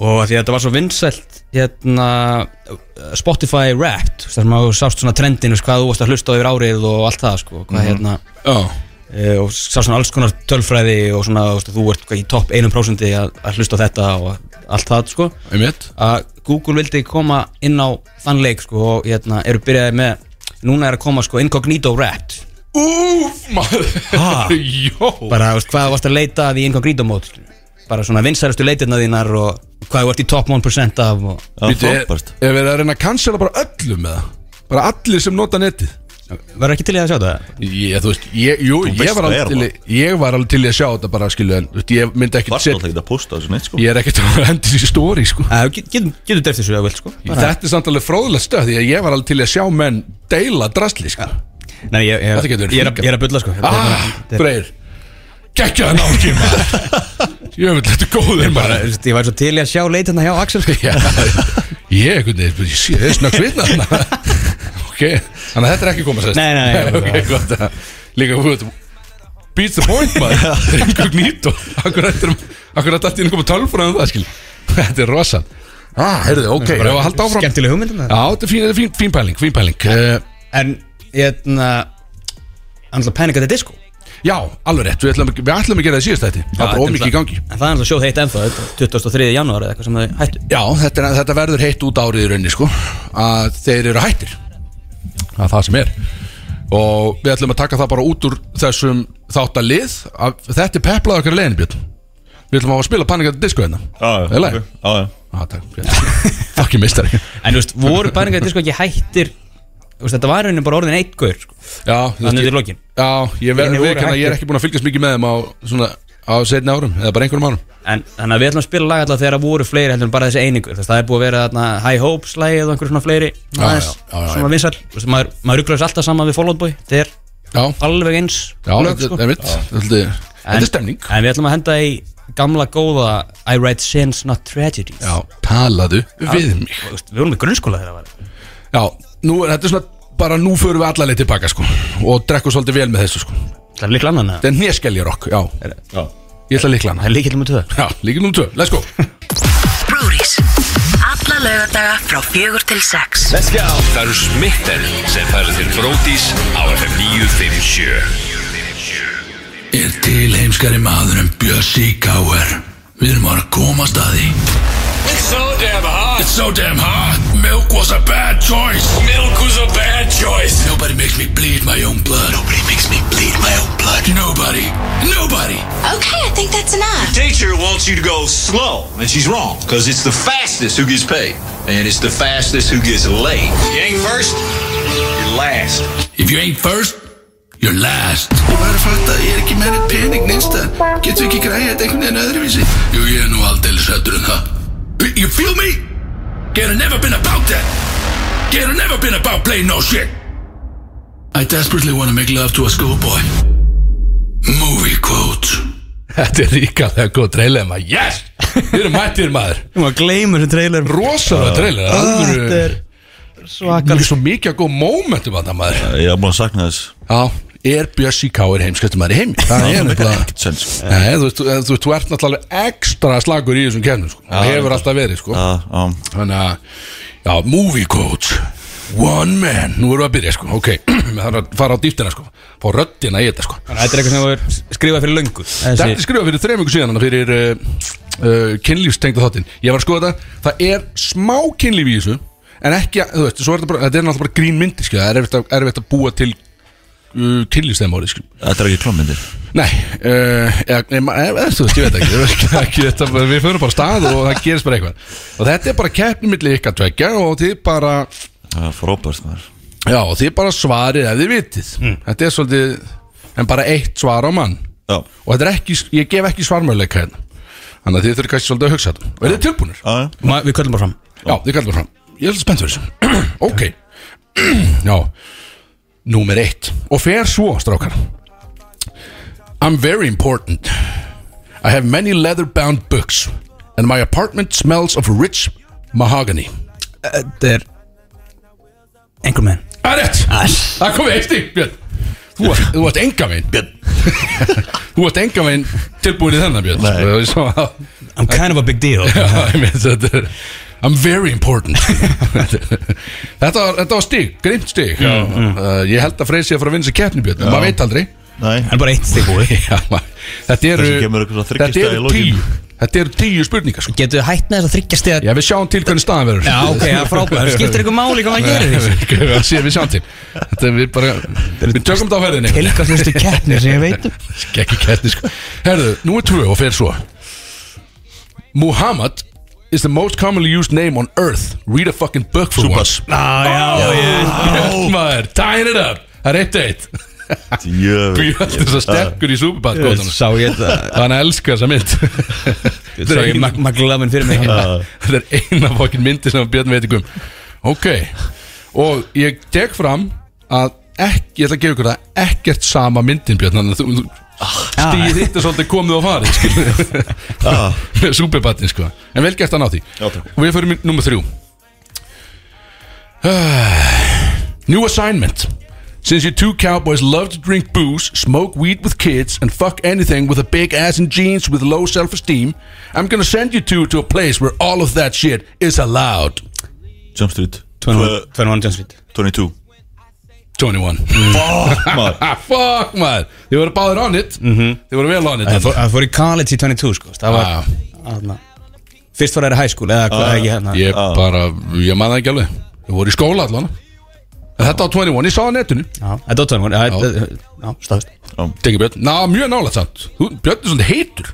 [SPEAKER 2] og af því að þetta var svo vinsælt hérna eh, Spotify Wrapped, þú veist, þar sem að þú sást svona trendin, þú veist, hvað þú varst að hlusta á yfir árið og allt það, sko, hvað hérna
[SPEAKER 1] já,
[SPEAKER 2] Eh, og sá svona alls konar tölfræði og svona þú veist, þú ert hvað í topp 1% að, að hlusta á þetta og allt það sko
[SPEAKER 1] einmitt,
[SPEAKER 2] að Google vildi koma inn á þann leik sko og hérna eru byrjaði með núna er að koma sko incognito wrapped
[SPEAKER 1] úf,
[SPEAKER 2] Ha?
[SPEAKER 1] maður, jó,
[SPEAKER 2] bara þú veist, hvað þú varst að leita að í incognito mót bara svona vinsælustu leitirna þínar og hvað þú ert í topp 1% af og
[SPEAKER 3] Já,
[SPEAKER 1] Bíddu, er
[SPEAKER 3] frábært
[SPEAKER 1] er verið að reyna að cancela bara öllum með það, bara allir sem nota netið.
[SPEAKER 2] verður ekki til í að sjá þetta?
[SPEAKER 1] Ég, þú veist, ég, jú,
[SPEAKER 3] Þú
[SPEAKER 1] ég
[SPEAKER 3] veist
[SPEAKER 1] var,
[SPEAKER 3] það
[SPEAKER 1] alveg
[SPEAKER 3] er
[SPEAKER 1] til, í- ég var alveg til í að sjá þetta bara, skilu, en þú veist, ég myndi ekki
[SPEAKER 3] Varst alltaf ekki að posta þessu neitt sko
[SPEAKER 1] Ég er ekkert að hendi sér stóri sko.
[SPEAKER 2] Að, get, Eh, getum, getum dæft þessu að vilt sko bara,
[SPEAKER 1] Þetta er samt alveg fróðlega stöð Því að ég var alveg til að sjá menn deila drastli sko.
[SPEAKER 2] nei, ég,
[SPEAKER 1] Þetta
[SPEAKER 2] ég, ég,
[SPEAKER 1] getur verið
[SPEAKER 2] er að- ég er að bulla sko Þetta er
[SPEAKER 1] Ah,
[SPEAKER 2] bara- þetta er-
[SPEAKER 1] Freyr geggjaðan ástíð maður Jöfnvel, þetta er góður
[SPEAKER 2] bara,
[SPEAKER 1] maður
[SPEAKER 2] þú veist, ég væri svo til í að sjá leit hérna hjá Axel sko.
[SPEAKER 1] Já, ég einhvern veginn, ég sé það snöggt vitna þarna. Ok, þannig að þetta er ekki komað sérst
[SPEAKER 2] Nei, nei, nei,
[SPEAKER 1] Ok, gott Líka, þú veit, beats the point maður Ringur gnýtt og akkur að dætti inn að koma tölfur um það, skil Þetta er rosan Ah, heyrðu, ok, ég var að halda áfram Já,
[SPEAKER 2] skemmtileg hugmyndum það
[SPEAKER 1] þetta er fín, þetta er fín, fín pæling, fín pæling uh,
[SPEAKER 2] en ég ætla að panika til disco
[SPEAKER 1] Já, alveg rétt, við ætlum, við ætlum að gera það síðast þetta Það er ómikið í gangi
[SPEAKER 2] en það er alltaf sjóð heitt ennþá þetta er 23. janúar eða eitthvað sem þau hættu
[SPEAKER 1] Já, þetta, er- þetta verður heitt út árið í rauninni sko að þeir eru hættir það er það sem er og við ætlum að taka það bara út úr þessum þáttalið að þetta er peplað okkar leiðin Björn við ætlum að fá að spila panikar disco hérna
[SPEAKER 3] Já,
[SPEAKER 1] Vel,
[SPEAKER 3] ok. Já, já.
[SPEAKER 1] ah, takk Björn. Takk ég mistar ekki
[SPEAKER 2] en þú veist, voru panika til disco ekki hættir þú veist, þetta var henni bara orðin eitt gaur sko.
[SPEAKER 1] Já, þú
[SPEAKER 2] þannig
[SPEAKER 1] veist,
[SPEAKER 2] til
[SPEAKER 1] ég,
[SPEAKER 2] lokin
[SPEAKER 1] já, ég
[SPEAKER 2] Hinir
[SPEAKER 1] verður
[SPEAKER 2] voru
[SPEAKER 1] veikana ég
[SPEAKER 2] hættir.
[SPEAKER 1] er ekki búin að fylgjast mikið með þeim á svona á setni árum eða bara einhverjum árum
[SPEAKER 2] en þannig að við ætlum að spila lag alltaf þegar voru fleiri heldur en bara þessi einingur þess, það er búið að vera þarna High Hopes lagið og einhver svona fleiri
[SPEAKER 1] já,
[SPEAKER 2] aðeins
[SPEAKER 1] já, já,
[SPEAKER 2] svona vinsall Þú veist, maður, maður rugglaðis alltaf saman við Fall Out Boy þetta er
[SPEAKER 1] Já,
[SPEAKER 2] alveg eins
[SPEAKER 1] já,
[SPEAKER 2] lög,
[SPEAKER 1] þetta
[SPEAKER 2] sko.
[SPEAKER 1] er mitt Þetta er- þetta er stemning
[SPEAKER 2] en við ætlum að henda í gamla góða I write sins not tragedies
[SPEAKER 1] Já, talaðu við mig
[SPEAKER 2] Og, þú veist, við vorum í grunnskóla þegar það var
[SPEAKER 1] Já, nú, er- þetta er svona bara nú förum við alla leið tilbaka sko og drekkum svolítið vel með þessu sko
[SPEAKER 2] það er líkla annan eða?
[SPEAKER 1] þetta er néskelja rokk, já,
[SPEAKER 3] Já.
[SPEAKER 1] ég ætla að líkla hana
[SPEAKER 2] það er líkla með tvö
[SPEAKER 1] Já, líka nú tvö, let's go
[SPEAKER 5] Brúris Alla lögadaga frá fjögur til sex
[SPEAKER 3] Let's go
[SPEAKER 4] Það eru smitten er sem færa til Bróðís á FM 957
[SPEAKER 6] er til heimskari maður en Bjössi Káer Við erum að komast að því
[SPEAKER 4] It's so damn hot
[SPEAKER 6] It's so damn hot Milk was a bad choice
[SPEAKER 4] Milk was a bad choice
[SPEAKER 6] Nobody makes me bleed my own blood Nobody makes me bleed my own blood Nobody, nobody
[SPEAKER 7] Okay, I think that's enough.
[SPEAKER 8] teacher wants you to go slow, and she's wrong because it's the fastest who gets paid, and it's the fastest who gets late. You ain't first, you're last.
[SPEAKER 6] If you ain't first, you're last Ég var að fatta að ég er ekki meiri pening neinstað Getur ekki græðið þetta einhvern veginn öðruvísi Jú, ég er nú aldeilis hættur en það You feel me? Get never been about that Get never been about playing no shit I desperately want to make love to a schoolboy Movie quote
[SPEAKER 1] Þetta er ríkalega góð trailer maður, yes Við erum mættir maður,
[SPEAKER 2] við maður gleymur þessu trailer
[SPEAKER 1] rosalega trailer
[SPEAKER 2] þetta
[SPEAKER 1] Alvöru,
[SPEAKER 2] er
[SPEAKER 1] það
[SPEAKER 2] svakal
[SPEAKER 1] er svo mikið að góð momentum að það maður
[SPEAKER 3] Ég er búin að sakna þess
[SPEAKER 1] Já, er Bjössi Káir heimskastum maður í heim Það er nefnilega
[SPEAKER 3] Ekkert sens sko.
[SPEAKER 1] Nei, þú veist, þú, þú, þú ert náttúrulega ekstra slagur í þessum kennum sko. Það hefur alltaf verið sko.
[SPEAKER 3] Já, já.
[SPEAKER 1] Þannig að, já, movie coach One man, nú erum við að byrja sko Ok, við þarfum að fara á dýftina sko Fá röddina í þetta sko
[SPEAKER 2] þetta er eitthvað sem var skrifað fyrir löngu
[SPEAKER 1] Þetta
[SPEAKER 2] þessi
[SPEAKER 1] er skrifað fyrir þreim ykkur síðan hana, Fyrir uh, uh, kynlífstengda þáttinn Ég var að skoða þetta, það er smá kynlíf í þessu En ekki, að- þú veist, svo er þetta bara Þetta er náttúrulega bara grín myndi, sko Það er erfitt að, erfitt að búa til uh, kynlífstegum orðið, sko
[SPEAKER 3] Þetta er ekki klómyndir
[SPEAKER 1] Nei, uh, eða, nema, eða, eða, þú veist, ég veit ekki, ekki, ekki þetta, Við förum bara af stað og það gerist bara eitthvað Og þetta er bara keppni milli ykkar tveggja Og þið bara,
[SPEAKER 3] Það er frábært maður
[SPEAKER 1] já, og þið bara svarið Ef þið vitið, þetta er svolítið En bara eitt svar á mann
[SPEAKER 3] Já,
[SPEAKER 1] og þetta er ekki, ég gef ekki svarmöðleika hérna þannig að þið þurfum kannski svolítið að hugsa þetta og er þið tilbúinir?
[SPEAKER 3] já, já
[SPEAKER 2] Ma- við köllum bara fram
[SPEAKER 1] Já, þið kallar bara fram ég er spennt fyrir þessu ok, já númer eitt og fer svo, strákar I'm very important I have many leather bound books and my apartment smells of rich mahogany
[SPEAKER 2] þetta er einhver menn
[SPEAKER 1] Það er rétt, það komið eitt stík Björn Þú ert- þú ert enga megin Björn Þú ert enga megin tilbúin í þennan Björn Nei Svo að
[SPEAKER 2] I'm kind of a big deal
[SPEAKER 1] Já, ég meina, þetta er- I'm very important Þetta var, þetta var stig, grímt stig uh, Ég held að freysi að fara að vinna sér keppni björn en Maður veit aldrei
[SPEAKER 3] Nei,
[SPEAKER 2] en bara eitt stig búið
[SPEAKER 1] Já, maður- Þetta eru,
[SPEAKER 3] Kannski kemur eitthvað svona þriggja
[SPEAKER 1] þetta
[SPEAKER 3] stafa í
[SPEAKER 1] eru
[SPEAKER 3] lokin.
[SPEAKER 1] tíu Þetta eru tíu spurningar sko.
[SPEAKER 2] getur við hætt með þess að þryggja stiga
[SPEAKER 1] Já, við sjáum til hvernig staðan verður
[SPEAKER 2] já ok, það er frábæð það skiptir eitthvað máli hvað maður gerir þessu
[SPEAKER 1] gerir Við séum- við sjáum til Þetta er við bara Við tökum þetta á ferðinni
[SPEAKER 2] tilgangslöstu keppni sem ég veit um.
[SPEAKER 1] Gekki kætti sko Herðu, nú er tvö og fer svo Muhammad is the most commonly used name on earth Read a fucking book for once
[SPEAKER 2] ah, já, já,
[SPEAKER 1] Björn maður, tying it up Það er eitt eitt
[SPEAKER 3] jöfn
[SPEAKER 1] Björn þess að stekkur í Superbad góðan.
[SPEAKER 2] sá ég þetta
[SPEAKER 1] Hann elskar þessa mynd
[SPEAKER 2] sá
[SPEAKER 1] Þetta er
[SPEAKER 2] ég
[SPEAKER 1] eina-
[SPEAKER 2] magla minn fyrir mig
[SPEAKER 1] Þetta er eina fokkin myndi sem Björn veit ekki um Ok Og ég tek fram að ekki, ég ætla að gefa ykkur það ekkert sama myndin Björn þannig að þú, þú
[SPEAKER 3] Ah.
[SPEAKER 1] Stíði þitt er svolítið komið og farið Súperbatni sko En vel gert að ná því
[SPEAKER 3] Ah. Já, takk.
[SPEAKER 1] Og við förum í nummer þrjú Ah, New assignment Since you two cowboys love to drink booze, smoke weed with kids, and fuck anything with a big ass and jeans with low self-esteem, I'm gonna send you two to a place where all of that shit is allowed.
[SPEAKER 3] Jump Street
[SPEAKER 2] 21 21 Jump Street
[SPEAKER 3] 22
[SPEAKER 1] 21.
[SPEAKER 3] Fuck maður
[SPEAKER 1] Ah, fuck maður. Þið voru báðir on it. Mm -hmm. Þið voru vel on it.
[SPEAKER 2] Það fór- það fór í college í 22 sko Það var
[SPEAKER 1] Ah,
[SPEAKER 2] þarna. Fyrst fór það í high school Eða hvað ekki hérna
[SPEAKER 1] ég bara, ég maður það ekki alveg. Þið voru í skóla allan. En Þetta á 21, ég sá það á netinu.
[SPEAKER 2] Já, Þetta var 21 já, þetta- Já, staðist
[SPEAKER 1] Tengi Björn, ná mjög nálægt samt Þú- Björn er svolítið heitur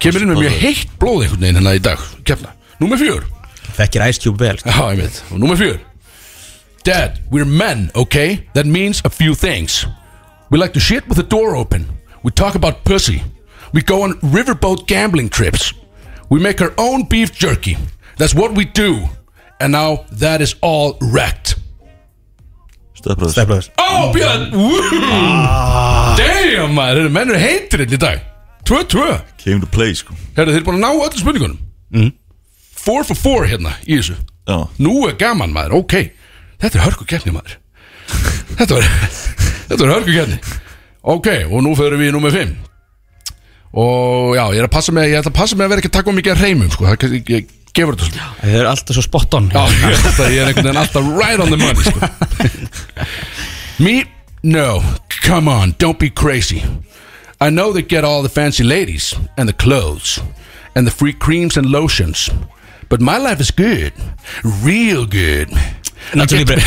[SPEAKER 1] Kemur inn með mjög heitt blóð einhvern veginn hérna í dag Kefna, númer fjör
[SPEAKER 2] Þekkir Ice Cube vel sko.
[SPEAKER 1] Já, ég veit, og númer fjör Dad, we're men, okay? That means a few things We like to shit with the door open We talk about pussy We go on riverboat gambling trips We make our own beef jerky That's what we do And now that is all wrecked
[SPEAKER 3] Stefbröðs
[SPEAKER 2] Steflaður
[SPEAKER 1] Ó, Björn Oh, ah. Damn, maður, þetta menn eru heitir einn í dag 2-2
[SPEAKER 3] Came to play sko
[SPEAKER 1] Herðu, þeir eru búin að ná öllum spurningunum mm. Four for four hérna í þessu
[SPEAKER 3] Já
[SPEAKER 1] Nú er gaman maður, ok Þetta er hörku keppni maður Þetta var, þetta var hörku keppni Ok, og nú förum við í nummer 5 Og já, ég er að passa með Ég ætla að passa með að vera ekki að taka um mikið að reymum sko. Það er kannski- ég gefur þetta svona
[SPEAKER 2] Þau eru alltaf svo spot on
[SPEAKER 1] Já, ég, held að ég er einhvern veginn alltaf right on the money sko. Me? No, come on, don't be crazy I know they get all the fancy ladies And the clothes And the free creams and lotions But my life is good Real good
[SPEAKER 2] Nacho Libre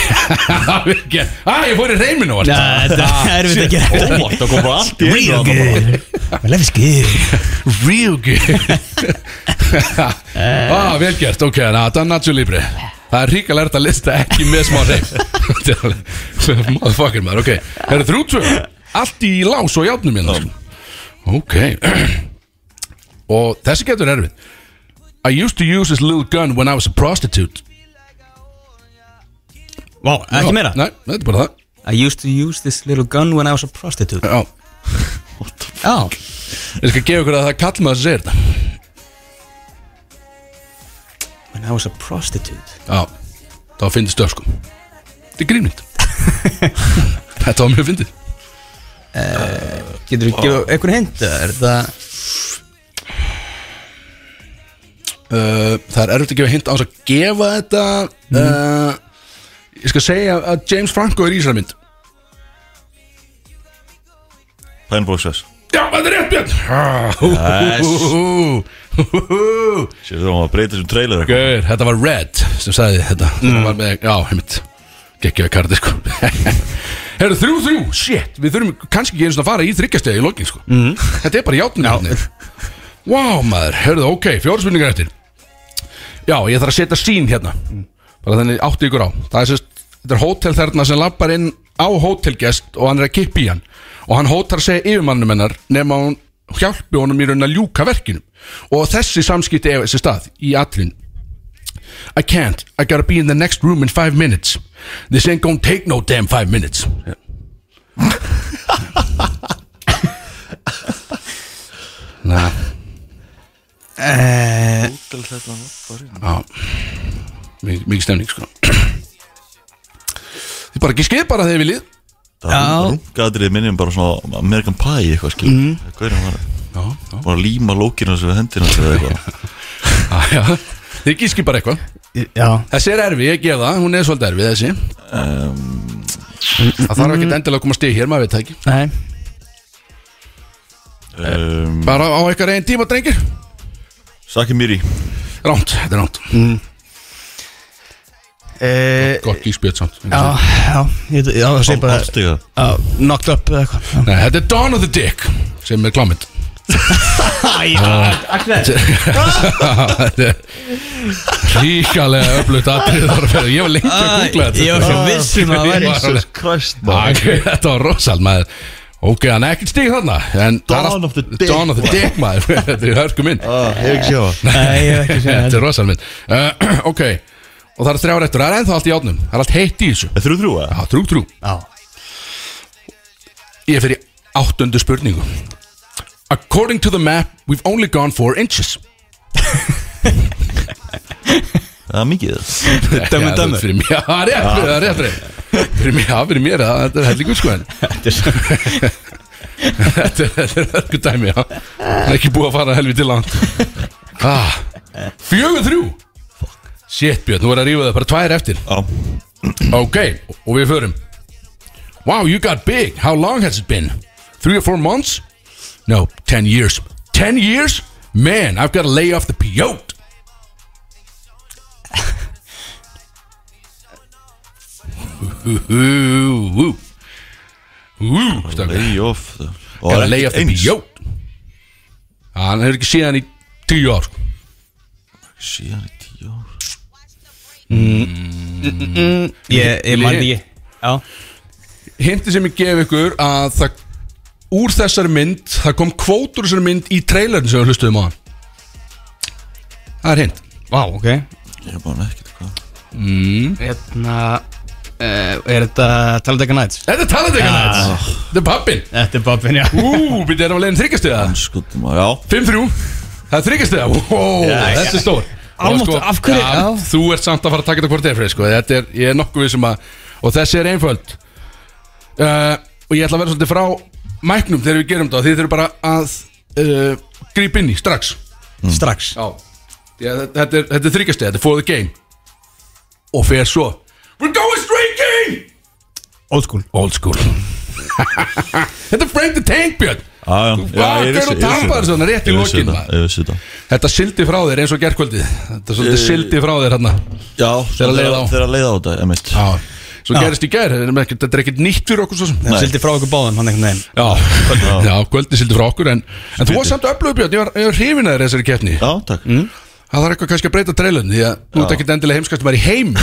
[SPEAKER 1] Ah, ég fór í reyminu
[SPEAKER 2] Já, Þetta er við ekki
[SPEAKER 3] Óvart, það kom bara allt í
[SPEAKER 2] Real
[SPEAKER 3] einu þarna
[SPEAKER 2] good My life is good
[SPEAKER 1] Real good ah, Vel gert, ok, na, það er nacho libre Það er ríka lært að lista ekki með smá reym Motherfucker maður, ok Það eru þrjú tvö Allt í lás og játnum hérna sko. Ok Og þessi getur erfið I used to use this little gun when I was a prostitute
[SPEAKER 2] Vá, Ah, ekki meira
[SPEAKER 1] Nei, þetta er bara það
[SPEAKER 2] I used to use this little gun when I was a prostitute
[SPEAKER 1] Já,
[SPEAKER 2] Já
[SPEAKER 1] ég skal gefa ykkur að það kall maður sem segir þetta
[SPEAKER 2] When I was a prostitute
[SPEAKER 1] Já, þá finnst stöf sko Þetta er grínmynd Þetta var mjög fyndið
[SPEAKER 2] Getur þú gefa einhvern hint? eða Er það
[SPEAKER 1] uh, Það er erfitt að gefa hint á þess að gefa þetta uh, Ég skal segja að James Franco er í þessari mynd
[SPEAKER 3] Pænbóksvæs
[SPEAKER 1] Já, þetta er rétt Björn Ah, hú, hú, hú, hú, hú.
[SPEAKER 3] Sér það var að breyta sem trailer eitthvað
[SPEAKER 1] Gaur, þetta var Red sem sagði þetta mm. var með, Já, heimitt Gekkjöðu kardi sko Herru, þrjú, þrjú, shit Við þurfum kannski ekki einu svona að fara í þryggjastega í lokin sko mm. Þetta er bara játnir Vá, maður, herru, ok, fjóra spurningar eftir Já, ég þarf að setja sín hérna Bara þannig átti ykkur á Það er sérst, þetta er hótel þarna sem lappar inn á hótelgest og hann er að kippa í hann Og hann hótar að segja yfirmannum hennar nema hún hjálpi honum í raun að ljúka verkinum Og þessi samskipti eða þessi stað í atlinn I can't. I gotta be in the next room in five minutes. This ain't gonna take no damn five minutes. Nah. Eh. Já Mik- Mikið Ah. stemning sko Þið bara ekki skeið bara þegar við lið
[SPEAKER 3] Það rungaðrið minnum bara svona American Pie eitthvað skil
[SPEAKER 1] Mhm.
[SPEAKER 3] Gaurinn var Bara að líma lókinu þessu við hendina sér eða eitthvað
[SPEAKER 1] ah, já. Þið gískið bara eitthvað
[SPEAKER 2] Já
[SPEAKER 1] Þessi er erfið, ég gef það, hún er svolítið erfið þessi Það þarf ekki endilega að koma stig hér, maður veit það ekki
[SPEAKER 2] Nei
[SPEAKER 3] um,
[SPEAKER 1] Bara á eitthvað reyn tíma, drengir
[SPEAKER 3] Saki Miri
[SPEAKER 1] Ránt, þetta er ránt
[SPEAKER 2] Eh,
[SPEAKER 1] Gott gíspjöld samt
[SPEAKER 2] Já, já Ég veit- já, það sé bara
[SPEAKER 3] Ástiga
[SPEAKER 2] já, Knocked up eða eitthvað já.
[SPEAKER 1] Nei, þetta er Dawn of the Dick sem er klámynd Þetta er Ríkalega öflugt atrið þar að fyrir Ég var lengi að googla þetta
[SPEAKER 2] Ég var svo viss um að það væri-
[SPEAKER 1] Jesus
[SPEAKER 3] Christ
[SPEAKER 1] Þetta var rosal maður Ok, hann er ekkert stig þarna en það er
[SPEAKER 3] Dawn
[SPEAKER 1] allt-
[SPEAKER 3] of the Dick.
[SPEAKER 1] Dawn of the Dick maður Þetta er hörku minn
[SPEAKER 3] Ég ekki sjá það
[SPEAKER 2] Nei, ég hef ekki séð
[SPEAKER 1] Þetta er rosal minn uh, Ok, og það er þrjár eftir Það er ennþá allt í átnum Það er allt heitt í þessu
[SPEAKER 3] Þrjú þrjú eða?
[SPEAKER 1] Já, trú, trú
[SPEAKER 2] Já
[SPEAKER 1] Ég fer í Áttundu spurningu According to the map, we've only gone four inches
[SPEAKER 3] Það er mikið
[SPEAKER 2] Dömmu,
[SPEAKER 1] Já,
[SPEAKER 2] dömmu.
[SPEAKER 1] Fyrir mér, já, það er rétt, það er rétt, rétt Fyrir mér, já, fyrir mér, það þetta er hellingur sko en
[SPEAKER 2] Þetta er svo-
[SPEAKER 1] Þetta er- þetta er hörku dæmi, já Það er ekki búið að fara helviti langt ah, Fjögur þrjú Shit, Björn, nú er að rífa það bara tvær eftir
[SPEAKER 3] Já,
[SPEAKER 1] Ok, og við förum Wow, you got big, how long has it been? Three or four months? No, ten years Ten years? Man, I've got to lay off the peyote Úú, úú Úú, stakar
[SPEAKER 3] lay off the- Og
[SPEAKER 1] Gotta
[SPEAKER 3] það
[SPEAKER 1] lay
[SPEAKER 3] er
[SPEAKER 1] off the
[SPEAKER 3] ekkert eins
[SPEAKER 1] peyote Hann hefur ekki séð hann í tíu ár sko.
[SPEAKER 3] Síðan í tíu ár
[SPEAKER 2] Ég, ég man ekki Já,
[SPEAKER 1] Hindi sem ég gef ykkur að það Úr þessari mynd, það kom kvótur úr þessari mynd í trailerin sem við hlustuðum á hann Það er hint
[SPEAKER 2] vá, ok
[SPEAKER 3] Ég er bara ekkert hvað
[SPEAKER 2] Hérna uh, Er þetta Talladega Nights?
[SPEAKER 1] Þetta er talandi
[SPEAKER 2] Ah.
[SPEAKER 1] ekki nætt Þetta er pappin
[SPEAKER 2] Þetta er Bobbin, já
[SPEAKER 1] Ú, byrja erum að leiðin þryggjastega
[SPEAKER 3] Skotum að, já
[SPEAKER 1] 5-3 Það er þryggjastega Wow, þetta er stór
[SPEAKER 2] Almátt,
[SPEAKER 1] Og
[SPEAKER 2] af hverju-
[SPEAKER 1] ja,
[SPEAKER 2] já.
[SPEAKER 1] Þú ert samt að fara að taka þetta hvort eða fyrir sko. Þetta er, ég er nokkuð við sem að Og þessi er einföld uh, Og ég ætla að vera svolítið frá mæknum þegar við gerum þetta Þið þurfum bara að uh, grípa inn í strax
[SPEAKER 2] Strax
[SPEAKER 1] Já, Já þetta- þetta er, þetta er þryggjastega, þetta er for the game Og fer svo We're going streaking
[SPEAKER 2] Old school
[SPEAKER 1] Old school Þetta er Frank the Tank Björn
[SPEAKER 3] Já, já, já,
[SPEAKER 1] vakar og
[SPEAKER 3] ég vissi- ég vissi
[SPEAKER 1] tampar
[SPEAKER 3] þetta.
[SPEAKER 1] svona rétt í
[SPEAKER 3] Ég vissi
[SPEAKER 1] lokin,
[SPEAKER 3] þetta,
[SPEAKER 1] maður.
[SPEAKER 3] Ég vissi þetta
[SPEAKER 1] Þetta sildi frá þér eins og gerkvöldið Þetta
[SPEAKER 3] Eh.
[SPEAKER 1] svolítið sildi frá þér hérna
[SPEAKER 3] Já,
[SPEAKER 1] Þegar að leiða á.
[SPEAKER 3] Þegar að leiða á þetta, ég mitt
[SPEAKER 1] Svo gerist í gær, þetta er ekkert- þetta er ekkert nýtt fyrir okkur svo sem
[SPEAKER 3] Nei.
[SPEAKER 2] Sildi frá okkur báðum, hann einhvern veginn
[SPEAKER 1] Já, já kvöldið sildi frá okkur En, en þú var samt öflögu Björn, ég var, ég var hrifin að þér í þessari keppni
[SPEAKER 3] Já, takk
[SPEAKER 1] Mm. Það þarf eitthvað kannski að breyta trailun Því að þú ert ekkert endilega heimskast maður í heim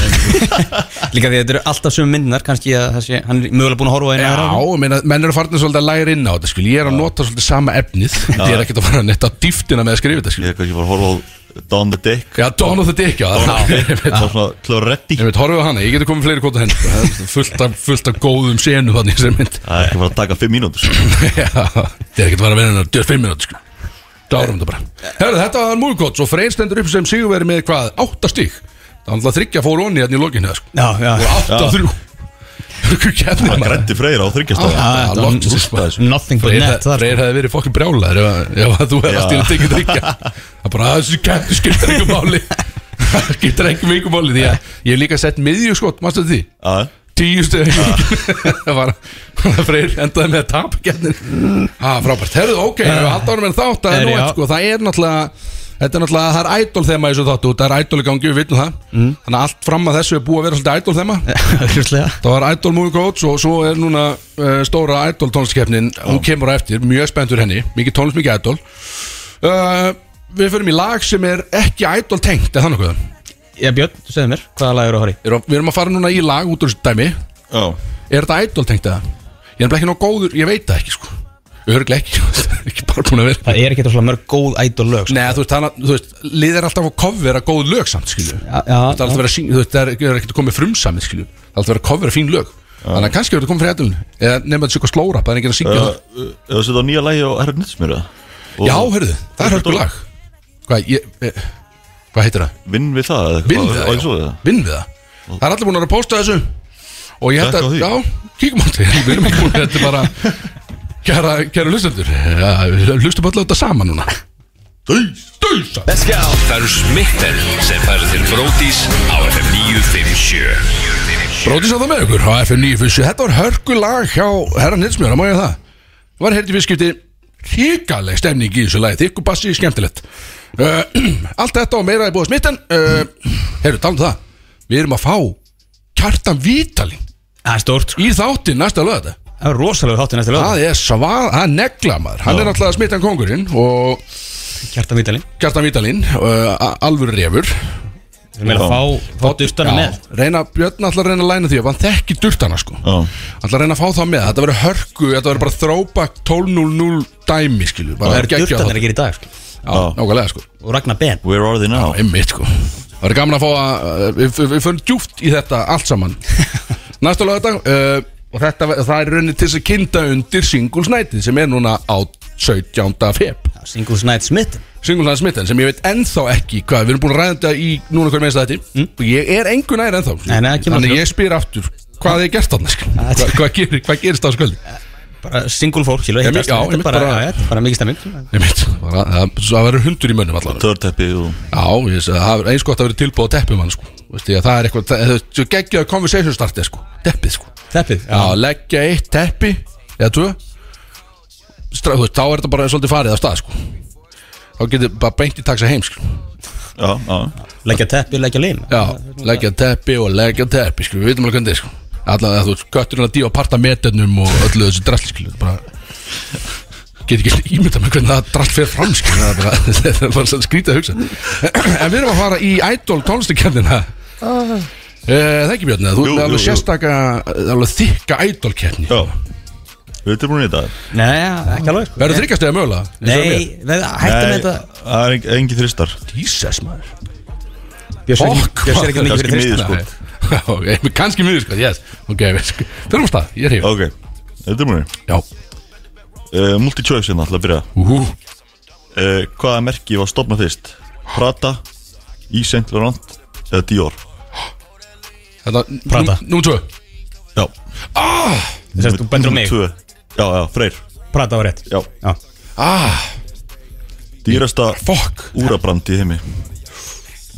[SPEAKER 2] Líka því að þetta eru alltaf sömu myndnar Kannski að það sé Hann er mögulega búin að horfa á einu
[SPEAKER 1] Já,
[SPEAKER 2] aðra.
[SPEAKER 1] ég meina, menn eru farin svolítið að læra inn á þetta skil. Ég er að nota svolítið sama efnið Ég er ekkert að fara netta á dýftina með að skrifa þetta skil.
[SPEAKER 3] Ég er kannski bara að horfa á Down the Dick
[SPEAKER 1] Já, Dawn of the Dick, já
[SPEAKER 3] Það var svona Cloretti
[SPEAKER 1] Ég veit, horfið á hana, ég geti komið fleiri kvota henn Það er fullt af, fullt af góðum senum þannig sem mynd
[SPEAKER 3] Það er ekki bara að taka fimm mínútur sko.
[SPEAKER 1] Já, Það er ekkert að vera að vinna hennar 25 minúti sko Dárum þetta bara Herðu, þetta var múlgóts og Freyr stendur upp sem sigurveri með hvað, 8 stík Það er alltaf þryggja fór onni hérna í lokinu sko.
[SPEAKER 2] Já,
[SPEAKER 1] Og
[SPEAKER 2] já
[SPEAKER 1] 8 þrjú Hvað kemur
[SPEAKER 3] Það
[SPEAKER 1] maður?
[SPEAKER 3] grætti freyra á þryggjastafa
[SPEAKER 1] Já,
[SPEAKER 2] þetta
[SPEAKER 1] loksins,
[SPEAKER 2] var
[SPEAKER 1] sko.
[SPEAKER 2] Nothing but
[SPEAKER 1] Freyr,
[SPEAKER 2] net þar sko.
[SPEAKER 1] Freyr hefði verið fokkin brjálæður ef, ef að þú hefði allt í að tekið þryggja Það bara, "Ah, þessi kemur skiptir einhver máli Skiptir einhver mikið máli Því að ég hef líka sett miðjuskot, mástu því?
[SPEAKER 3] Já,
[SPEAKER 1] tíu stöð það var það freyr endaði með að tapa gennir ha, frábært, herðu, ok, við halda árum en þátt það er
[SPEAKER 2] Herri,
[SPEAKER 1] nú
[SPEAKER 2] já.
[SPEAKER 1] eitt, sko, það er náttúrulega þetta er náttúrulega, það er idol þema í þessu þáttu það er idol í gangi, við vitum það
[SPEAKER 2] Mm.
[SPEAKER 1] þannig að allt fram að þessu er búið að vera svolítið idol þema
[SPEAKER 2] Hljuslega
[SPEAKER 1] það var idol movie coach og svo er núna uh, stóra idol tónlistkefnin hún kemur á eftir, mjög spenntur henni mikið tónlist, mikið idol uh, við förum í lag sem er ekki idol tengt, er það nokkuð?
[SPEAKER 2] Já, Björn, þú segðu mér Hvaða lag eru að horfa í?
[SPEAKER 1] Erum- Við erum að fara núna í lag út úr þessu dæmi
[SPEAKER 3] já
[SPEAKER 1] Er þetta idol tengt eða? Ég er nefnilega ekki nóg góður, ég veit það ekki sko Örglega ekki, sko, ekki bara búin að vera
[SPEAKER 2] Það er ekki svona mörg góð idol lög sko.
[SPEAKER 1] Nei, þú veist, hana, þú veist, lið er alltaf að covera góð lög samt, skilju
[SPEAKER 2] Já,
[SPEAKER 1] Það
[SPEAKER 2] já,
[SPEAKER 1] er alltaf að vera sín, þú veist, það er- það er ekkert að koma frumsamið, skilju Það er alltaf að vera að covera fín lög Þannig að kannski verður að koma fyrir edulun Eða nefnum að þetta sé eitthvað slóra, það er enginn að syngja það
[SPEAKER 3] Eða setja á nýja lægi á Herra Nýtsmjör
[SPEAKER 1] Já, heyrðu, það er hörku lag Hvað, ég, eh, hvað heitir það?
[SPEAKER 3] Vinn við það eða
[SPEAKER 1] Vinn við
[SPEAKER 3] eitthvað?
[SPEAKER 1] það,
[SPEAKER 3] Og svo
[SPEAKER 1] já.
[SPEAKER 3] það.
[SPEAKER 1] Vinn við það Það er allir búin að vera að posta þessu Og ég held að,
[SPEAKER 3] Takk á því.
[SPEAKER 1] já, kíkum á þetta Við erum ekki búin, þetta er bara Kæra, kæra hlustendur ja, við Hlustum allir á þetta saman núna Dís, dís
[SPEAKER 4] Let's go Það eru smitten er sem færa til Brótis á FM 957
[SPEAKER 1] Bróðis að það með ykkur á FM 9 fyrstu Þetta var hörku lag hjá herra Nilsmjör Það má ég það Það var heyrði fyrstskipti Ríkaleg stemning í þessu lagi Þykku bassi, skemmtilegt uh, Allt þetta og meira er búið smittan uh, Heyrðu, talum það Við erum að fá kjartan Vítalin
[SPEAKER 2] Það er stórt sko.
[SPEAKER 1] Í þáttinn næsta lög þetta
[SPEAKER 2] Það er rosalega þáttur næstu lög
[SPEAKER 1] Það er svað, það er negla maður Hann er náttúrulega smittan kongurinn og
[SPEAKER 2] Kjartan Vítalin
[SPEAKER 1] Kjartan Vítalin, uh, a- alvöru refur
[SPEAKER 2] Við erum að fá, fá dustana með
[SPEAKER 1] reyna, Björn ætlar að reyna að læna því að hann þekki durtana sko
[SPEAKER 3] Já.
[SPEAKER 1] ætlar að reyna að fá það með, þetta verður hörku þetta verður bara throwback 12.00 dæmi skilur,
[SPEAKER 2] Það
[SPEAKER 1] bara
[SPEAKER 2] eru durtarnir að
[SPEAKER 1] það
[SPEAKER 2] gera í dag sko.
[SPEAKER 1] Nákvæmlega sko,
[SPEAKER 2] Og Ragnar Ben
[SPEAKER 3] Where are they now?
[SPEAKER 1] einmitt sko Það eh, verður gaman að fá að, uh, við, við, við fyrir djúft í þetta allt saman Næsta lögðardag uh, og þetta, það er raunin til þess að kynda undir singulsnætið sem er núna á 17. feb
[SPEAKER 2] Singles Night Smith
[SPEAKER 1] Singulsnætið smitten sem ég veit ennþá ekki hvað, við erum búin að ræða þetta í núna hverjum einsta þetta og ég er engu nær ennþá
[SPEAKER 2] Mm. Nei, nei, það kemur
[SPEAKER 1] þannig
[SPEAKER 2] aldrei.
[SPEAKER 1] ég spyr aftur hvað er gert þarna skilur?
[SPEAKER 2] Ja,
[SPEAKER 1] Hva,
[SPEAKER 2] þetta-
[SPEAKER 1] hvað, gerir, hvað gerist á skvöldi
[SPEAKER 2] bara single fólk skilur
[SPEAKER 1] Já,
[SPEAKER 2] hittast.
[SPEAKER 1] já,
[SPEAKER 2] þetta
[SPEAKER 1] einmitt
[SPEAKER 2] er bara,
[SPEAKER 1] bara-
[SPEAKER 2] já, þetta er bara mikið stemming
[SPEAKER 1] Ég veit, bara- það það verður hundur í mönnum allan
[SPEAKER 3] Törteppi og
[SPEAKER 1] Já, ég veist, það er eins gott að vera tilbúið á teppum hann sko Veist ég að það er eitthvað, það- það er geggjaðu conversation startið sko Teppið sko
[SPEAKER 2] Teppið
[SPEAKER 1] Já, leggja eitt teppi eða tvö Stra, þú veist, þá er þetta bara svolítið farið af stað sko þá getur bara beint í taxa heim sko
[SPEAKER 3] Já, já
[SPEAKER 2] Leggja teppi, leggja lin
[SPEAKER 1] já, leggja teppi og leggja teppi sko, við veitum alveg hvernig þetta er, sko allan að þú veist, kötturinn að dífa parta meternum og öllu þessu drasl sko, bara get ekki ímynda með hvernig það drasl fer fram sko, það er bara, það er bara svona skrítið að hugsa en við erum að fara í Idol tónlistakernina uh. það ekki Björn, eða þú
[SPEAKER 3] Jú,
[SPEAKER 1] ert
[SPEAKER 3] jú,
[SPEAKER 1] alveg
[SPEAKER 3] jú.
[SPEAKER 1] sérstaka alveg þykka Idol kerni
[SPEAKER 3] Já Við erum búin í dag
[SPEAKER 2] Nei, já, ekki alveg sko.
[SPEAKER 1] verður þryggjast eða mögulega?
[SPEAKER 2] Nei, við- hættu með þetta
[SPEAKER 3] það er engin, engin þristar
[SPEAKER 1] Jesus maður
[SPEAKER 2] Björs er
[SPEAKER 1] Fokk,
[SPEAKER 2] ekki- Björs er ekki mikið
[SPEAKER 3] Kannski
[SPEAKER 2] fyrir
[SPEAKER 3] miður
[SPEAKER 2] þrist
[SPEAKER 3] sko
[SPEAKER 1] Ok, kannski miður sko, yes Ok, við sko, þurfum að stað, ég er hef
[SPEAKER 3] Ok, við erum búin í
[SPEAKER 1] Já,
[SPEAKER 3] uh, Multichoice hérna alltaf að byrja
[SPEAKER 1] úhú,
[SPEAKER 3] uh, Hvaða merki var stopnað fyrst? Prata, í Saint Laurent eða Dior
[SPEAKER 1] þetta,
[SPEAKER 2] Prata.
[SPEAKER 1] nú, nú tvö
[SPEAKER 3] Já
[SPEAKER 2] Sérst, þú bendur á mig
[SPEAKER 3] sko. Tvö. Já, já, Freyr
[SPEAKER 2] Prata var rétt
[SPEAKER 3] Já,
[SPEAKER 2] Já
[SPEAKER 1] Ah,
[SPEAKER 3] dýrasta
[SPEAKER 1] fokk
[SPEAKER 3] úrabrand í heimi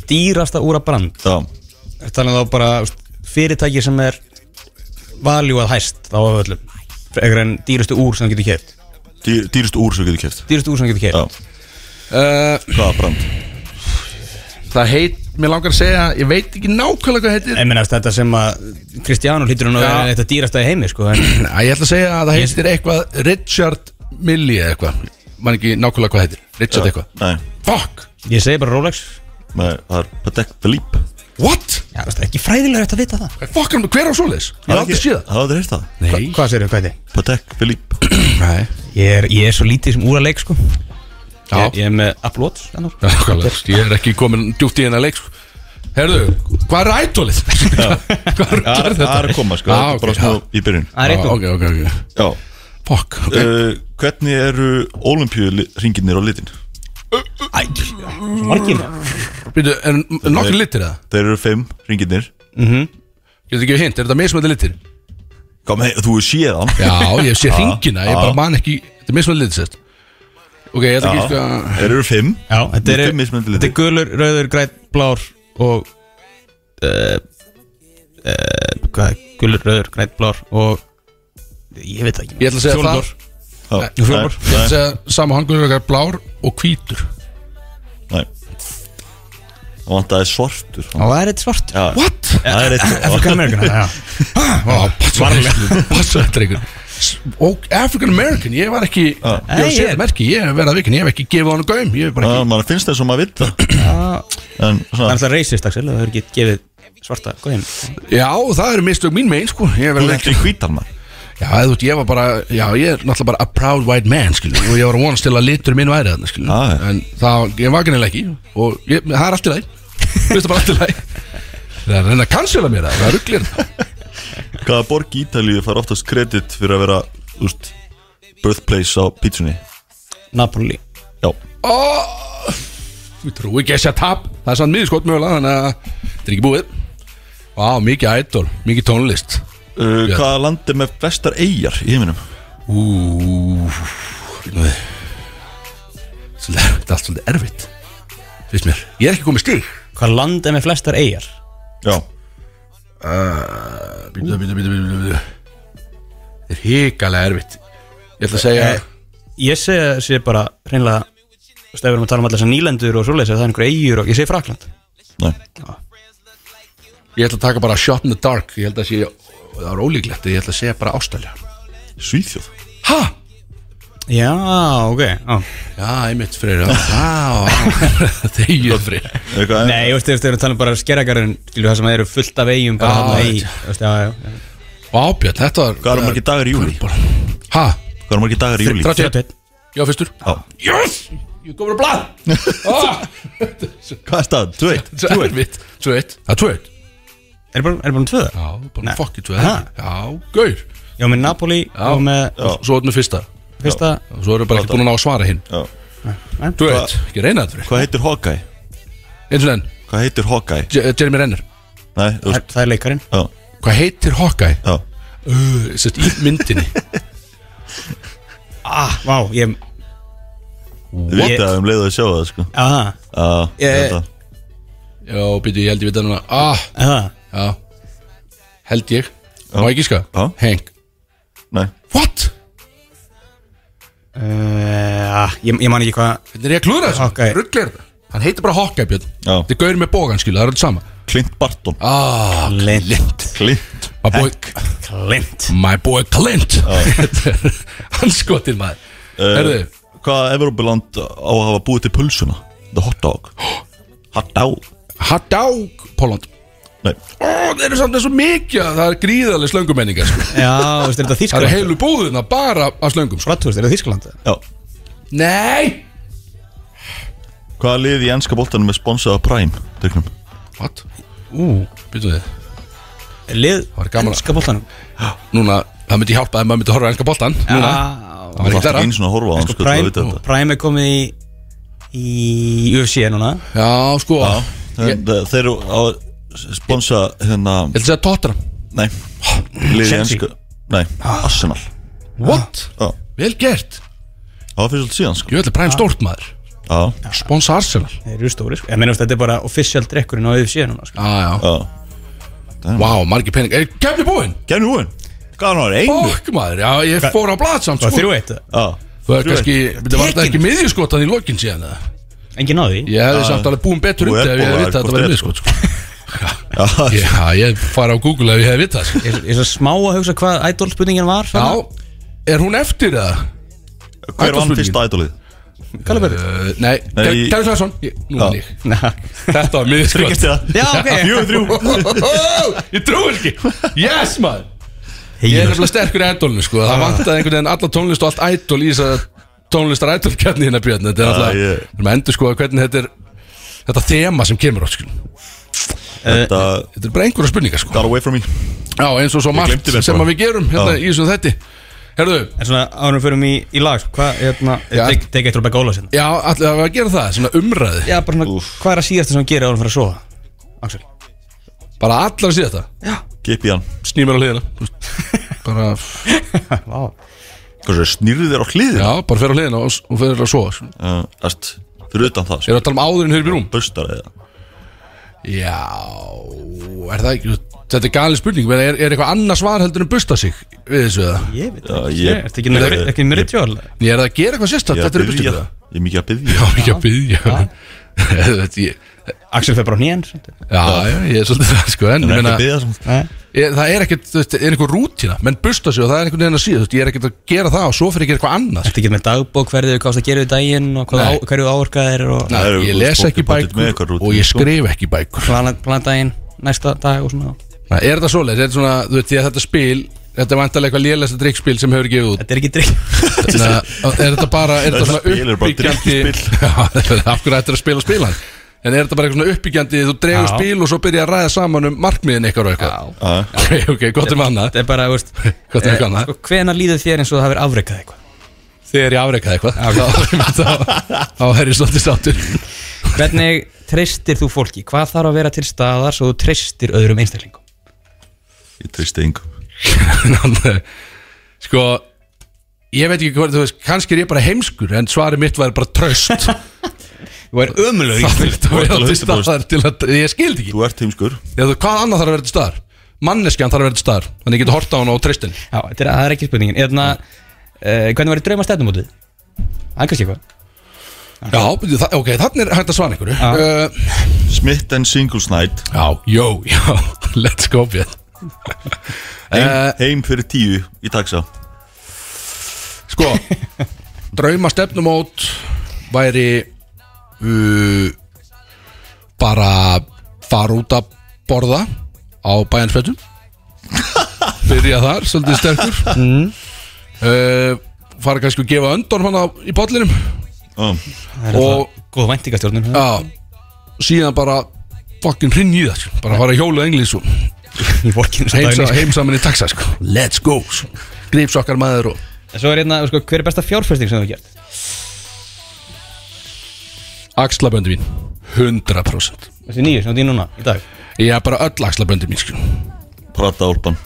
[SPEAKER 2] Dýrasta úra brand
[SPEAKER 3] Já,
[SPEAKER 2] Þannig um þá bara þú veist, fyrirtæki sem er valjúað hæst á öllum Frekar en dýrastu úr sem þú getur keft
[SPEAKER 3] Dýr, dýrasta úr sem þú getur kæft
[SPEAKER 2] Dýrastu úr sem þú getur
[SPEAKER 3] Já,
[SPEAKER 2] keft
[SPEAKER 1] uh,
[SPEAKER 3] hvaða brand?
[SPEAKER 1] Það heit, mér langar að segja Ég veit ekki nákvæmlega hvað heitir
[SPEAKER 2] En minnast þetta sem að Kristjánu hlýtur hann að
[SPEAKER 1] Já.
[SPEAKER 2] vera þetta dýrasta í heimi sko en
[SPEAKER 1] Æ, Ég ætla að segja að það heitir eitthvað Richard Millie eða eitthvað Man ekki nákvæmlega hvað heitir, Richard eitthvað
[SPEAKER 3] Nei,
[SPEAKER 1] Fokk,
[SPEAKER 2] Ég segi bara Rolex
[SPEAKER 3] nei, það er Patek Philippe
[SPEAKER 1] what?
[SPEAKER 2] Já, þú veist, ekki fræðilega rétt að vita það
[SPEAKER 1] Fokk, hver á svoleiðis? Ég
[SPEAKER 3] Hafið
[SPEAKER 1] hef aldrei séð það
[SPEAKER 3] ekki- Hafið þið heyrt það?
[SPEAKER 1] Nei,
[SPEAKER 2] Hvað segir þau, hvað er þið?
[SPEAKER 3] Patek Philippe
[SPEAKER 1] nei
[SPEAKER 2] Ég er, ég er svo lítið sem úr að leik sko
[SPEAKER 1] Já.
[SPEAKER 2] Ég, ég er með sko. Apple Watch ennú.
[SPEAKER 1] Nákvæmlega, ég er ekki komin djúpt í hennar leik sko. Herðu, hvað er ædolið? hvað er
[SPEAKER 3] Það er-
[SPEAKER 1] þetta?
[SPEAKER 3] það er að koma, sko,
[SPEAKER 1] Já,
[SPEAKER 3] þetta
[SPEAKER 1] Ah,
[SPEAKER 3] er
[SPEAKER 1] ok,
[SPEAKER 3] bara
[SPEAKER 1] já.
[SPEAKER 3] smá í byrjun
[SPEAKER 2] Það er
[SPEAKER 1] Ah,
[SPEAKER 2] rétt nú
[SPEAKER 1] Ok, ok, ok
[SPEAKER 3] Já,
[SPEAKER 1] Fuck, ok
[SPEAKER 3] uh, hvernig eru olimpíuringinir á litin?
[SPEAKER 2] Æ, margir
[SPEAKER 1] Býtu, er nokkur litir eða?
[SPEAKER 3] Þeir eru fimm ringinir
[SPEAKER 1] Getur ekki hint, er þetta mismöndi litir?
[SPEAKER 3] Kom, hei, þú hefur séð hann
[SPEAKER 1] Já, ég sé hringina, ég
[SPEAKER 3] já.
[SPEAKER 1] bara man ekki Þetta er mismöndi litir sérst Ok, ég ætla ekki sko að-
[SPEAKER 3] Þeir eru fimm
[SPEAKER 2] Já, þetta er,
[SPEAKER 3] Þetta er mismunandi litir.
[SPEAKER 2] þetta er gulur, rauður, græn, blár og uh, uh, hvað er gulur, rauður, græn, blár og ég veit það ekki
[SPEAKER 1] Ég ætla að segja
[SPEAKER 2] Fjólblár.
[SPEAKER 1] það
[SPEAKER 3] Já,
[SPEAKER 1] Nei,
[SPEAKER 2] fjórar.
[SPEAKER 3] nei,
[SPEAKER 1] Ég ætla að
[SPEAKER 3] nei,
[SPEAKER 1] segja sama hangur okkar blár og hvítur
[SPEAKER 3] Nei Það vantaði svartur
[SPEAKER 2] Já, það er eitt svart
[SPEAKER 3] Já,
[SPEAKER 1] What?
[SPEAKER 3] það er
[SPEAKER 2] Afrika
[SPEAKER 3] eitt
[SPEAKER 2] Amerikana, já
[SPEAKER 1] Ó, Passa passa þetta ykkur Og African American, ég var ekki Ég var
[SPEAKER 2] Nei, ég
[SPEAKER 1] sér
[SPEAKER 2] er-
[SPEAKER 1] merki, ég hef verið að vikin Ég hef ekki gefið honum gaum, ég hef bara
[SPEAKER 3] Já,
[SPEAKER 1] ekki
[SPEAKER 3] mann finnst þess að maður vitt það En
[SPEAKER 2] Það er
[SPEAKER 3] svona,
[SPEAKER 2] alltaf racist, Axel, það hefur ekki gefið svarta góðin
[SPEAKER 1] Já, það eru mistök mín megin, sko Ég hef
[SPEAKER 3] þú
[SPEAKER 1] verið
[SPEAKER 3] veit
[SPEAKER 1] ekki
[SPEAKER 3] ekki hvítar maður
[SPEAKER 1] Já, þú veist, ég var bara, já, ég er náttúrulega bara a proud white man, skilju Og ég var að vonast til að litur minn væri þarna, skilju
[SPEAKER 3] Já, já.
[SPEAKER 1] En það, ég var gennilega ekki Og ég, það er allt í læg Þú veist það bara allt í læg Það er að reyna að cancela mér það, það rugglir það
[SPEAKER 3] Hvaða borg í Ítalíu fær oftast kredit fyrir að vera, þú veist, birthplace á pítsunni?
[SPEAKER 2] Napoli
[SPEAKER 3] Já,
[SPEAKER 1] Ó, við trúi ekki að sé að tap Það er sann miður skot mögulega, þannig að Þetta er ekki búið Vá, mikið idol, mikið tónlist
[SPEAKER 3] uh, hvaða land er með flestar eigjar í heiminum?
[SPEAKER 1] Ú, nei. Svolítið- Þetta er allt svolítið erfitt Fyrst mér, ég er ekki komið stík
[SPEAKER 2] Hvað land er með flestar eigar?
[SPEAKER 3] Já,
[SPEAKER 1] Býta, býta, býta, býta, býta Þetta er hikalega erfitt Ég ætla að segja
[SPEAKER 2] Ég segi, segi bara hreinlega Þú veist, ef við erum að tala um allar þessar nýlendur og svoleiðis að það er einhver eigur og ég segi Frakland
[SPEAKER 3] nei,
[SPEAKER 1] Ég ætla að taka bara shot in the dark Ég held að sé Það er ólíklegt Ég ætla að segja bara ástælja
[SPEAKER 3] Svíþjóð
[SPEAKER 1] Ha?
[SPEAKER 2] Já, ok á.
[SPEAKER 1] Já, einmitt freyr Já, þegið freyr
[SPEAKER 3] Eitthvað,
[SPEAKER 2] Nei, þú veist, ef við erum að tala um bara skerragarinn skilju það sem eru fullt af eigum bara
[SPEAKER 1] Já,
[SPEAKER 2] þarna í
[SPEAKER 1] veit.
[SPEAKER 2] Þú veist, já, já, já.
[SPEAKER 1] Og ábjörn, þetta var
[SPEAKER 3] Hvað eru margir dagar í júli?
[SPEAKER 1] Ha?
[SPEAKER 3] Hvað eru margir dagar í júli?
[SPEAKER 1] 31 Já, fyrstur
[SPEAKER 3] Já.
[SPEAKER 1] Yes! Ég komur að blað Ah,
[SPEAKER 3] Hvað er staðan? Þú veit?
[SPEAKER 1] Svo erfitt Svo eitt Það er tvö eitt
[SPEAKER 2] Er bara, er bara um tvö?
[SPEAKER 1] Já, bara
[SPEAKER 2] Nei.
[SPEAKER 1] fokki tvö
[SPEAKER 2] Ha?
[SPEAKER 1] Já, gaur
[SPEAKER 2] Ég var með Napoli og með
[SPEAKER 1] Svo erum við fyrsta
[SPEAKER 2] fyrsta
[SPEAKER 1] Svo erum við bara ekki búin að ná að svara hinn
[SPEAKER 3] Já.
[SPEAKER 1] Þú veit, ekki reyna þetta fyrir
[SPEAKER 3] Hvað heitir Hawkeye?
[SPEAKER 1] Eins og enn,
[SPEAKER 3] Hvað heitir Hawkeye?
[SPEAKER 1] J- Jeremy Renner
[SPEAKER 3] Nei, þú
[SPEAKER 2] Það
[SPEAKER 3] veist
[SPEAKER 2] það er leikarinn
[SPEAKER 3] Já,
[SPEAKER 1] Hvað heitir Hawkeye?
[SPEAKER 3] já
[SPEAKER 1] Uh, Sett í myndinni
[SPEAKER 2] Vá, ég
[SPEAKER 3] Þið vitið að um leið að sjá það, sko
[SPEAKER 2] Aha,
[SPEAKER 3] Já,
[SPEAKER 2] Ég-
[SPEAKER 3] ég veit það
[SPEAKER 1] Já, býtu, ég held ég vita núna Ah,
[SPEAKER 2] aha
[SPEAKER 1] já Held ég Má ekki sko?
[SPEAKER 3] Já.
[SPEAKER 1] Hank
[SPEAKER 3] Nei,
[SPEAKER 1] What?
[SPEAKER 2] Uh, ég, ég man ekki hvað
[SPEAKER 1] Hvernig er ég að klúra þessu?
[SPEAKER 2] Hawkeye.
[SPEAKER 1] Rugglir þetta Hann heitir bara Hawkeye Björn
[SPEAKER 3] Já.
[SPEAKER 1] Þetta er gaurið með bógan skilu, það er alltaf sama
[SPEAKER 3] Clint Barton
[SPEAKER 1] Ah,
[SPEAKER 2] Clint
[SPEAKER 3] Clint
[SPEAKER 1] my boy,
[SPEAKER 2] Clint
[SPEAKER 1] my boy Clint Hann skotir maður
[SPEAKER 3] Eh.
[SPEAKER 1] Herðu,
[SPEAKER 3] Hvaða Evrópiland á að hafa búið til pulsuna? The hot dog Hot dog
[SPEAKER 1] Haddák Póland
[SPEAKER 3] Nei,
[SPEAKER 1] Ó, þeir eru samt eins og mikið að Það er gríðarlega slöngumenningar sko.
[SPEAKER 2] Já, veistu, er þetta
[SPEAKER 1] Það eru
[SPEAKER 2] Þískaland?
[SPEAKER 1] heilu búðina bara af slöngum sko.
[SPEAKER 2] Ratthúst, er þetta Þískaland?
[SPEAKER 3] já
[SPEAKER 1] Nei
[SPEAKER 3] Hvaða lið í ennska boltanum er sponsað af Prime? Tegnum
[SPEAKER 1] What?
[SPEAKER 2] Ú,
[SPEAKER 1] Býtum við
[SPEAKER 2] lið
[SPEAKER 1] var gaman að-
[SPEAKER 2] Ennska boltanum
[SPEAKER 1] Núna, það myndi hjálpa að maður myndi horfa á enga boltan Núna,
[SPEAKER 2] Já
[SPEAKER 1] það var
[SPEAKER 3] Það
[SPEAKER 1] ekki
[SPEAKER 3] er
[SPEAKER 1] þeirra
[SPEAKER 3] ekki einu svona að horfa á hann,
[SPEAKER 2] Sko,
[SPEAKER 3] sko, til að
[SPEAKER 2] Prime,
[SPEAKER 3] vita þetta
[SPEAKER 2] Prime er komið í í UFC núna
[SPEAKER 1] Já, sko
[SPEAKER 3] Já,
[SPEAKER 1] Ég-
[SPEAKER 3] en, eh, þeir eru á sponsa hérna,
[SPEAKER 1] Ég ætla að segja Tottenham
[SPEAKER 3] nei liði
[SPEAKER 2] Chelsea.
[SPEAKER 3] ennsku, nei, Arsenal
[SPEAKER 1] What?
[SPEAKER 3] Já,
[SPEAKER 1] Vel gert
[SPEAKER 3] það var fyrst síðan sko
[SPEAKER 1] Ég ætla Prime stórt maður
[SPEAKER 3] Já,
[SPEAKER 1] Sponsa Arsenal
[SPEAKER 2] Þeir eru stóri sko. Ég meina þetta er bara official drekkurinn á UFC núna sko.
[SPEAKER 1] Já, Ah, já
[SPEAKER 3] já
[SPEAKER 1] Vá, margir pening Er kemni búinn?
[SPEAKER 3] Genni hún, hvað hann var, einu
[SPEAKER 1] Fokk maður, já, ég fór á blad samt
[SPEAKER 2] Það var
[SPEAKER 1] sko.
[SPEAKER 2] þrjú eitt
[SPEAKER 3] Já,
[SPEAKER 1] Það er kannski, þetta var þetta
[SPEAKER 2] Tekin.
[SPEAKER 1] ekki miðjuskotan í lokin síðan eða?
[SPEAKER 2] Engin náði því
[SPEAKER 1] Ég hefði samt alveg búin betur
[SPEAKER 3] Þú
[SPEAKER 1] upp
[SPEAKER 3] er
[SPEAKER 1] ef ég hefði
[SPEAKER 3] bólaður,
[SPEAKER 1] vitað að þetta
[SPEAKER 3] hvort
[SPEAKER 1] var
[SPEAKER 3] er,
[SPEAKER 1] miðjuskot sko.
[SPEAKER 3] já,
[SPEAKER 1] Já, ég fara á Google ef ég hefði vitað sko.
[SPEAKER 2] Ég er- ég er svo smá að hugsa hvað idol-spurningin var
[SPEAKER 1] Já, er hún eftir eða?
[SPEAKER 3] hver vann
[SPEAKER 1] Idolspurningin.
[SPEAKER 3] fyrsta ædolið?
[SPEAKER 2] Kallabæri
[SPEAKER 1] Uh, nei,
[SPEAKER 3] Nei,
[SPEAKER 1] Kjell
[SPEAKER 3] ég-
[SPEAKER 1] Kjell Klæsson ég- Nú
[SPEAKER 3] Já.
[SPEAKER 1] er ég Þetta var miðjuskot
[SPEAKER 3] Þryggjast það
[SPEAKER 2] Já, ok
[SPEAKER 3] Fjögur þrjú
[SPEAKER 1] Ég trúi ekki Yes maður Ég er nefnilega sterkur í ædolinu sko
[SPEAKER 3] Ah.
[SPEAKER 1] Það vantaði einhvern veginn alla tónlist og allt ædol í þess að tónlistar ædolkjarni hérna Björn Þetta er alltaf
[SPEAKER 3] Ah, ég-
[SPEAKER 1] Við erum að endur sko hvernig þetta er Þetta þema sem kemur á sko
[SPEAKER 3] Þetta,
[SPEAKER 1] Þetta er bara einhverja spurningar sko
[SPEAKER 3] got away from me
[SPEAKER 1] Já eins og svo margt
[SPEAKER 3] gleymdi mér,
[SPEAKER 1] sem
[SPEAKER 3] sko.
[SPEAKER 1] að við gerum hérna
[SPEAKER 3] Já.
[SPEAKER 1] í þessum þetti Herðu
[SPEAKER 2] En svona árum fyrir mig í, í lag sko, Hvað, hérna
[SPEAKER 1] Já.
[SPEAKER 2] Take take eitt hérna. úr back óla sinna
[SPEAKER 1] Já allir að gera það Svona umræði
[SPEAKER 2] Já, bara svona Hvað er að síðast sem hún gerir árum fyrir að sofa? Axel
[SPEAKER 1] Bara allar að sé þetta
[SPEAKER 3] Gip í hann
[SPEAKER 1] Snýr mér á hliðina Þú veist, Bara
[SPEAKER 2] Vá
[SPEAKER 3] Hvað svo, snýrðu þér á hliðin?
[SPEAKER 1] Já bara fer á hliðina og, og fer að sofa sko.
[SPEAKER 3] Æst, fyrir utan það,
[SPEAKER 1] Ég er að tala um áður en hér í rúm
[SPEAKER 3] sko Bustar eða
[SPEAKER 1] Já, er það ekki Þetta er galin spurning, menn er, er eitthvað annað svar heldur en busta sig við þessu eða?
[SPEAKER 2] Ég veit
[SPEAKER 3] Já,
[SPEAKER 2] ekki
[SPEAKER 3] ég-
[SPEAKER 2] Er þetta ekki með-
[SPEAKER 3] ég-
[SPEAKER 2] ekki með ritual?
[SPEAKER 1] Ég er það að gera eitthvað sérstætt,
[SPEAKER 3] Ég
[SPEAKER 1] þetta
[SPEAKER 3] er
[SPEAKER 1] er
[SPEAKER 3] að
[SPEAKER 1] busta
[SPEAKER 3] byggja
[SPEAKER 1] það
[SPEAKER 3] Ég er mikið að byggja
[SPEAKER 1] Já, ekki að byggja Þetta ég-
[SPEAKER 2] Axel fer bara á nýjan Nei
[SPEAKER 1] Já, já, ég er svolítið það sko En
[SPEAKER 3] En
[SPEAKER 1] ég
[SPEAKER 3] ekki
[SPEAKER 1] meina,
[SPEAKER 3] að byggja svona
[SPEAKER 1] ég, það er ekkert, þú veist, er einhver rútina Menn busta sig og það er einhvern veginn að síða, þú veist, ég er ekkert að gera það og svo fyrir að gera eitthvað annað sko.
[SPEAKER 2] Þetta ekki með dagbók Hverðu hvað það gerir í daginn Og hvað
[SPEAKER 1] Nei.
[SPEAKER 2] á- hverju áorkaðir Og
[SPEAKER 1] Nei,
[SPEAKER 3] eru-
[SPEAKER 1] Ég
[SPEAKER 3] þú veist,
[SPEAKER 1] les
[SPEAKER 3] fólk er
[SPEAKER 1] ekki
[SPEAKER 3] pottþétt með eitthvað
[SPEAKER 1] bækur
[SPEAKER 3] rútínu,
[SPEAKER 1] og ég
[SPEAKER 3] sko.
[SPEAKER 1] skrif ekki bækur
[SPEAKER 2] plana, plana daginn Næsta dag og svona
[SPEAKER 1] Nei, Er þetta svoleiðis, er þetta svona, þú veist, því að þetta spil Þetta er vantarlega eitthvað lélesta drikkspil sem hefur gefið út
[SPEAKER 2] Þetta er ekki drikk
[SPEAKER 1] Þannig að er þetta bara er þetta
[SPEAKER 3] Öll spil
[SPEAKER 1] svona
[SPEAKER 3] eru bara
[SPEAKER 1] uppbyggjandi
[SPEAKER 3] drykkjuspil.
[SPEAKER 1] Já, af hverju ættir að spila og spila hann en er þetta bara eitthvað svona uppbyggjandi þú dregur
[SPEAKER 2] Já.
[SPEAKER 1] spil og svo byrja að ræða saman um markmiðin ykkar og eitthvað
[SPEAKER 3] Ah,
[SPEAKER 1] ok, ok, gott um annað
[SPEAKER 2] Þetta er bara, veist
[SPEAKER 1] Hvað er eitthvað annað?
[SPEAKER 2] sko, Hvenær líður þér eins og það hefur afrekað eitthvað?
[SPEAKER 1] þegar ég afreikaði eitthvað um þá- þá- þá er ég svolítið sáttur
[SPEAKER 2] Hvernig treystir þú fólki? Hvað þarf að vera til staðar svo þú treystir öðrum einstaklingum?
[SPEAKER 3] Ég tristi engum
[SPEAKER 1] Þannig, eh, sko ég veit ekki hvað, þú veist, kannski er ég bara heimskur en svarið mitt væri bara tröst
[SPEAKER 2] Þú er ömuleg
[SPEAKER 1] það er þetta að vera til
[SPEAKER 3] 100%
[SPEAKER 1] staðar til að ég skildi ekki
[SPEAKER 3] Þú ert heimskur
[SPEAKER 1] Ég, þú- hvað annað þarf að vera til staðar manneskjan þarf að vera til staðar þannig ég getur horta á hana og tristin
[SPEAKER 2] Já, þetta er, það er ekki spurningin Eðna, uh, Hvernig var í drauma stefnumótið? Það er kannski eitthvað
[SPEAKER 1] Já, byrju, þa- ok, þannig er hægt að svara einhverju uh,
[SPEAKER 3] Smith and Singles Night
[SPEAKER 1] Já, jó, já, let's go Björn
[SPEAKER 3] Heim,
[SPEAKER 1] Eh.
[SPEAKER 3] heim fyrir tíu í taxa
[SPEAKER 1] Sko, drauma stefnumót væri uh, bara fara út að borða á bæjansfjöldum byrja þar, svolítið sterkur uh, fara kannski að gefa öndorm hana í bollinum
[SPEAKER 3] oh.
[SPEAKER 1] og
[SPEAKER 2] Góð væntingastjórnum
[SPEAKER 1] Já, síðan bara fucking hrinn í það sko. bara fara að hjóla englið svo
[SPEAKER 2] í vorkinu svo
[SPEAKER 1] Heimsa-
[SPEAKER 2] daginn, sko.
[SPEAKER 1] Heimsaman í taxa sko Let's go Grips okkar maður og
[SPEAKER 2] En Svo er hérna, sko, hver er besta fjárfesting sem þú hefur gert?
[SPEAKER 1] Axlaböndi mín 100%
[SPEAKER 2] Þessi nýju sem þú dýr núna, í dag
[SPEAKER 1] Ég er bara öll axlaböndi mín sko
[SPEAKER 3] Prata álpan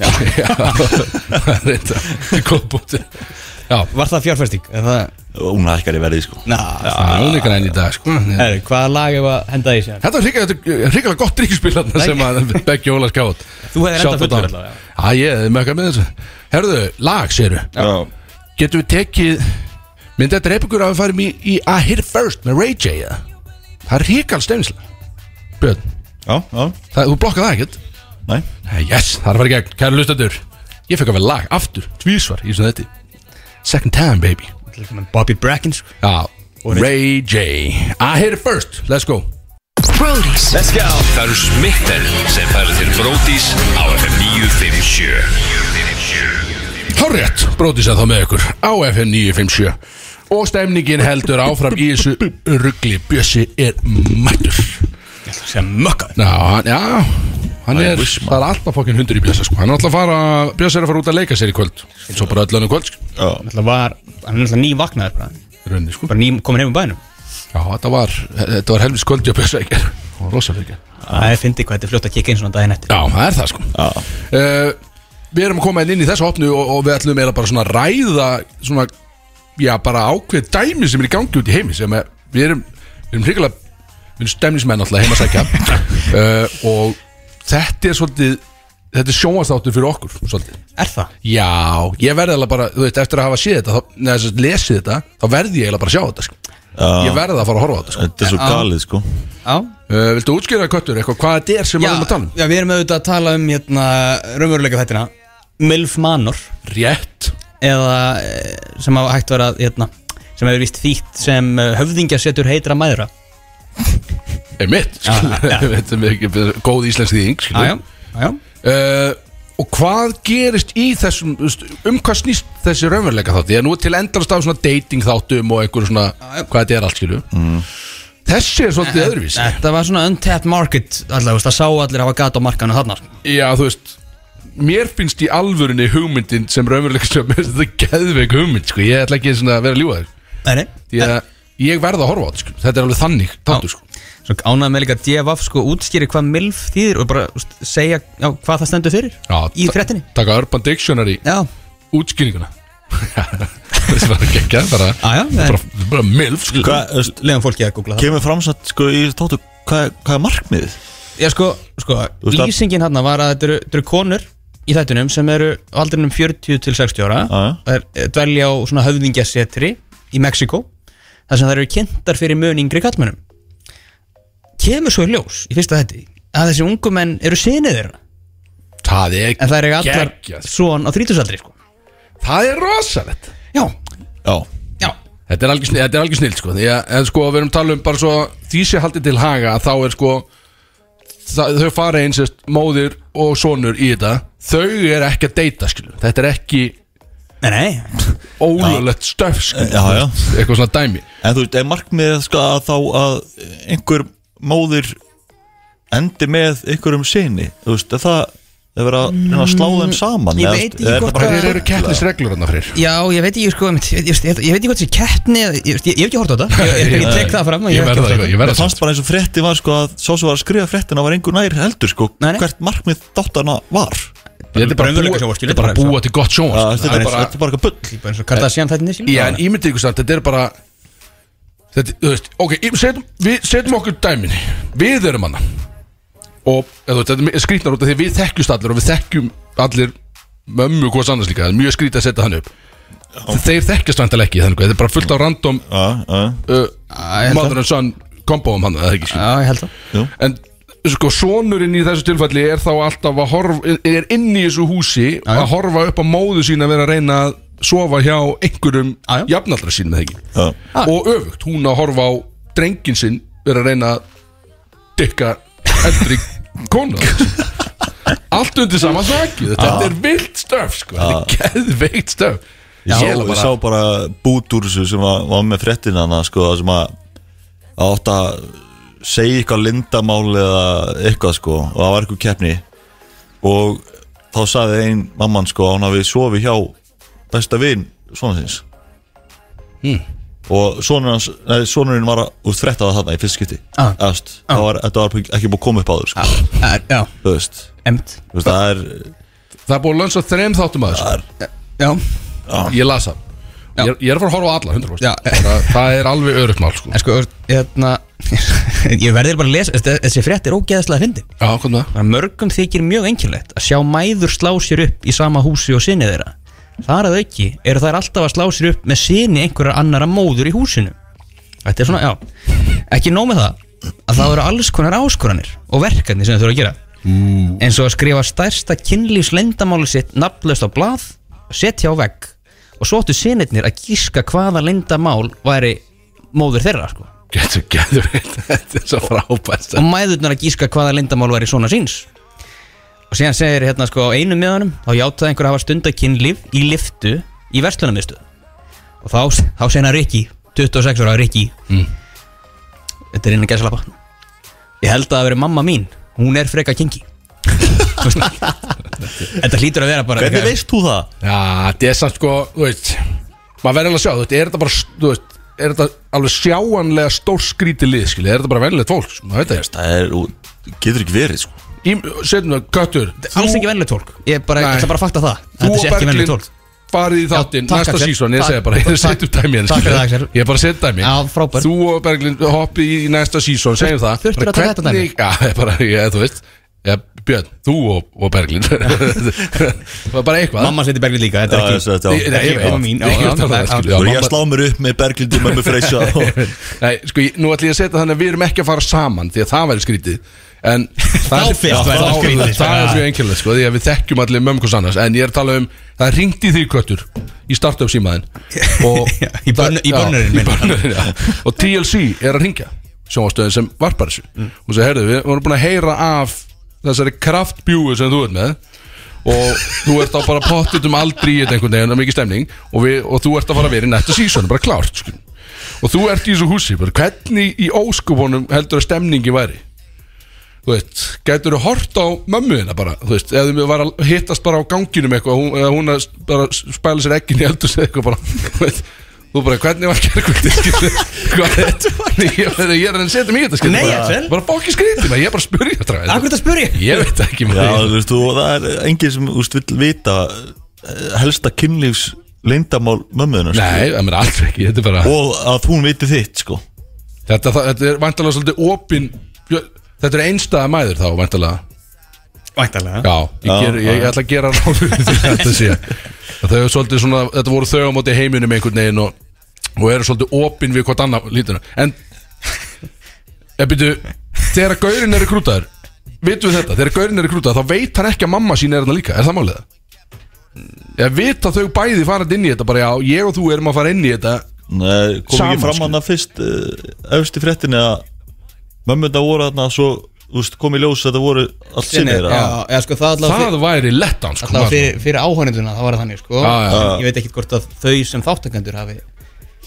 [SPEAKER 1] Já, já Það er þetta Góð búti Já,
[SPEAKER 2] Var það fjárfesting? Er það...
[SPEAKER 3] Hún hækkar í verði sko
[SPEAKER 2] Ná,
[SPEAKER 1] það er unikar enn í dag sko
[SPEAKER 2] Ah.
[SPEAKER 1] Þetta
[SPEAKER 2] Herru, hvaða lag hefur að henda í sér?
[SPEAKER 1] var hrikalega gott drikkspil þarna sem að Beggi Óla skátt
[SPEAKER 2] Þú hefðir enda fullur allavega,
[SPEAKER 1] Já, ég er mökka með þessu Herðu, lag, séru
[SPEAKER 3] Já
[SPEAKER 1] Getum við tekið Myndi þetta reypa ykkur að við farum í, í I Hit It First með Ray J eða? Það er hrikal stefnislega Björn,
[SPEAKER 3] Já, já,
[SPEAKER 1] það, þú blokkað það ekkert
[SPEAKER 3] næ
[SPEAKER 1] Nei, Yes, það er að fara í gegn, kæru lustendur Ég fekk að vera lag, aftur, tvísvar í þessu þetta Second time, baby
[SPEAKER 2] Bobby Bracken, sko
[SPEAKER 1] Já, Ray J I Hit It First, let's go
[SPEAKER 5] Brody's
[SPEAKER 4] Það eru smitten er sem færir til Brótis á FM 957
[SPEAKER 1] Hárrétt, brótið sér þá með ykkur á FM 957 Og stemningin heldur áfram í þessu ruggli Bjössi er mættur
[SPEAKER 2] Sem mökkaður
[SPEAKER 1] Já, hann, já Hann
[SPEAKER 3] Æ,
[SPEAKER 1] er,
[SPEAKER 3] viss maður.
[SPEAKER 1] það er alltaf fokkin hundur í Bjössa sko. Hann er alltaf að fara, Bjössi er að fara út að leika sér í kvöld Svo bara öll önum kvöld sko.
[SPEAKER 3] Já,
[SPEAKER 2] Náttúrulega var, hann er náttúrulega ný vaknaður bara
[SPEAKER 1] Runni, sko.
[SPEAKER 2] Bara ný komin heim um bænum
[SPEAKER 1] Já, þetta var, þetta var helvis kvöldi á Bjössa ekki Það var rosalega ekki
[SPEAKER 2] Það er fyndið hvað þetta er fljótt að kikka einn svona daginn eftir
[SPEAKER 1] Já, það er það sko
[SPEAKER 3] já
[SPEAKER 1] uh, Við erum að koma hérna inn í þessu opnu og, og við ætlum eiginlega bara svona að ræða svona, já bara ákveð dæmi sem er í gangi út í heimi sem er, við erum, við erum hrikalega við erum stemnismenn alltaf heima að sækja uh, og þetta er svolítið þetta er sjónvastáttur fyrir okkur svolítið.
[SPEAKER 2] Er það?
[SPEAKER 1] Já, ég verði eiginlega bara, þú veit, eftir að hafa séð þetta þá, neða, þess að lesið þetta, þá verði ég eiginlega bara að sjá þetta sko. Ég verði að fara að horfa á þetta sko.
[SPEAKER 3] Ah, Þetta er svo galið sko
[SPEAKER 2] Já
[SPEAKER 1] uh, Viltu útskýra köttur eitthvað, hvað þetta er sem við erum að tala um?
[SPEAKER 2] já, við erum auðvitað að tala um hérna raunveruleika þættina Milf Manor
[SPEAKER 1] Rétt
[SPEAKER 2] eða eh, sem hafa hægt verið að hérna sem hefur vist þýtt sem eh, höfðingja setur heitra mæðra
[SPEAKER 1] er mitt þetta er ekki góð íslensk þýðing skilur.
[SPEAKER 2] já, já
[SPEAKER 1] uh, og hvað gerist í þessum þú veist, um hvað snýst þessi raunveruleika þátti ég er nú til endalast af svona dating þáttum og einhver svona, hvað þetta er allt skilu mm. þessi er svolítið öðruvísi
[SPEAKER 2] Þetta var svona untapped market allavega, þú veist, það sá allir hafa gat á markanu þarna
[SPEAKER 1] já þú veist mér finnst í alvörunni hugmyndin sem raunveruleika stjórn þetta er geðveik hugmynd sko. ég ætla ekki svona að vera að ljúga þér
[SPEAKER 2] Nei,
[SPEAKER 1] því að ég verð að horfa á þetta sko. þetta er alveg þannig þáttu sko.
[SPEAKER 2] Svo ánægði með líka að DFF sko útskýri hvað MILF þýðir og bara úst, segja já, hvað það stendur fyrir
[SPEAKER 1] Já,
[SPEAKER 2] í
[SPEAKER 1] ta-
[SPEAKER 2] fréttinni
[SPEAKER 1] taka Urban Dictionary
[SPEAKER 2] Já,
[SPEAKER 1] útskýringuna þessi var ekki ekki bara,
[SPEAKER 2] Já, já, það er-
[SPEAKER 1] bara, bara milf sko.
[SPEAKER 3] Hvað, þú veist,
[SPEAKER 2] leiðum fólki að googla það
[SPEAKER 3] kemur fram satt sko í tóttu Hvað, hvað er markmiðið?
[SPEAKER 2] Já sko, sko
[SPEAKER 3] veist að-
[SPEAKER 2] lýsingin hann var að þetta eru, þetta eru konur í þættunum sem eru á aldrinum 40 til 60 ára
[SPEAKER 3] Já, já.
[SPEAKER 2] Það er eh, dvelja á svona höfðingjasetri í Mexiko þar sem það eru kynntar fyrir mun yngri kallmönnum Kemur svo í ljós í fyrsta þætti að þessi ungu menn eru sinni þeirra
[SPEAKER 1] það er,
[SPEAKER 2] en það er ekki allar
[SPEAKER 1] geggjað, sko.
[SPEAKER 2] svon á 30 aldri sko
[SPEAKER 1] það er rosalett
[SPEAKER 2] Já,
[SPEAKER 3] Já,
[SPEAKER 2] já
[SPEAKER 1] þetta er algjör snill, þetta er algjör snill sko. Því að, en sko við erum að tala um bara svo því sé haldið til haga að þá er sko það, þau fara eins sérst, móðir og sonur í þetta þau er ekki að deyta skilu þetta er ekki
[SPEAKER 2] Nei, nei,
[SPEAKER 1] ólulegt stöf skilu
[SPEAKER 3] já, já.
[SPEAKER 1] eitthvað svona dæmi
[SPEAKER 3] en þú veist, er markmiðið sko að þá að einhver móðir endi með einhverjum sinni Þú veist, er það er verið að, reyna að slá þeim saman
[SPEAKER 2] Mm,
[SPEAKER 3] eða,
[SPEAKER 2] ég veit
[SPEAKER 3] þú veist,
[SPEAKER 2] ekki
[SPEAKER 3] er
[SPEAKER 2] hvort
[SPEAKER 3] þetta bara-
[SPEAKER 1] þeir eru kettlisreglur hann fyrir
[SPEAKER 2] Já, ég veit ekki sko, einmitt, ég, ég, ég, ég veit ekki hvað þessi keppni eða- Ég, ég, ég hef ekki hort á þetta, ég, ég, ég tek það fram að
[SPEAKER 1] ég verða
[SPEAKER 2] hef ekki horft á
[SPEAKER 1] það, ég
[SPEAKER 3] Mér
[SPEAKER 1] verða það
[SPEAKER 3] fannst bara eins og frétti var sko að sá sem var að skrifa fréttina var einhver nær heldur sko
[SPEAKER 2] Nei, nei.
[SPEAKER 3] hvert markmið dátarna var Já,
[SPEAKER 1] þetta er bara
[SPEAKER 2] Raunveruleika
[SPEAKER 1] búa-
[SPEAKER 2] sjónvarp,
[SPEAKER 1] þetta er bara að
[SPEAKER 2] skilur.
[SPEAKER 1] búa til gott sjón
[SPEAKER 3] þetta er bara, þetta er bara eitthvað bull
[SPEAKER 2] Bara eins og Kardashian þættinni sín
[SPEAKER 1] Já, en ímyndið ykkur samt, þetta er bara Þetta, þú veist, ok, í- setjum, við setjum okkur dæmin Við erum hana Og, eða, þú veist, þetta er skrýtnar út af því að við þekkjumst allir Og við þekkjum allir mömmu og hvers annars líka Það er mjög skrýt að setja hann upp Þeir þekkjast vantilega ekki, þannig Þetta er bara fullt á random
[SPEAKER 3] Já, já,
[SPEAKER 1] uh,
[SPEAKER 2] ég held
[SPEAKER 1] Mother and son kombóum hann, það er ekki skilur.
[SPEAKER 2] Já, ég held það
[SPEAKER 1] En sko, sonurinn í þessu tilfelli er þá alltaf að horfa, er inn í þessu húsi að horfa upp á móðu sína að vera að reyna að sofa hjá einhverjum
[SPEAKER 2] Já, já.
[SPEAKER 1] jafnaldra sín með ekki
[SPEAKER 3] já,
[SPEAKER 1] og öfugt, hún að horfa á drengin sinn vera að reyna að dykka eldri konu allt undir sama þakki þetta er vilt stöf sko, þetta er geðveikt stöf
[SPEAKER 3] Ég
[SPEAKER 1] Ég
[SPEAKER 3] sá,
[SPEAKER 1] er
[SPEAKER 3] ég
[SPEAKER 1] bara-
[SPEAKER 3] sá bara bút úr þessu sem var, var með fréttina hana sko það sem að að átt að segja eitthvað lindamál eða eitthvað sko og það var eitthvað keppni og þá saði ein mamman sko að hún hafi sofið hjá besta vin svona síns
[SPEAKER 2] Hmm.
[SPEAKER 3] og sonur hans, nei, sonurinn var úr þrett að þarna í fyrst skipti
[SPEAKER 2] Ah.
[SPEAKER 3] Eðst, það var, þetta var ekki búið að koma upp á þur sko.
[SPEAKER 2] Það er- Eh, Já,
[SPEAKER 3] þú veist,
[SPEAKER 2] emmt
[SPEAKER 3] þú veist það er
[SPEAKER 1] Það er búið að lönsa þreim þáttum að þessu
[SPEAKER 2] Eh, Já,
[SPEAKER 1] Ég las það
[SPEAKER 2] Já.
[SPEAKER 1] Ég, ég er að fara að horfa á alla 100%
[SPEAKER 2] Já.
[SPEAKER 1] það, það er alveg örugt mál sko.
[SPEAKER 2] en sko, hérna Ég verðir bara að lesa, þetta- þessi frétt er ógeðaslega fyndin
[SPEAKER 1] Já, kom það
[SPEAKER 2] að mörgum þykir mjög enkjörlegt að sjá mæður slá sér upp í sama húsi og sinni þeirra. Þar að auki eru þær alltaf að slá sér upp með sinni einhverjar annara móður í húsinu. Þetta er svona, já, ekki nóg með það að það eru alls konar áskoranir og verkefni sem þau þurfa að gera. Mm. En svo að skrifa stærsta kynlífs lendamáli sitt nafnlaust á blað, setja á vegg og svo áttu sinirnir að gíska hvaða lendamál væri móður þeirra, sko.
[SPEAKER 1] Getur, getur Þetta er svo frábæst
[SPEAKER 2] og mæðurnar að gíska hvaða lindamál væri svona síns og síðan segir hérna sko á einu miðanum þá játaði einhver að hafa stundakynlíf í liftu í verslunarmiðstu og þá, þá segir hann Rikki 26 ára Rikki
[SPEAKER 3] Mm.
[SPEAKER 2] þetta er innan gæsalappa ég held að það veri mamma mín hún er freka kengi þetta hlýtur að vera bara
[SPEAKER 3] hvernig veist þú það?
[SPEAKER 1] Já, þetta er samt sko, þú veist Maður verður alveg að sjá, þú veist, er þetta bara Þú veist, er þetta alveg sjáanlega stór skríti lið, skilja, er þetta bara venlilegt fólk sko, maður veit það,
[SPEAKER 3] það er, getur ekki verið sko.
[SPEAKER 1] Í- setjum það, köttur
[SPEAKER 2] alls ekki venlega tólk ég bara,
[SPEAKER 1] Nei.
[SPEAKER 2] ég ætla bara að fakta það
[SPEAKER 1] Þú
[SPEAKER 2] þetta
[SPEAKER 1] og
[SPEAKER 2] sé ekki venlega
[SPEAKER 1] Berglind
[SPEAKER 2] tólk
[SPEAKER 1] farið í þáttinn
[SPEAKER 2] takk,
[SPEAKER 1] næsta
[SPEAKER 2] Axel.
[SPEAKER 1] sísón, ég
[SPEAKER 2] Takk.
[SPEAKER 1] segja bara ég
[SPEAKER 2] Takk.
[SPEAKER 1] setjum dæmi hérna,
[SPEAKER 2] Takk fyrir það,
[SPEAKER 1] skilurðu.
[SPEAKER 2] Axel.
[SPEAKER 1] ég er bara að setja dæmi
[SPEAKER 2] Já, frábær.
[SPEAKER 1] þú og Berglind hoppi í næsta sísón, segjum það Bara
[SPEAKER 2] þurftirðu að taka þetta dæmi?
[SPEAKER 1] hvernig- já, ég bara, ég, þú veist ja, Björn, þú og, og Berglind Það var bara eitthvað
[SPEAKER 2] mamma seti Berglind líka, þetta
[SPEAKER 3] Já,
[SPEAKER 2] er
[SPEAKER 3] þessi,
[SPEAKER 2] ekki
[SPEAKER 3] þetta,
[SPEAKER 1] Ég-
[SPEAKER 3] já.
[SPEAKER 1] nei, ég
[SPEAKER 2] ekki
[SPEAKER 1] veit.
[SPEAKER 2] mamma mín, já,
[SPEAKER 1] Ég er
[SPEAKER 2] já,
[SPEAKER 1] alltaf
[SPEAKER 2] já,
[SPEAKER 1] að-
[SPEAKER 2] já.
[SPEAKER 1] skilurðu,
[SPEAKER 3] Þú
[SPEAKER 1] að
[SPEAKER 3] voru ég að
[SPEAKER 1] mamma-
[SPEAKER 3] slá mér upp með Berglindi mömmu Freysa og
[SPEAKER 1] Nei, sko, ég- nú ætlum ég að setja þannig að við erum ekki að fara saman Því að það væri skrítið En það
[SPEAKER 2] Þá fyrst væri það
[SPEAKER 1] þá-
[SPEAKER 2] skrítið, sko.
[SPEAKER 1] Það er svo engilega, sko, því að við þekkjum allir mömmu hvers annars En ég er að tala um, það ringdi því köttur Í startup símaðin Og-
[SPEAKER 2] Já, í börn- í
[SPEAKER 1] Já,
[SPEAKER 2] börnurinn
[SPEAKER 1] í
[SPEAKER 2] minn.
[SPEAKER 1] börnurinn, já. Og TLC er að ringja Sjónastöðin sem varpar þessu
[SPEAKER 2] Mm.
[SPEAKER 1] Og svo heyrðu, við vorum búin að heyra af Þessari kraftbjúi sem þú ert með og þú ert á bara pottit um aldrei í þetta einhvern veginn, það er mikið stemning og, við, og þú ert að fara að vera í nættu sísonu, bara klárt sko. og þú ert í þessu húsi bara, hvernig í óskupunum heldur að stemningi væri þú veist, gætur þú hort á mömmuðina bara, þú veist, eða þú var að hittast bara á ganginum eitthvað, hún, eða hún að s- bara s- spæla sér ekkin í eldur eða eitthvað bara, þú veist, þú bara, hvernig var gerkvöldi hvað er þetta ég er að setja mig í þetta skilur,
[SPEAKER 2] Nei,
[SPEAKER 1] bara-
[SPEAKER 2] Axel.
[SPEAKER 1] bara fókið skrítið, ég er bara að spyrja þetta.
[SPEAKER 2] akkur þetta spyr ég
[SPEAKER 1] ég veit það ekki
[SPEAKER 3] Já,
[SPEAKER 1] maður.
[SPEAKER 3] þú veist, þú, það er enginn sem úst, vill vita eh, helsta kynlífs leyndamál mömmuðinu
[SPEAKER 1] Nei, það er aldrei ekki, þetta er bara
[SPEAKER 3] sko. og að hún viti þitt sko
[SPEAKER 1] Þetta, það- þetta er vantalega svolítið opin Þetta er einstæða mæður þá vantalega
[SPEAKER 2] Væntalega
[SPEAKER 1] Já, ég,
[SPEAKER 3] Já,
[SPEAKER 1] ger, ég, ég ætla að gera ráð fyrir því að þetta sé Að Þau eru svolítið svona, þetta voru þau á móti heiminum einhvern veginn og, og eru svolítið opin við hvort annað lítuna En, ég byrju, þegar gaurin er rekrútaður Vitum við þetta, þegar gaurin er rekrútaður þá veit hann ekki að mamma sín er þarna líka, er það málið það? Ég veit að þau bæði farað inn í þetta bara já, ég og þú erum að fara inn í þetta
[SPEAKER 3] Nei, kom
[SPEAKER 1] Saman,
[SPEAKER 3] ekki fram hann að fyrst eh, efst í fréttinni að mömmuðna voru þarna svo þú veist, kom í ljós að þetta voru allt sinni
[SPEAKER 2] Já,
[SPEAKER 3] þeirra
[SPEAKER 2] eða sko það allavega
[SPEAKER 1] Það væri lettan sko
[SPEAKER 2] Alltaf
[SPEAKER 1] maður.
[SPEAKER 2] fyrir, fyrir áhörnenduna, það var það þannig sko
[SPEAKER 1] Já, já, já.
[SPEAKER 2] Ég veit ekki hvort að þau sem þáttakendur hafi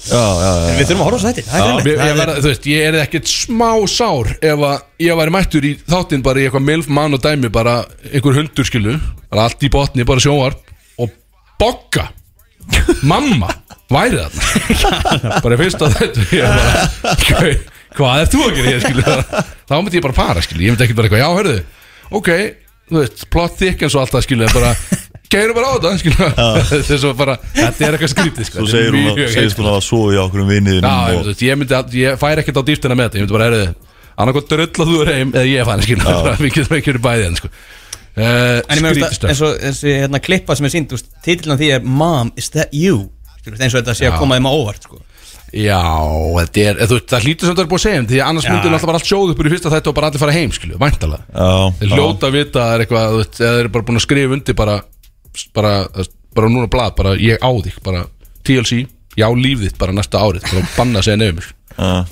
[SPEAKER 3] Já, já, já,
[SPEAKER 2] En við þurfum að horfa á þetta, það er
[SPEAKER 1] Mér, ég,
[SPEAKER 2] greinlegt
[SPEAKER 1] verð, þú veist, ég er ekkert smá sár ef að ég væri mættur í þáttinn bara í eitthvað milf mann og dæmi bara einhver hundur skilu, bara allt í botni bara sjónvarp og bogga mamma væri þarna bara í fyrsta þetta ég er bara, "Gau, hvað er þú að gera hér skilu þá myndi ég bara para skilu, ég myndi ekkert bara eitthvað, já hörðu ok, þú veist, plot thickens og allt það skilu en bara, geirum bara á þetta skilu þetta er svo bara, þetta er eitthvað skrítið sko.
[SPEAKER 3] Svo
[SPEAKER 1] Þetta er
[SPEAKER 3] segir hún
[SPEAKER 1] mjög
[SPEAKER 3] að, segist hún að hafa sofið hjá okkur um vinniðin
[SPEAKER 1] Já, ég, veit, ég myndi að, ég fær ekkert á dýftina með þetta Ég myndi bara, heyrðu, annarkoð drulla þú er heim Eða ég fann, skilja, við getum ekki verið bæði en sko Uh,
[SPEAKER 2] En ég meðast
[SPEAKER 1] Skrítistöf
[SPEAKER 2] eins og þessi hérna, klippa sem er sínd Titillan því er Mom, is that you? Skilur, eins og þetta sé að koma þeim á óvart sko.
[SPEAKER 1] Já, þetta er, þú, veist, það hlýtur sem það er búið að segja þeim, Því að annars myndir alltaf bara allt sjóð upp úr í fyrsta þættu Og bara allir fara heim, skilju, væntalega
[SPEAKER 3] já,
[SPEAKER 1] Þeir hljóta að vita að það er eitthvað þú veist, Eða þeir eru bara búin að skrifa undir bara Bara, bara núna blað, bara ég á þig Bara TLC, já líf þitt bara næsta árið Bara banna að segja nefnir sko.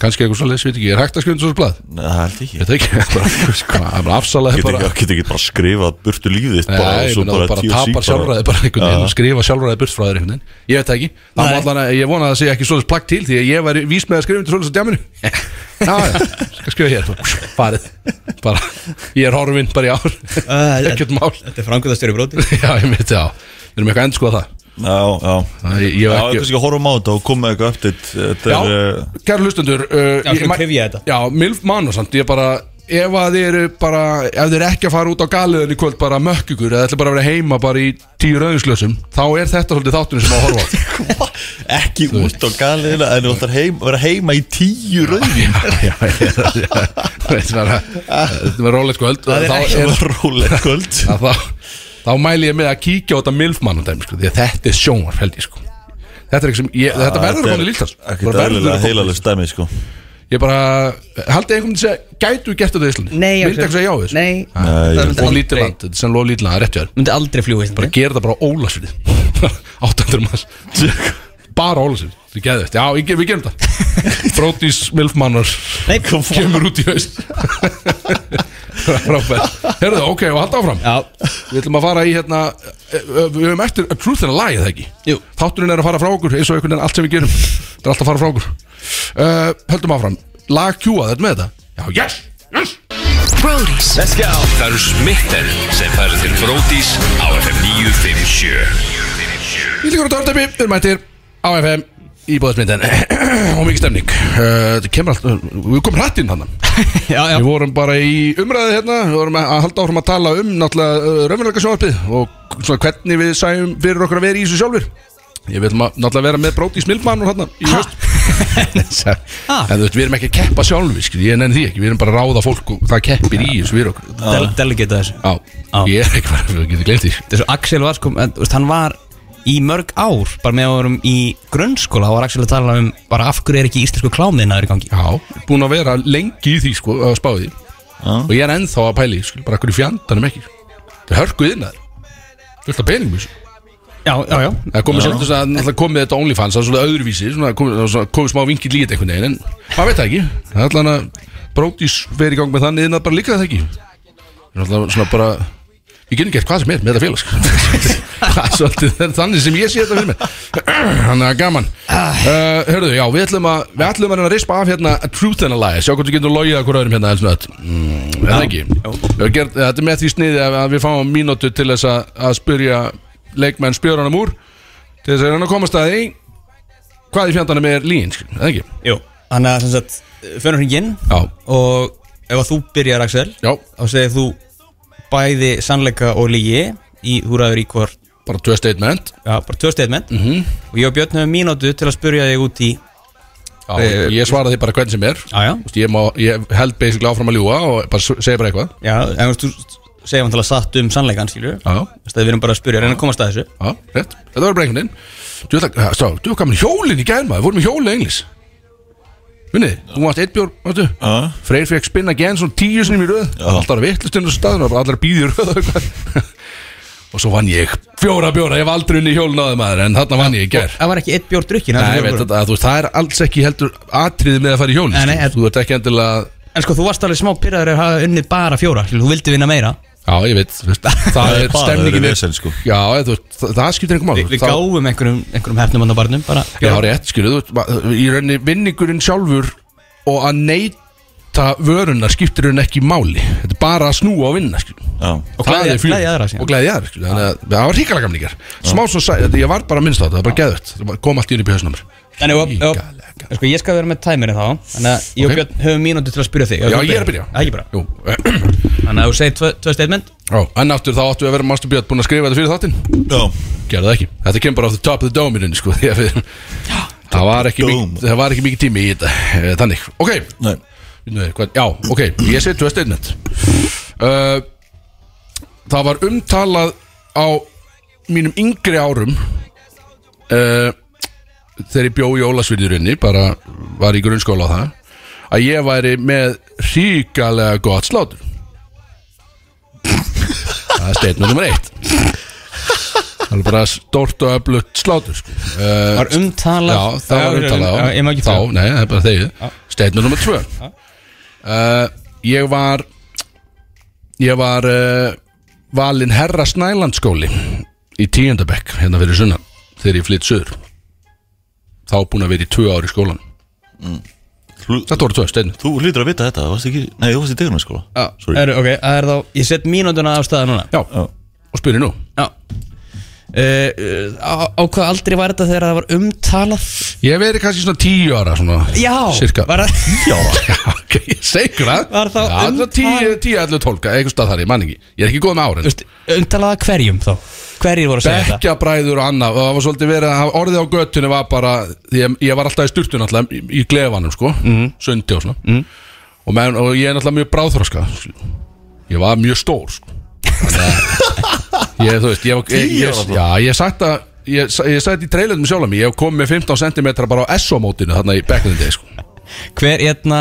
[SPEAKER 1] kannski eitthvað svoleiðis, veit ekki, er hægt að skrifa svo blað?
[SPEAKER 3] Nei, það held ég ekki
[SPEAKER 1] Þetta ekki, bara, hvað, bara afsalaði
[SPEAKER 3] Getur
[SPEAKER 1] bara
[SPEAKER 3] ekki, getur ekki bara skrifað burtu lífið þitt bara
[SPEAKER 1] Nei,
[SPEAKER 3] og
[SPEAKER 1] ég
[SPEAKER 3] svo
[SPEAKER 1] meina þú bara
[SPEAKER 3] TLC
[SPEAKER 1] tapar sjálfræði bara einhvern veginn og skrifa sjálfræði burt frá þér einhvern veginn Ég veit það ekki, það má allan að ég vona að það sé ekki svoleiðis plagg til því að ég væri vís með að skrifa undir svoleiðis á djáminu Já, já, skal skrifa hér, bara, farið bara, ég er horfinn bara í ár ekkert mál
[SPEAKER 2] Þetta er framkvæmdastjóri bróti
[SPEAKER 1] Já, ég veit það, við erum eitthvað að endurskoða það
[SPEAKER 3] Já, já
[SPEAKER 1] Það, ég, ég,
[SPEAKER 3] Já,
[SPEAKER 1] hef
[SPEAKER 3] kannski að horfum á þetta og koma með eitthvað update Þetta
[SPEAKER 1] Já,
[SPEAKER 3] er eh,
[SPEAKER 1] kæru hlustendur uh,
[SPEAKER 2] Já,
[SPEAKER 1] ég-
[SPEAKER 2] skulum
[SPEAKER 1] ma-
[SPEAKER 2] kryfja þetta.
[SPEAKER 1] Já, Milf Manosamt, ég bara Ef að þið eru bara, ef þið eru ekki að fara út á galiðan í kvöld bara mökk ykkur eða ætla bara að vera heima bara í tíu rauðinslösum þá er þetta svolítið þáttunum sem á að horfa á
[SPEAKER 3] eh, ekki út á galiðina en þú ætlar heim, vera heima í tíu rauðin
[SPEAKER 1] Já, ég- þetta var þetta var rólegt kvöld
[SPEAKER 3] Það er
[SPEAKER 1] Þá
[SPEAKER 3] ekki rúlega kvöld
[SPEAKER 1] að þá, þá mæli ég með að kíkja á þetta milfmann sko, því að þetta er sjónvarf held ég sko Þetta er ekki sem, ég, þetta verður að koma í líftast
[SPEAKER 3] Ekkert aðlilega heilalega stæmi sko
[SPEAKER 1] Ég bara, haldið einhvern veginn að segja, gætu við gert þetta í Íslandi?
[SPEAKER 2] Nei,
[SPEAKER 1] Vildi ekki segja já við þessu?
[SPEAKER 2] Nei.
[SPEAKER 3] Nei,
[SPEAKER 2] Það
[SPEAKER 3] ég-
[SPEAKER 2] myndi
[SPEAKER 1] Og lítið
[SPEAKER 2] aldrei-
[SPEAKER 1] land, þetta er sem loð lítið land, það er rétt hjá þér
[SPEAKER 2] Myndi aldrei fljúa
[SPEAKER 1] Bara
[SPEAKER 2] Íslandi
[SPEAKER 1] gera þetta bara á ólasvið 800 manns Bara ólasvið, þetta er geðvægt Já, ég, við gerum þetta Brótis Milfmannar
[SPEAKER 2] Nei, kom
[SPEAKER 1] kemur út í haust Ráfæð Herðu, ok, og halda áfram
[SPEAKER 2] Já,
[SPEAKER 1] Við ætlum að fara í hérna eh, eh, Við höfum eftir A Truth and a Lie, eða ekki?
[SPEAKER 2] Jú.
[SPEAKER 1] Þátturinn er að fara frá okkur, eins og einhvern veginn allt sem við gerum Það er alltaf að fara frá okkur uh, Höldum áfram, lag Q að þetta með þetta Já, yes, yes
[SPEAKER 5] Brody's
[SPEAKER 4] Það eru smitten er sem færir til Brótis á FM 957
[SPEAKER 1] Ílíkur og Dörndæmi, við erum mættir á FM í bóðasmyndin og mikið stemning uh, þetta kemur allt, við komum hratt inn hann
[SPEAKER 2] já, já
[SPEAKER 1] við vorum bara í umræði hérna við vorum að að halda áfram að tala um náttúrulega uh, raunveruleika sjónvarpið og svona hvernig við sæjum fyrir okkur að vera í þessu sjálfur ég vil ma- náttúrulega vera með bróti í smilmann og hérna í höst
[SPEAKER 2] Ha?
[SPEAKER 1] en þú veist, við erum ekki að keppa sjálfur skil, ég nenni því ekki, við erum bara að ráða fólk og það keppir í þessu fyrir okkur
[SPEAKER 2] Del- Delegate þessu
[SPEAKER 1] Já,
[SPEAKER 2] Já.
[SPEAKER 1] ég er ekki bara, við getum glemt því
[SPEAKER 2] Þessu Axel var sko en, þú veist, Hann var í mörg ár Bara með að vorum í grunnskóla Þá var Axel að tala um Bara af hverju er ekki íslensku klámiðnaður í gangi
[SPEAKER 1] Já, búin að vera lengi í því sko að spá í því og ég er ennþá að pæli, sko, bara hverju fjandanum ekki það er hörkuð inn að það fullt af peningum í þessu.
[SPEAKER 2] Já, já, já
[SPEAKER 1] það komið sem þess að náttúrulega komið þetta OnlyFans það er svona öðruvísi, svona komið, svona, komið smá vinkill í þetta einhvern veginn, en maður veit það ekki það er allan að brótis fer í gang með þannig inn að bara líka það ekki Það er náttúrulega svona bara ég getur gert hvað sem er með þetta félags það er svolítið það er þannig sem ég sé þetta fyrir mig þannig að gaman uh, hörðu, já, við ætlum að við ætlum að reyna að rispa af hérna a truth and a lie sjá hvort við getum logið að hverju öðrum hérna elsnöð mm, er það ekki Við höfum gert, þetta er með því sniði að að við fáum mínútu til þess að, að spyrja leikmenn spjörunum úr til þess að reyna að komast að því hvað í fjandanum er líin, skil, er það ekki
[SPEAKER 2] Jú Þannig að sem sagt Fönur hringinn
[SPEAKER 1] já,
[SPEAKER 2] Og ef að þú byrjar Axel
[SPEAKER 1] já,
[SPEAKER 2] Þá segir þú Bæði sannleika og lígi Í húraður í hvort
[SPEAKER 1] bara tvö statement
[SPEAKER 2] Já, bara tvö statement
[SPEAKER 1] Mhm.
[SPEAKER 2] Og ég og Björn hefur mínútu til að spurja þig út í
[SPEAKER 1] já, Eh, ég svara því bara hvernig sem er
[SPEAKER 2] Já, já
[SPEAKER 1] Þú veist, ég, má, ég held basically áfram að ljúa og bara s- segja bara eitthvað
[SPEAKER 2] Já, en þú veist, þú segir vantilega satt um sannleikan, skilju
[SPEAKER 1] Já, já,
[SPEAKER 2] Þess að við erum bara að spurja, reyna að komast að þessu
[SPEAKER 1] já, rétt Þetta var bara einhvern veginn Þú veist að, stá, þú var gaman í hjólinn í gær maður, við vorum í hjóli englis Vinnið, þú varst eitt bjór, varstu
[SPEAKER 3] Já.
[SPEAKER 1] Freyr fekk spinna genn svona tíu sinni í röð Alltaf var vittlustinn og staðin og bara allar býði í röð og eitthvað Og svo vann ég fjóra bjóra, ég var aldrei unni í hjólinn á þeim maður En þarna vann ég í gær
[SPEAKER 2] Það var ekki eitt bjór drukkin
[SPEAKER 1] Nei, ég veit þetta, að, þú veist, það er alls ekki heldur atriði með að fara í hjólinn
[SPEAKER 2] Nei, nei,
[SPEAKER 1] skilur.
[SPEAKER 2] en-
[SPEAKER 1] Þú ert ekki endilega
[SPEAKER 2] En sko, þú varst alveg smá pyrraður að hafa unnið bara fjóra skilju, Þú vildi vinna meira
[SPEAKER 1] Já, ég veit, þú veist, það er
[SPEAKER 3] bara
[SPEAKER 1] stemningin
[SPEAKER 3] öðru
[SPEAKER 1] er-
[SPEAKER 3] vesen, sko.
[SPEAKER 1] Já, þú veist, það, það skiptir einhver mál
[SPEAKER 2] Við, við
[SPEAKER 1] Þá-
[SPEAKER 2] gáfum einhverjum, einhverjum hefnum hann á barnum bara,
[SPEAKER 1] Já, rétt, skilur, þú veist, ma- í rauninni vinningurinn sjálfur og að neyta vöruna skiptir hún ekki máli Þetta er bara að snúa og vinna, skilur
[SPEAKER 3] Já,
[SPEAKER 2] Og gleðja-
[SPEAKER 1] fjör.
[SPEAKER 2] gleðja aðra, síðan.
[SPEAKER 1] Og gleði aðra, skilur, þannig að það var ríkala gamlingar Smá svo sæ, þetta- ég var bara að minnst á þetta, það var bara geðvögt Það bara kom allt í unni bjöðsnumur
[SPEAKER 2] En ef- ef- en sko, ég skal vera með tæmiri þá Þannig að ég og
[SPEAKER 1] Ok.
[SPEAKER 2] Björn höfum mínútu til að spurja þig
[SPEAKER 1] Já, ég er að byrja
[SPEAKER 2] Það ekki bara
[SPEAKER 1] Jú, eh,
[SPEAKER 2] Þannig að þú segir tvö, tvö statement
[SPEAKER 1] Já, en aftur þá áttu við að vera Master Björn búin að skrifa þetta fyrir þáttinn
[SPEAKER 3] já
[SPEAKER 1] Gerðu það ekki Þetta kemur bara á the top of the dome í rauninni, sko, því að við- Það var ekki
[SPEAKER 3] Dome.
[SPEAKER 1] mikið- það var ekki mikið tími í þetta eh, Þannig, ok,
[SPEAKER 3] Nei,
[SPEAKER 1] Nei, hvað, já, ok, ég sé tvö steinnet uh, Það var umtalað á mínum yngri árum uh, þegar ég bjó í Ólasvirðurinni bara var í grunnskóla á það að ég væri með ríkalega gott slátur Það er steinnet nummer eitt Alveg bara stórt og öflugt slátur sko. uh,
[SPEAKER 2] Var umtalað
[SPEAKER 1] Já, það var umtalað
[SPEAKER 2] Já, Ég má ekki
[SPEAKER 1] Þá,
[SPEAKER 2] fyrir
[SPEAKER 1] nei, það er bara þegið Steinu nummer tvö uh, Ég var Ég var uh, Valin herra Snælandsskóli Í tíundabekk, hérna fyrir sunnan Þegar ég flytt söður Þá búin að vera í tvö ár í skólan
[SPEAKER 3] Hlu-
[SPEAKER 1] Þetta voru tvö, Steinu
[SPEAKER 3] Þú hlýtur að vita þetta, það varst ekki Nei, þú varst í degunum skóla Sorry.
[SPEAKER 2] Eru, ok, það er þá Ég set mínútuna af staða núna
[SPEAKER 1] Já, og spyrir nú
[SPEAKER 2] Já Uh, uh, á, á hvað aldrei var þetta þegar það var umtalað
[SPEAKER 1] Ég hef verið kannski svona tíu ára svona,
[SPEAKER 2] Já,
[SPEAKER 1] Cirka
[SPEAKER 2] var það
[SPEAKER 1] Já, ok, segur það
[SPEAKER 2] Var þá
[SPEAKER 1] Já,
[SPEAKER 2] um-
[SPEAKER 1] það tíu, tíu, allu tólka, eitthvað stað þar, ég man ekki Ég er ekki góð með ára
[SPEAKER 2] Þú veist, umtalaða hverjum þá hverjir voru að segja þetta
[SPEAKER 1] Bekkjabræður og annað og það var svolítið verið að orðið á götunni var bara ég, ég var alltaf í sturtun alltaf í, í glefanum sko,
[SPEAKER 2] Mhm.
[SPEAKER 1] sundi og svona og, menn, og ég er alltaf mjög bráþroska ég var mjög stór sko. Þannig að ég, þú veist ég, var- ég, ég, já, ég sagt að ég, sa- ég sagði þetta í trailerinu sjálf að mig ég kom með 15 cm bara á SO-mótinu þarna í bekkjandi sko.
[SPEAKER 2] hver, hérna,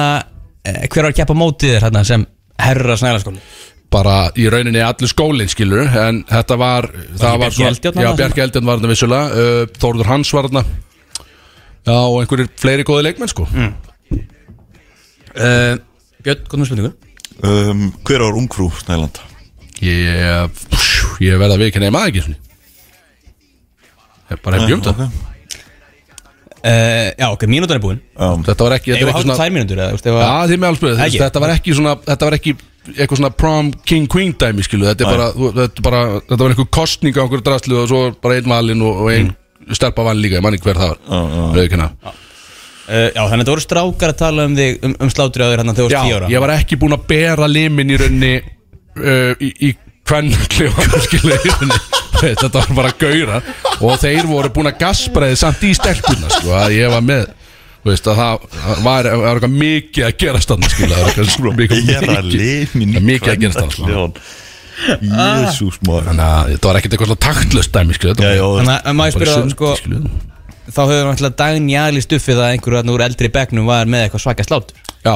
[SPEAKER 2] eh, hver var að keppa mótið þér hérna, sem herra snælarskóli
[SPEAKER 1] bara í rauninni allur skólinn skilur en þetta var, það var
[SPEAKER 2] Bjarki Eldjárn
[SPEAKER 1] já,
[SPEAKER 2] þarna?
[SPEAKER 1] Bjarki Eldjárn var þarna vissulega uh, Þórður Hans var þarna já, og einhverjir fleiri góði leikmenn sko
[SPEAKER 2] Mm. uh, Björn, góðnum spurningu
[SPEAKER 3] um, Hver var ungfrú Snælanda?
[SPEAKER 1] ég, psjú, ég verða að viðkynna ég maður ekki svona. ég bara hef gjömt
[SPEAKER 2] Mm.
[SPEAKER 1] það
[SPEAKER 3] Ok.
[SPEAKER 2] uh, já, ok, mínútan er búin
[SPEAKER 3] um,
[SPEAKER 1] þetta var ekki,
[SPEAKER 2] ég
[SPEAKER 1] þetta var
[SPEAKER 2] var
[SPEAKER 1] ekki
[SPEAKER 2] hálfum
[SPEAKER 1] svona
[SPEAKER 2] tvær mínútur eða, þú veist, ef
[SPEAKER 1] já,
[SPEAKER 2] að-
[SPEAKER 1] þið með alls spurði,
[SPEAKER 2] Ekki.
[SPEAKER 1] þetta var ekki svona þetta var ekki eitthvað svona prom king queen dæmi skilu, þetta er bara, þú- þetta, er bara þetta var einhver kostning á einhverju drastlu og svo bara einn valinn og, og einn
[SPEAKER 2] Mm.
[SPEAKER 1] stelpa valinn líka, ég man ekki hver það var Rauðkynna
[SPEAKER 2] uh, já, þannig að það voru strákar að tala um þig um, um slátri á þér hérna þegar þú
[SPEAKER 1] Já,
[SPEAKER 2] varst 10 ára
[SPEAKER 1] ég var ekki búinn að bera limin í rauninni uh, í, í kvennklefa skilu í rauninni þetta var bara gauðra og þeir voru búin að gaspraði samt í stelpuna sko, að ég var með þú Veist, að það það var, það var eitthvað mikið að gerast þannig skilja, það var eitthvað sko, mikið,
[SPEAKER 3] Ég er að Ah.
[SPEAKER 1] mikið,
[SPEAKER 3] limin
[SPEAKER 1] það er mikið að gerast þannig
[SPEAKER 3] Jésús maður
[SPEAKER 1] þannig að þetta var ekkert eitthvað svona taktlöst dæmi skilja,
[SPEAKER 3] Já, já,
[SPEAKER 2] þannig að maður
[SPEAKER 1] bara
[SPEAKER 2] spyrja
[SPEAKER 1] sundi,
[SPEAKER 2] sko,
[SPEAKER 1] skilja.
[SPEAKER 2] þá höfum við alltaf dagn jæli stuffið að einhverju hérna úr eldri bekknum var með eitthvað svaka slát
[SPEAKER 1] já,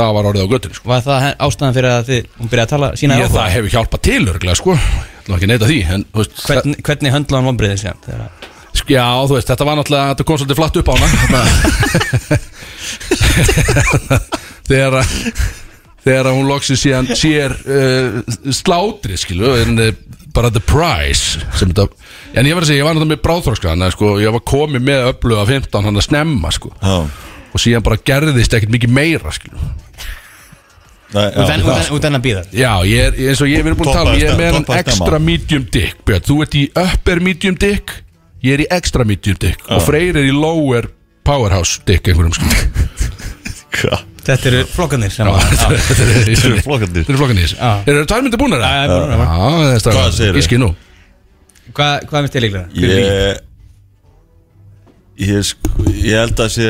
[SPEAKER 1] það var orðið á göttinu sko.
[SPEAKER 2] var það he- ástæðan fyrir að þið hún byrjaði að tala sína
[SPEAKER 1] ég, það hefur hjálpað til örglega sko. ég ætla ekki að neita því en, þú veist, það-
[SPEAKER 2] hvernig, hvernig höndlaði hann vonbriðin síðan þegar að-
[SPEAKER 1] Sk- Já, þú veist, þetta var náttúrulega Þetta kom svolítið flatt upp á hana Þarna- Þegar að Þegar að hún loksi síðan sér uh, slátri, skilu en, uh, bara the prize sem þetta, en ég var að segja, ég var náttúrulega með bráþróska þannig að sko, ég var komið með öfluga 15 hann að snemma, sko
[SPEAKER 3] já.
[SPEAKER 1] og síðan bara gerðist ekkert mikið meira, skilu
[SPEAKER 3] Nei, já,
[SPEAKER 2] Út en-
[SPEAKER 3] já.
[SPEAKER 2] út en- út en að býða
[SPEAKER 1] Já, ég er, eins og ég er búin að tala um, ég er með hann
[SPEAKER 3] Toppaði stemma.
[SPEAKER 1] extra medium dick Björn, þú ert í upper medium dick ég er í extra medium dick og Freyr er í lower powerhouse dick einhverjum skil
[SPEAKER 3] Hva?
[SPEAKER 2] Þetta eru flokkanir sem að
[SPEAKER 1] Þetta er- þetta er-
[SPEAKER 3] Þetta eru flokkarnir.
[SPEAKER 1] Þetta eru flokkarnir í þessu.
[SPEAKER 2] Já.
[SPEAKER 1] Eru það tærmyndi búnar
[SPEAKER 2] Já,
[SPEAKER 1] það?
[SPEAKER 2] já, búnar,
[SPEAKER 1] Já, það er
[SPEAKER 3] Hvað
[SPEAKER 1] stafan,
[SPEAKER 3] segirðu?
[SPEAKER 1] gíski nú
[SPEAKER 2] Hvað, hvað finnst þér líklega?
[SPEAKER 3] Ég Ég, sko, ég held að sé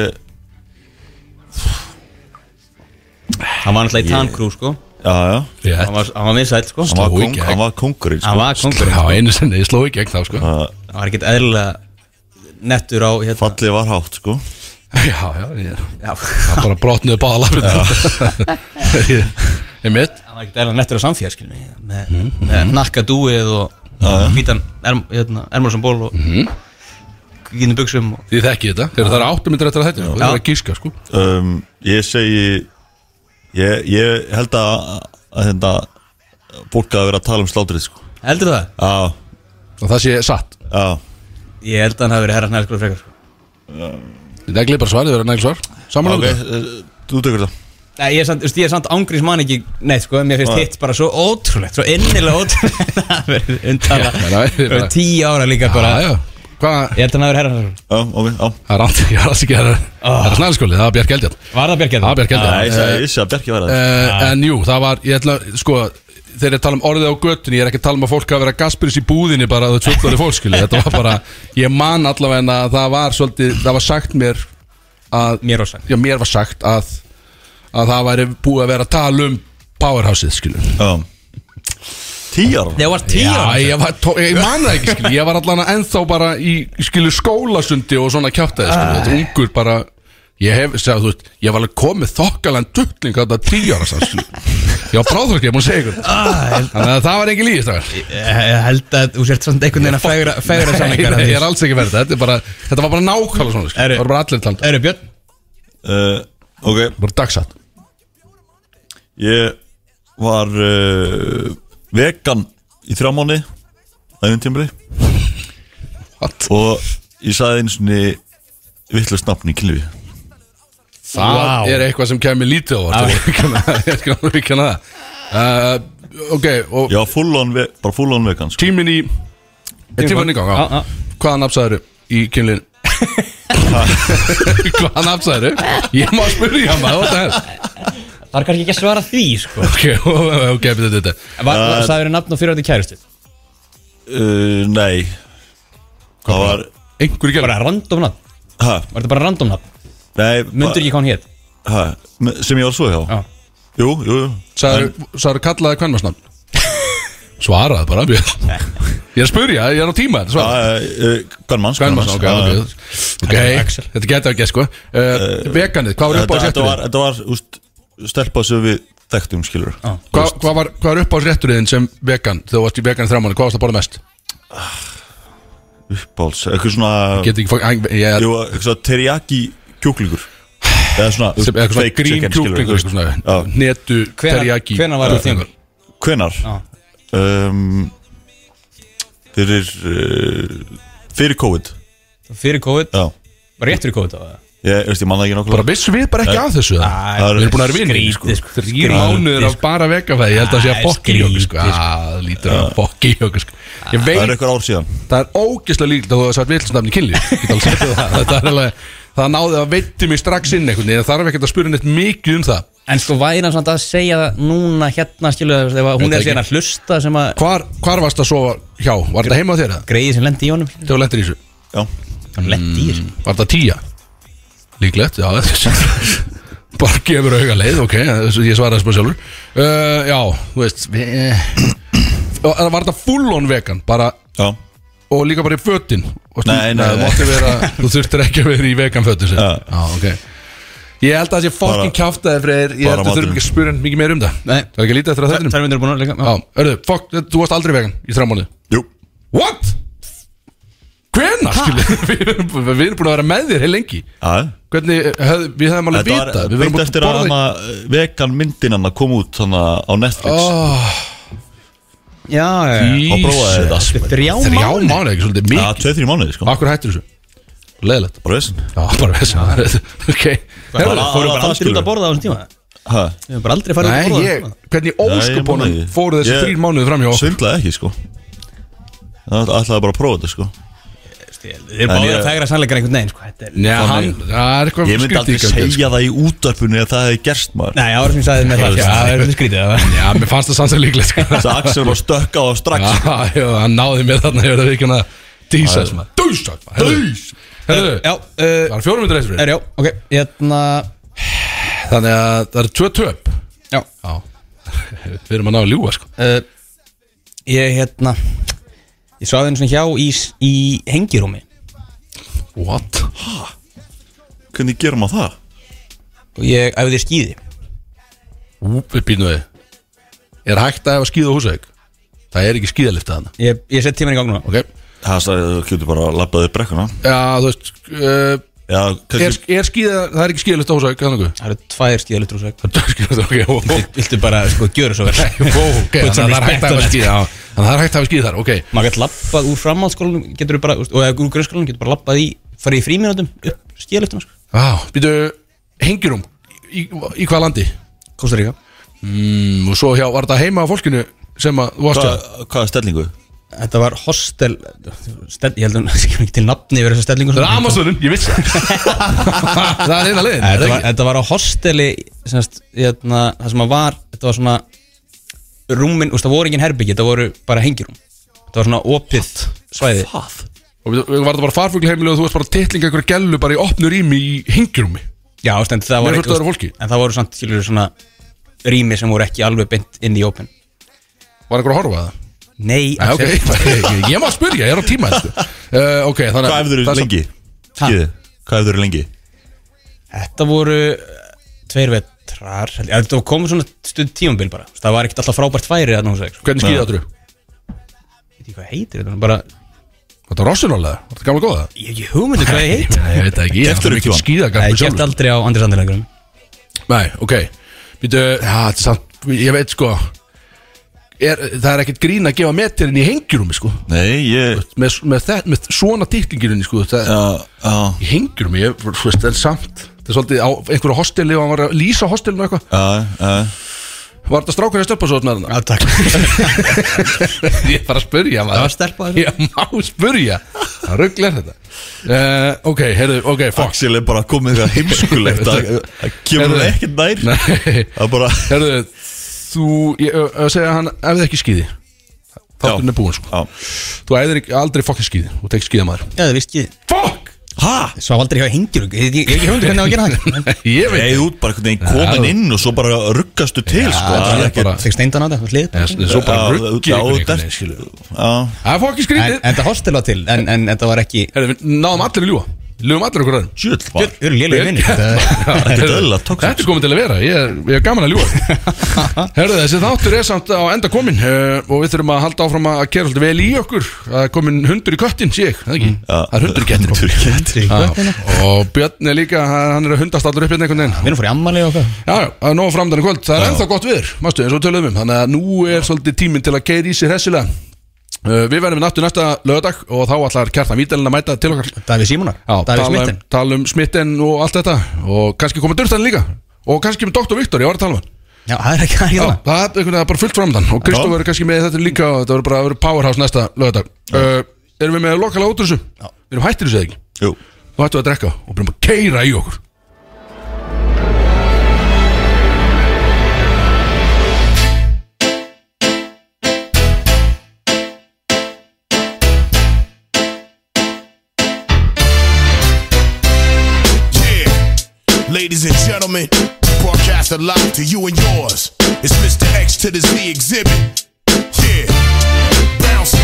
[SPEAKER 2] Hann var náttúrulega í tankrú sko
[SPEAKER 3] Já, já
[SPEAKER 2] Hann var, hann var vinsæll sko
[SPEAKER 3] Hann var,
[SPEAKER 1] Sló í
[SPEAKER 3] kong,
[SPEAKER 1] gegn.
[SPEAKER 3] hann var kongurinn
[SPEAKER 2] Hann
[SPEAKER 3] sko.
[SPEAKER 2] var kongur
[SPEAKER 1] Já, einu sinni, ég sló í gegn þá sko
[SPEAKER 2] Hann var ekkert eðlilega nettur á hérna
[SPEAKER 3] Fallið var hátt, sko
[SPEAKER 1] Já, já, ég það bara brotnuðu báða lafrið Ég mitt
[SPEAKER 2] Hann var ekkert eðlilega nettur á samfélag skilmi Með, með nakka dúið og hvítan erm, hérna, ermur sem ból og hvítan buksum og
[SPEAKER 1] Þið þekki þetta, þegar það eru áttu myndir eftir að þetta Það er að gíska sko
[SPEAKER 3] um, Ég segi Ég, ég held að, að þetta Fólk að vera að tala um slátrið, sko
[SPEAKER 2] Heldur það?
[SPEAKER 3] Já,
[SPEAKER 1] Og það sé satt
[SPEAKER 3] já
[SPEAKER 2] Ég held að hann hafi verið herra snæðskóla frekar sko
[SPEAKER 1] Þetta er bara svarið, það er nægil svar Samanlega
[SPEAKER 3] Ok, eh, þú tekur það
[SPEAKER 2] Nei, ég er samt, þú veist, ég er samt ángrís mann ekki neitt sko Mér finnst
[SPEAKER 3] Nei.
[SPEAKER 2] hitt bara svo ótrúlegt Svo innilega ótrúlegt að hafa verið Undala
[SPEAKER 1] Já, nei, bara-
[SPEAKER 2] Fyrir tíu ára líka bara
[SPEAKER 1] Já, já Hvað,
[SPEAKER 2] Ég held að hann hafi verið
[SPEAKER 3] Já, ok,
[SPEAKER 2] herra snæðskóla
[SPEAKER 3] já
[SPEAKER 1] það er átt, ég var alls ekki að Það er snælskóli, það var Bjark Eldján
[SPEAKER 2] Var það Bjarkjörn?
[SPEAKER 1] Það var Bjark
[SPEAKER 3] Nei, ég
[SPEAKER 1] Eldján
[SPEAKER 3] segi, ég segi að Bjarki var það
[SPEAKER 1] uh, En jú, það var, ég ætla, sko Þeir eru að tala um orðið á göttunni, ég er ekki að tala um að fólk að vera Gasperis í búðinni bara þau tjóttari fólkskili Þetta var bara, ég man allavega en að það var svolítið, það var sagt mér að,
[SPEAKER 2] Mér og sagt
[SPEAKER 1] já mér var sagt að að það væri búið að vera að tala um powerhouseið skilu
[SPEAKER 3] Já Tíjar
[SPEAKER 2] Þegar var tíu
[SPEAKER 1] Já,
[SPEAKER 2] ára
[SPEAKER 1] ég, var, tó, ég man það ekki skilu, ég var allan að ennþá bara í skilu skólasundi og svona kjátaði skilu, þetta er ungur bara ég hef, segja þú veist, ég var alveg komið þokkalan duttling að það tíu ára sann skilu Já, bráðfólki, ég múið segja ykkur
[SPEAKER 2] Ah, ég-
[SPEAKER 1] Þannig að það var ekki líðist það
[SPEAKER 2] ég ég held að þú sért samt einhvern veginn að fegra, fegra samlingar
[SPEAKER 1] Ég er alls ekki verið þetta er bara, Þetta var bara nákvæmlega svona sko.
[SPEAKER 2] Eru-
[SPEAKER 1] Það var bara allir talandi
[SPEAKER 2] Eru Björn?
[SPEAKER 3] uh, Ok,
[SPEAKER 1] Bara dagsatt
[SPEAKER 3] ég var uh, vegan í þrjá mánu aðeins tímri
[SPEAKER 1] What?
[SPEAKER 3] og ég sagði einu svona vittlust nafn í kynlífi
[SPEAKER 1] Það
[SPEAKER 2] Vá.
[SPEAKER 1] er eitthvað sem kemur lítið á óvart, ég skal viðurkenna það Ég skal viðurkenna það Uh, Ok, og
[SPEAKER 3] Já, full on, ve bara full on vegan sko.
[SPEAKER 1] tíminn í Er tíminn í gang,
[SPEAKER 2] Já, já.
[SPEAKER 1] já Hvaða nafnsæður í kynlinn? Hvaða nafnsæður? Ég má spyrja maður what the hell?
[SPEAKER 2] Það er kannski ekki að svara því sko
[SPEAKER 1] Ok, ok, betur þetta
[SPEAKER 2] Það eru nafn og fyrirvændi kærustu
[SPEAKER 3] uh, Nei Það var
[SPEAKER 1] Einhver ekki
[SPEAKER 2] Bara random nafn
[SPEAKER 3] ha,
[SPEAKER 2] Var þetta bara random nafn?
[SPEAKER 3] nei,
[SPEAKER 2] Mundur ekki hvað hún hétt?
[SPEAKER 3] ha, me- Sem ég var svo hjá
[SPEAKER 2] Já.
[SPEAKER 3] Jú, jú, jú
[SPEAKER 1] Sæður kallaði kvennmarsnafn Svaraði bara Björn Ég er að spyrja, ég er á tíma þetta svaraði
[SPEAKER 3] Hvern manns
[SPEAKER 1] Kvennmarsnafn, ok, ok Ok,
[SPEAKER 2] Axel.
[SPEAKER 1] þetta getur ekki sko uh, Veganið, hvað var upp á
[SPEAKER 3] Þetta var,
[SPEAKER 1] rétturinn?
[SPEAKER 3] þetta var úst, stelpa sem við þekktum skilur
[SPEAKER 1] Hvað, hvað var, hvað var upp á rétturinn sem vegan Þegar þú varst í vegan í þrjámanni, hvað varst að borða mest?
[SPEAKER 3] Uppáls, eitthvað svona
[SPEAKER 1] Getur ekki, fá- æ, ég er
[SPEAKER 3] Jú, eitthvað svona teriyaki kjúklingur Eða svona
[SPEAKER 1] sem- eitthvað svona
[SPEAKER 3] steak
[SPEAKER 1] grín
[SPEAKER 3] chicken, skilurðu,
[SPEAKER 1] kjúklingur
[SPEAKER 3] þú veist.
[SPEAKER 1] eitthvað svona,
[SPEAKER 3] Já.
[SPEAKER 1] Netu, terjaki
[SPEAKER 2] Hvenær var það þingur?
[SPEAKER 3] Hvenar?
[SPEAKER 2] Já.
[SPEAKER 3] Um, fyrir uh, Fyrir COVID
[SPEAKER 2] Fyrir COVID
[SPEAKER 3] Já
[SPEAKER 2] Var rétt fyrir COVID á það?
[SPEAKER 3] Ég, veist, ég manna ekki
[SPEAKER 1] Bara
[SPEAKER 3] nokkuð
[SPEAKER 1] vissum við bara ekki að þessu það?
[SPEAKER 3] það
[SPEAKER 1] Við erum búin að vera vinni sko.
[SPEAKER 2] Skrítið sko
[SPEAKER 1] Þrýr mánuður af bara vegafæði Ég held að það sé að
[SPEAKER 2] Æ,
[SPEAKER 1] fokki í okkur sko.
[SPEAKER 2] skrítið, sko.
[SPEAKER 1] Að, Lítur að fokki í okkur sko. Ég
[SPEAKER 3] Það er
[SPEAKER 1] veit,
[SPEAKER 3] eitthvað ár síðan
[SPEAKER 1] það er ógeðslega líkt að þú hefði sagt vilsnafni kynli Það er alveg Það náði að veitti mig strax inn einhvern veginn. Ég þarf ekkert að spura neitt mikið um það
[SPEAKER 2] En sko væri hann samt að segja það núna hérna skilu það ef að
[SPEAKER 1] Veit
[SPEAKER 2] Hún er
[SPEAKER 1] ekki.
[SPEAKER 2] síðan að hlusta sem að
[SPEAKER 1] Hvar, hvar varst að sofa hjá? Var þetta heima á þér það?
[SPEAKER 2] Greiði sem lendi í honum skilurðu.
[SPEAKER 1] Þegar þú lentir í þessu
[SPEAKER 3] Já
[SPEAKER 2] Hann lendi í þessu
[SPEAKER 1] Var þetta tíja? Líklegt, já þessu- Bara gefur auga leið, ok þessu- Ég svaraði þessu bara sjálfur uh, Já, þú veist við, uh, Var þetta full on vegan? Bara
[SPEAKER 3] Já
[SPEAKER 1] og líka bara í fötin og stund-
[SPEAKER 3] Nei, nei,
[SPEAKER 1] þú
[SPEAKER 3] nei.
[SPEAKER 1] mátti vera, þú þurftir ekki að vera í vegan fötin sem.
[SPEAKER 3] Já.
[SPEAKER 1] Já, ok Ég held að það sé fokkin
[SPEAKER 3] Bara-
[SPEAKER 1] kjáftaði Freyr, ég held
[SPEAKER 3] bara
[SPEAKER 1] að þurfum
[SPEAKER 3] maturinn.
[SPEAKER 1] ekki að spura neitt mikið meir um það
[SPEAKER 2] Nei.
[SPEAKER 1] Það er ekki lítið eftir að
[SPEAKER 2] Tvær
[SPEAKER 1] þettinum
[SPEAKER 2] tvær myndir er búin að leika
[SPEAKER 1] Mm. Já, örðu, fokk, þú varst aldrei vegan í þrjá mánuði
[SPEAKER 3] Jú
[SPEAKER 1] What? Hvena, skilur við, erum- við erum búin að vera með þér heil lengi
[SPEAKER 3] Já
[SPEAKER 1] Hvernig, höf, við hefðum alveg
[SPEAKER 3] Þetta var
[SPEAKER 1] vita Við
[SPEAKER 3] beint
[SPEAKER 1] verðum
[SPEAKER 3] eftir að hana, uh, vegan myndin hann kom út hana, á Netflix
[SPEAKER 2] Já, já, já
[SPEAKER 3] og prófaði þetta
[SPEAKER 2] Þetta er Þrjá
[SPEAKER 1] Þrjá
[SPEAKER 2] mánuð
[SPEAKER 1] mánuði, ekki svolítið
[SPEAKER 3] Já,
[SPEAKER 1] mikið
[SPEAKER 3] tveið þrjum mánuði sko
[SPEAKER 1] Akkur hættur þessu? Leðilegt
[SPEAKER 3] Bara vissinn
[SPEAKER 1] Já, bara við þessu Ok Herðu,
[SPEAKER 3] bara-
[SPEAKER 2] Fórum bara
[SPEAKER 3] Það
[SPEAKER 2] aldrei út
[SPEAKER 3] skilurðu.
[SPEAKER 2] að borða á þessum tíma
[SPEAKER 3] Ha,
[SPEAKER 2] Við höfum bara aldrei farið út að
[SPEAKER 1] Nei,
[SPEAKER 2] borða
[SPEAKER 1] ég,
[SPEAKER 2] á þessum tíma
[SPEAKER 1] hvernig
[SPEAKER 3] ég
[SPEAKER 1] óskupunum
[SPEAKER 3] man ekki.
[SPEAKER 1] fóru þessi
[SPEAKER 3] Ég-
[SPEAKER 1] þrýr mánuði framhjá okkur?
[SPEAKER 3] Svindlaði ekki sko Það ætlaði bara að prófa þetta sko
[SPEAKER 2] Þeir eru
[SPEAKER 3] En
[SPEAKER 2] báðir
[SPEAKER 3] ég-
[SPEAKER 2] að fegra sannleikar einhvern veginn sko Þetta er-
[SPEAKER 1] Nei, hann, það er eitthvað
[SPEAKER 3] Ég myndi aldrei
[SPEAKER 1] skrítið í gangi,
[SPEAKER 3] segja það í útvarpunni að það hefði gerst maður
[SPEAKER 2] Nei, ára sem ég sagði með það
[SPEAKER 1] Já,
[SPEAKER 2] Já, það er þetta skrítið það
[SPEAKER 1] sko. Já, mér fannst það samt sem líklegt sko.
[SPEAKER 3] Það Axel var stökk á það strax
[SPEAKER 1] Já, já, hann náði mér þarna Ég verði ekki hann að dýsa þessum Dýsa, dýsa Herðu,
[SPEAKER 2] Já,
[SPEAKER 1] það
[SPEAKER 2] uh,
[SPEAKER 1] er fjórum myndir eftir
[SPEAKER 2] er já, ok Hérna,
[SPEAKER 1] Þannig að það eru tvö töp
[SPEAKER 2] já
[SPEAKER 1] Já Við erum að ná að ljúga, sko
[SPEAKER 2] uh, Ég, hérna Ég svaði henni svona hjá í, í hengirúmi
[SPEAKER 1] What?
[SPEAKER 3] Hvernig gerum maður það?
[SPEAKER 2] Og ég æfði skýði
[SPEAKER 1] Við býnum við Er hægt að hefa skíð á húsæk? Það er ekki skíðalifta þarna
[SPEAKER 2] Ég, ég sett tíman í gang núna
[SPEAKER 1] Ok
[SPEAKER 3] Það sagði þú getur bara að labbaði brekkuna
[SPEAKER 1] Já, þú veist uh,
[SPEAKER 3] Já,
[SPEAKER 1] Er,
[SPEAKER 3] kannski
[SPEAKER 1] er skíða, það er ekki skíðalifta á húsæk, þannig
[SPEAKER 2] Það eru tvær skýðalutur og svo
[SPEAKER 1] Það er skíðalifta, ok og- og-
[SPEAKER 2] Viltu bara, sko, gjöra svo vel
[SPEAKER 1] Ó, ok,
[SPEAKER 2] Put some
[SPEAKER 1] þannig að það er hægt
[SPEAKER 2] respect
[SPEAKER 1] að
[SPEAKER 2] on
[SPEAKER 1] hafa
[SPEAKER 2] it.
[SPEAKER 1] skýð já. Þannig að það er hægt að hafa skýð þar, ok
[SPEAKER 2] Maður gett labbað úr framhaldsskólanum Getur bara, og eða úr grunnskólanum Getur bara labbað í, farið í fríminutum Upp skýðalutuna, sko
[SPEAKER 1] Vá, býtu, hengirum í, í hvað landi?
[SPEAKER 2] Kosta Ríka
[SPEAKER 1] Mm, og svo hjá, var þetta heima á fólkinu sem að, þú varst hjá?
[SPEAKER 3] Hvað hvað er stellingu?
[SPEAKER 2] Þetta var hostel stel, Ég held að það skilur ekki til nafni yfir þessa stellingu sko.
[SPEAKER 1] Það er Amazonin, ég vissi það Það er eina leiðin, er
[SPEAKER 2] Þetta
[SPEAKER 1] það
[SPEAKER 2] var,
[SPEAKER 1] ekki?
[SPEAKER 2] þetta var á hosteli semast, hérna, Það sem að var Þetta var svona Rúmin, úst, það voru engin herbyggi Þetta voru bara hengirum Þetta var svona opið svæði
[SPEAKER 3] Hvað?
[SPEAKER 1] Og býtu, var þetta bara farfuglheimili og þú varst bara titlinga einhverju gellu bara í opnu rými í hengjurumi
[SPEAKER 2] Já, úst, en, það
[SPEAKER 1] Mér
[SPEAKER 2] var
[SPEAKER 1] fannst það vera fólki.
[SPEAKER 2] en það voru samt skilur, svona Rými sem voru ekki alveg beint inn í opin
[SPEAKER 1] Var einhver að horfa að það?
[SPEAKER 2] Nei,
[SPEAKER 1] Æ, Ah, ok, ég, ég má spyrja, ég er á tíma þessu uh, Ok, þannig
[SPEAKER 3] Hvað hefur
[SPEAKER 1] það
[SPEAKER 3] þú
[SPEAKER 1] er svo-
[SPEAKER 3] lengi? Skýði, hvað hefur þú lengi?
[SPEAKER 2] Þetta voru eh, Tveir veit vetrar held ég. Ja, Þetta komið svona stund tímambil bara Það var ekkert alltaf frábært færi þarna hús Ég
[SPEAKER 1] Hvernig
[SPEAKER 3] Ah.
[SPEAKER 1] skýða þú?
[SPEAKER 2] veit ekki hvað heitir þetta bara,
[SPEAKER 1] Þetta er rossinólega, þetta er gamla góða
[SPEAKER 2] Ég hef ekki hugmyndu hvað ég heit
[SPEAKER 1] Nei, ég veit það ekki, ég er
[SPEAKER 3] Keyptirðu
[SPEAKER 1] það
[SPEAKER 3] ekki
[SPEAKER 1] mikið
[SPEAKER 3] hann?
[SPEAKER 2] Nei,
[SPEAKER 1] skýðagarpur
[SPEAKER 2] ég gert
[SPEAKER 1] sjálfur
[SPEAKER 2] aldrei á Andri Sandilegurum
[SPEAKER 1] Nei, ok Býtu, já, þetta er samt, ég veit sko er, Það er ekkert grín að gefa metirinn í hengjurúmi sko
[SPEAKER 3] Nei, ég
[SPEAKER 1] Með, með, það, með svona dýrkingirinn sko það,
[SPEAKER 3] Já, já
[SPEAKER 1] Í hengjurúmi, ég, þú veist, en samt Það er svolítið á einhverju hosteli og hann var að lýsa hostelinu og eitthvað
[SPEAKER 3] Já, já
[SPEAKER 1] Var þetta strákur að stöpa svo þarna?
[SPEAKER 2] Já, takk
[SPEAKER 1] Ég er bara að spyrja maður
[SPEAKER 2] Það var stelpa þessu.
[SPEAKER 1] Ég má spyrja Það rugglar þetta uh, Ok, heyrðu, ok, fuck
[SPEAKER 3] Axel er bara komið það heimskulegt Það það kemur
[SPEAKER 1] Heyrðu.
[SPEAKER 3] það ekkert nær
[SPEAKER 1] Nei
[SPEAKER 3] Það er bara
[SPEAKER 1] Herðu, þú, ég ö- ö, segja hann ef þið ekki skýði Þátturinn er búinn sko
[SPEAKER 3] Já.
[SPEAKER 1] Þú æðir ekki- aldrei fokkin skýði, þú tekst skýða maður
[SPEAKER 2] Já, það virki
[SPEAKER 1] Fokk!
[SPEAKER 3] Hæ?
[SPEAKER 2] Svo aldrei hjá hengjur Ég ég- ég hef ekki hugmyndu hvernig á að gera það
[SPEAKER 1] Ég veit
[SPEAKER 3] Nei, þú ert bara einhvern veginn komin
[SPEAKER 1] Já.
[SPEAKER 3] inn og svo bara ruggastu til, sko
[SPEAKER 1] þetta
[SPEAKER 3] Það
[SPEAKER 1] er
[SPEAKER 3] er ekkert
[SPEAKER 1] bara-
[SPEAKER 2] Fekk steindan á þetta hlið
[SPEAKER 1] En
[SPEAKER 2] bara.
[SPEAKER 1] Það er svo bara
[SPEAKER 3] Já,
[SPEAKER 1] ruggi
[SPEAKER 3] já,
[SPEAKER 1] ykkur
[SPEAKER 3] þú
[SPEAKER 1] einhvern
[SPEAKER 3] ert-
[SPEAKER 1] veginn, skilur við.
[SPEAKER 3] Já,
[SPEAKER 1] Það er fokkin
[SPEAKER 2] En en
[SPEAKER 1] skrítið
[SPEAKER 2] þetta hostel var til En en þetta var ekki
[SPEAKER 1] Herðu, við náðum allir að ljúa Ljúum allir okkur aðeins
[SPEAKER 3] sjöld bara
[SPEAKER 2] Þú eru lélega minni Þetta-
[SPEAKER 3] Þetta er eðlilega tókst.
[SPEAKER 1] Þetta er komið til að vera, ég er, ég er gaman að ljúa Herðu, þessi þáttur er samt á enda komin uh, Og við þurfum að halda áfram að kera svolítið vel í okkur Það er komin hundur í köttin, sé ég, það ekki Það er hundur í kettin
[SPEAKER 3] Mm. Hundur í kettinum.
[SPEAKER 1] Já, og Björn er líka, hann hann er að hundast allur upp hérna einhvern veginn
[SPEAKER 2] Við erum fór í ammali og hvað
[SPEAKER 1] Já, já, það er nóg framdann í kvöld, það er ennþá gott viður, mástu, eins og við töluðum um Þannig að nú er svolítið tíminn til að keira í sér hessilega uh, Við verðum náttu næsta lögadag og þá ætlar kjartan Vítalinn að mæta til okkar Já,
[SPEAKER 2] Davíð Símonar Davíð
[SPEAKER 1] tala um,
[SPEAKER 2] Smitten
[SPEAKER 1] tala um smitten og allt þetta Og kannski koma Durtan líka Og kannski með Dr. Viktor, ég var að tala um hann
[SPEAKER 2] Já, það er ekki það er ekki
[SPEAKER 1] Já,
[SPEAKER 2] það
[SPEAKER 1] það er einhvern veginn bara fullt framdann Og Kristóf
[SPEAKER 3] Já.
[SPEAKER 1] verður kannski með þetta líka og Þetta verður bara verður powerhouse næsta lögadag uh, Erum við með lokala útrússu? Við erum hættir þessu eða ekki?
[SPEAKER 3] Jú
[SPEAKER 1] Nú ættum við að drekka og byrjum að keira í okkur
[SPEAKER 9] Yeah. Ladies and gentlemen, broadcast live to you and yours. It's Mr. X to the Z exhibit. Yeah. Bouncing.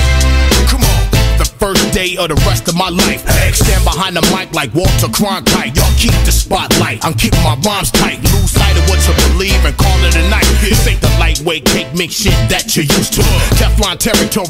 [SPEAKER 9] Come on. The first day of the rest of my life. X stand behind the mic like Walter Cronkite. Y'all keep the spotlight. I'm keeping my rhymes tight. Lose sight of what you believe and call it a night. This ain't the lightweight cake mix shit that you're used to. Teflon territory.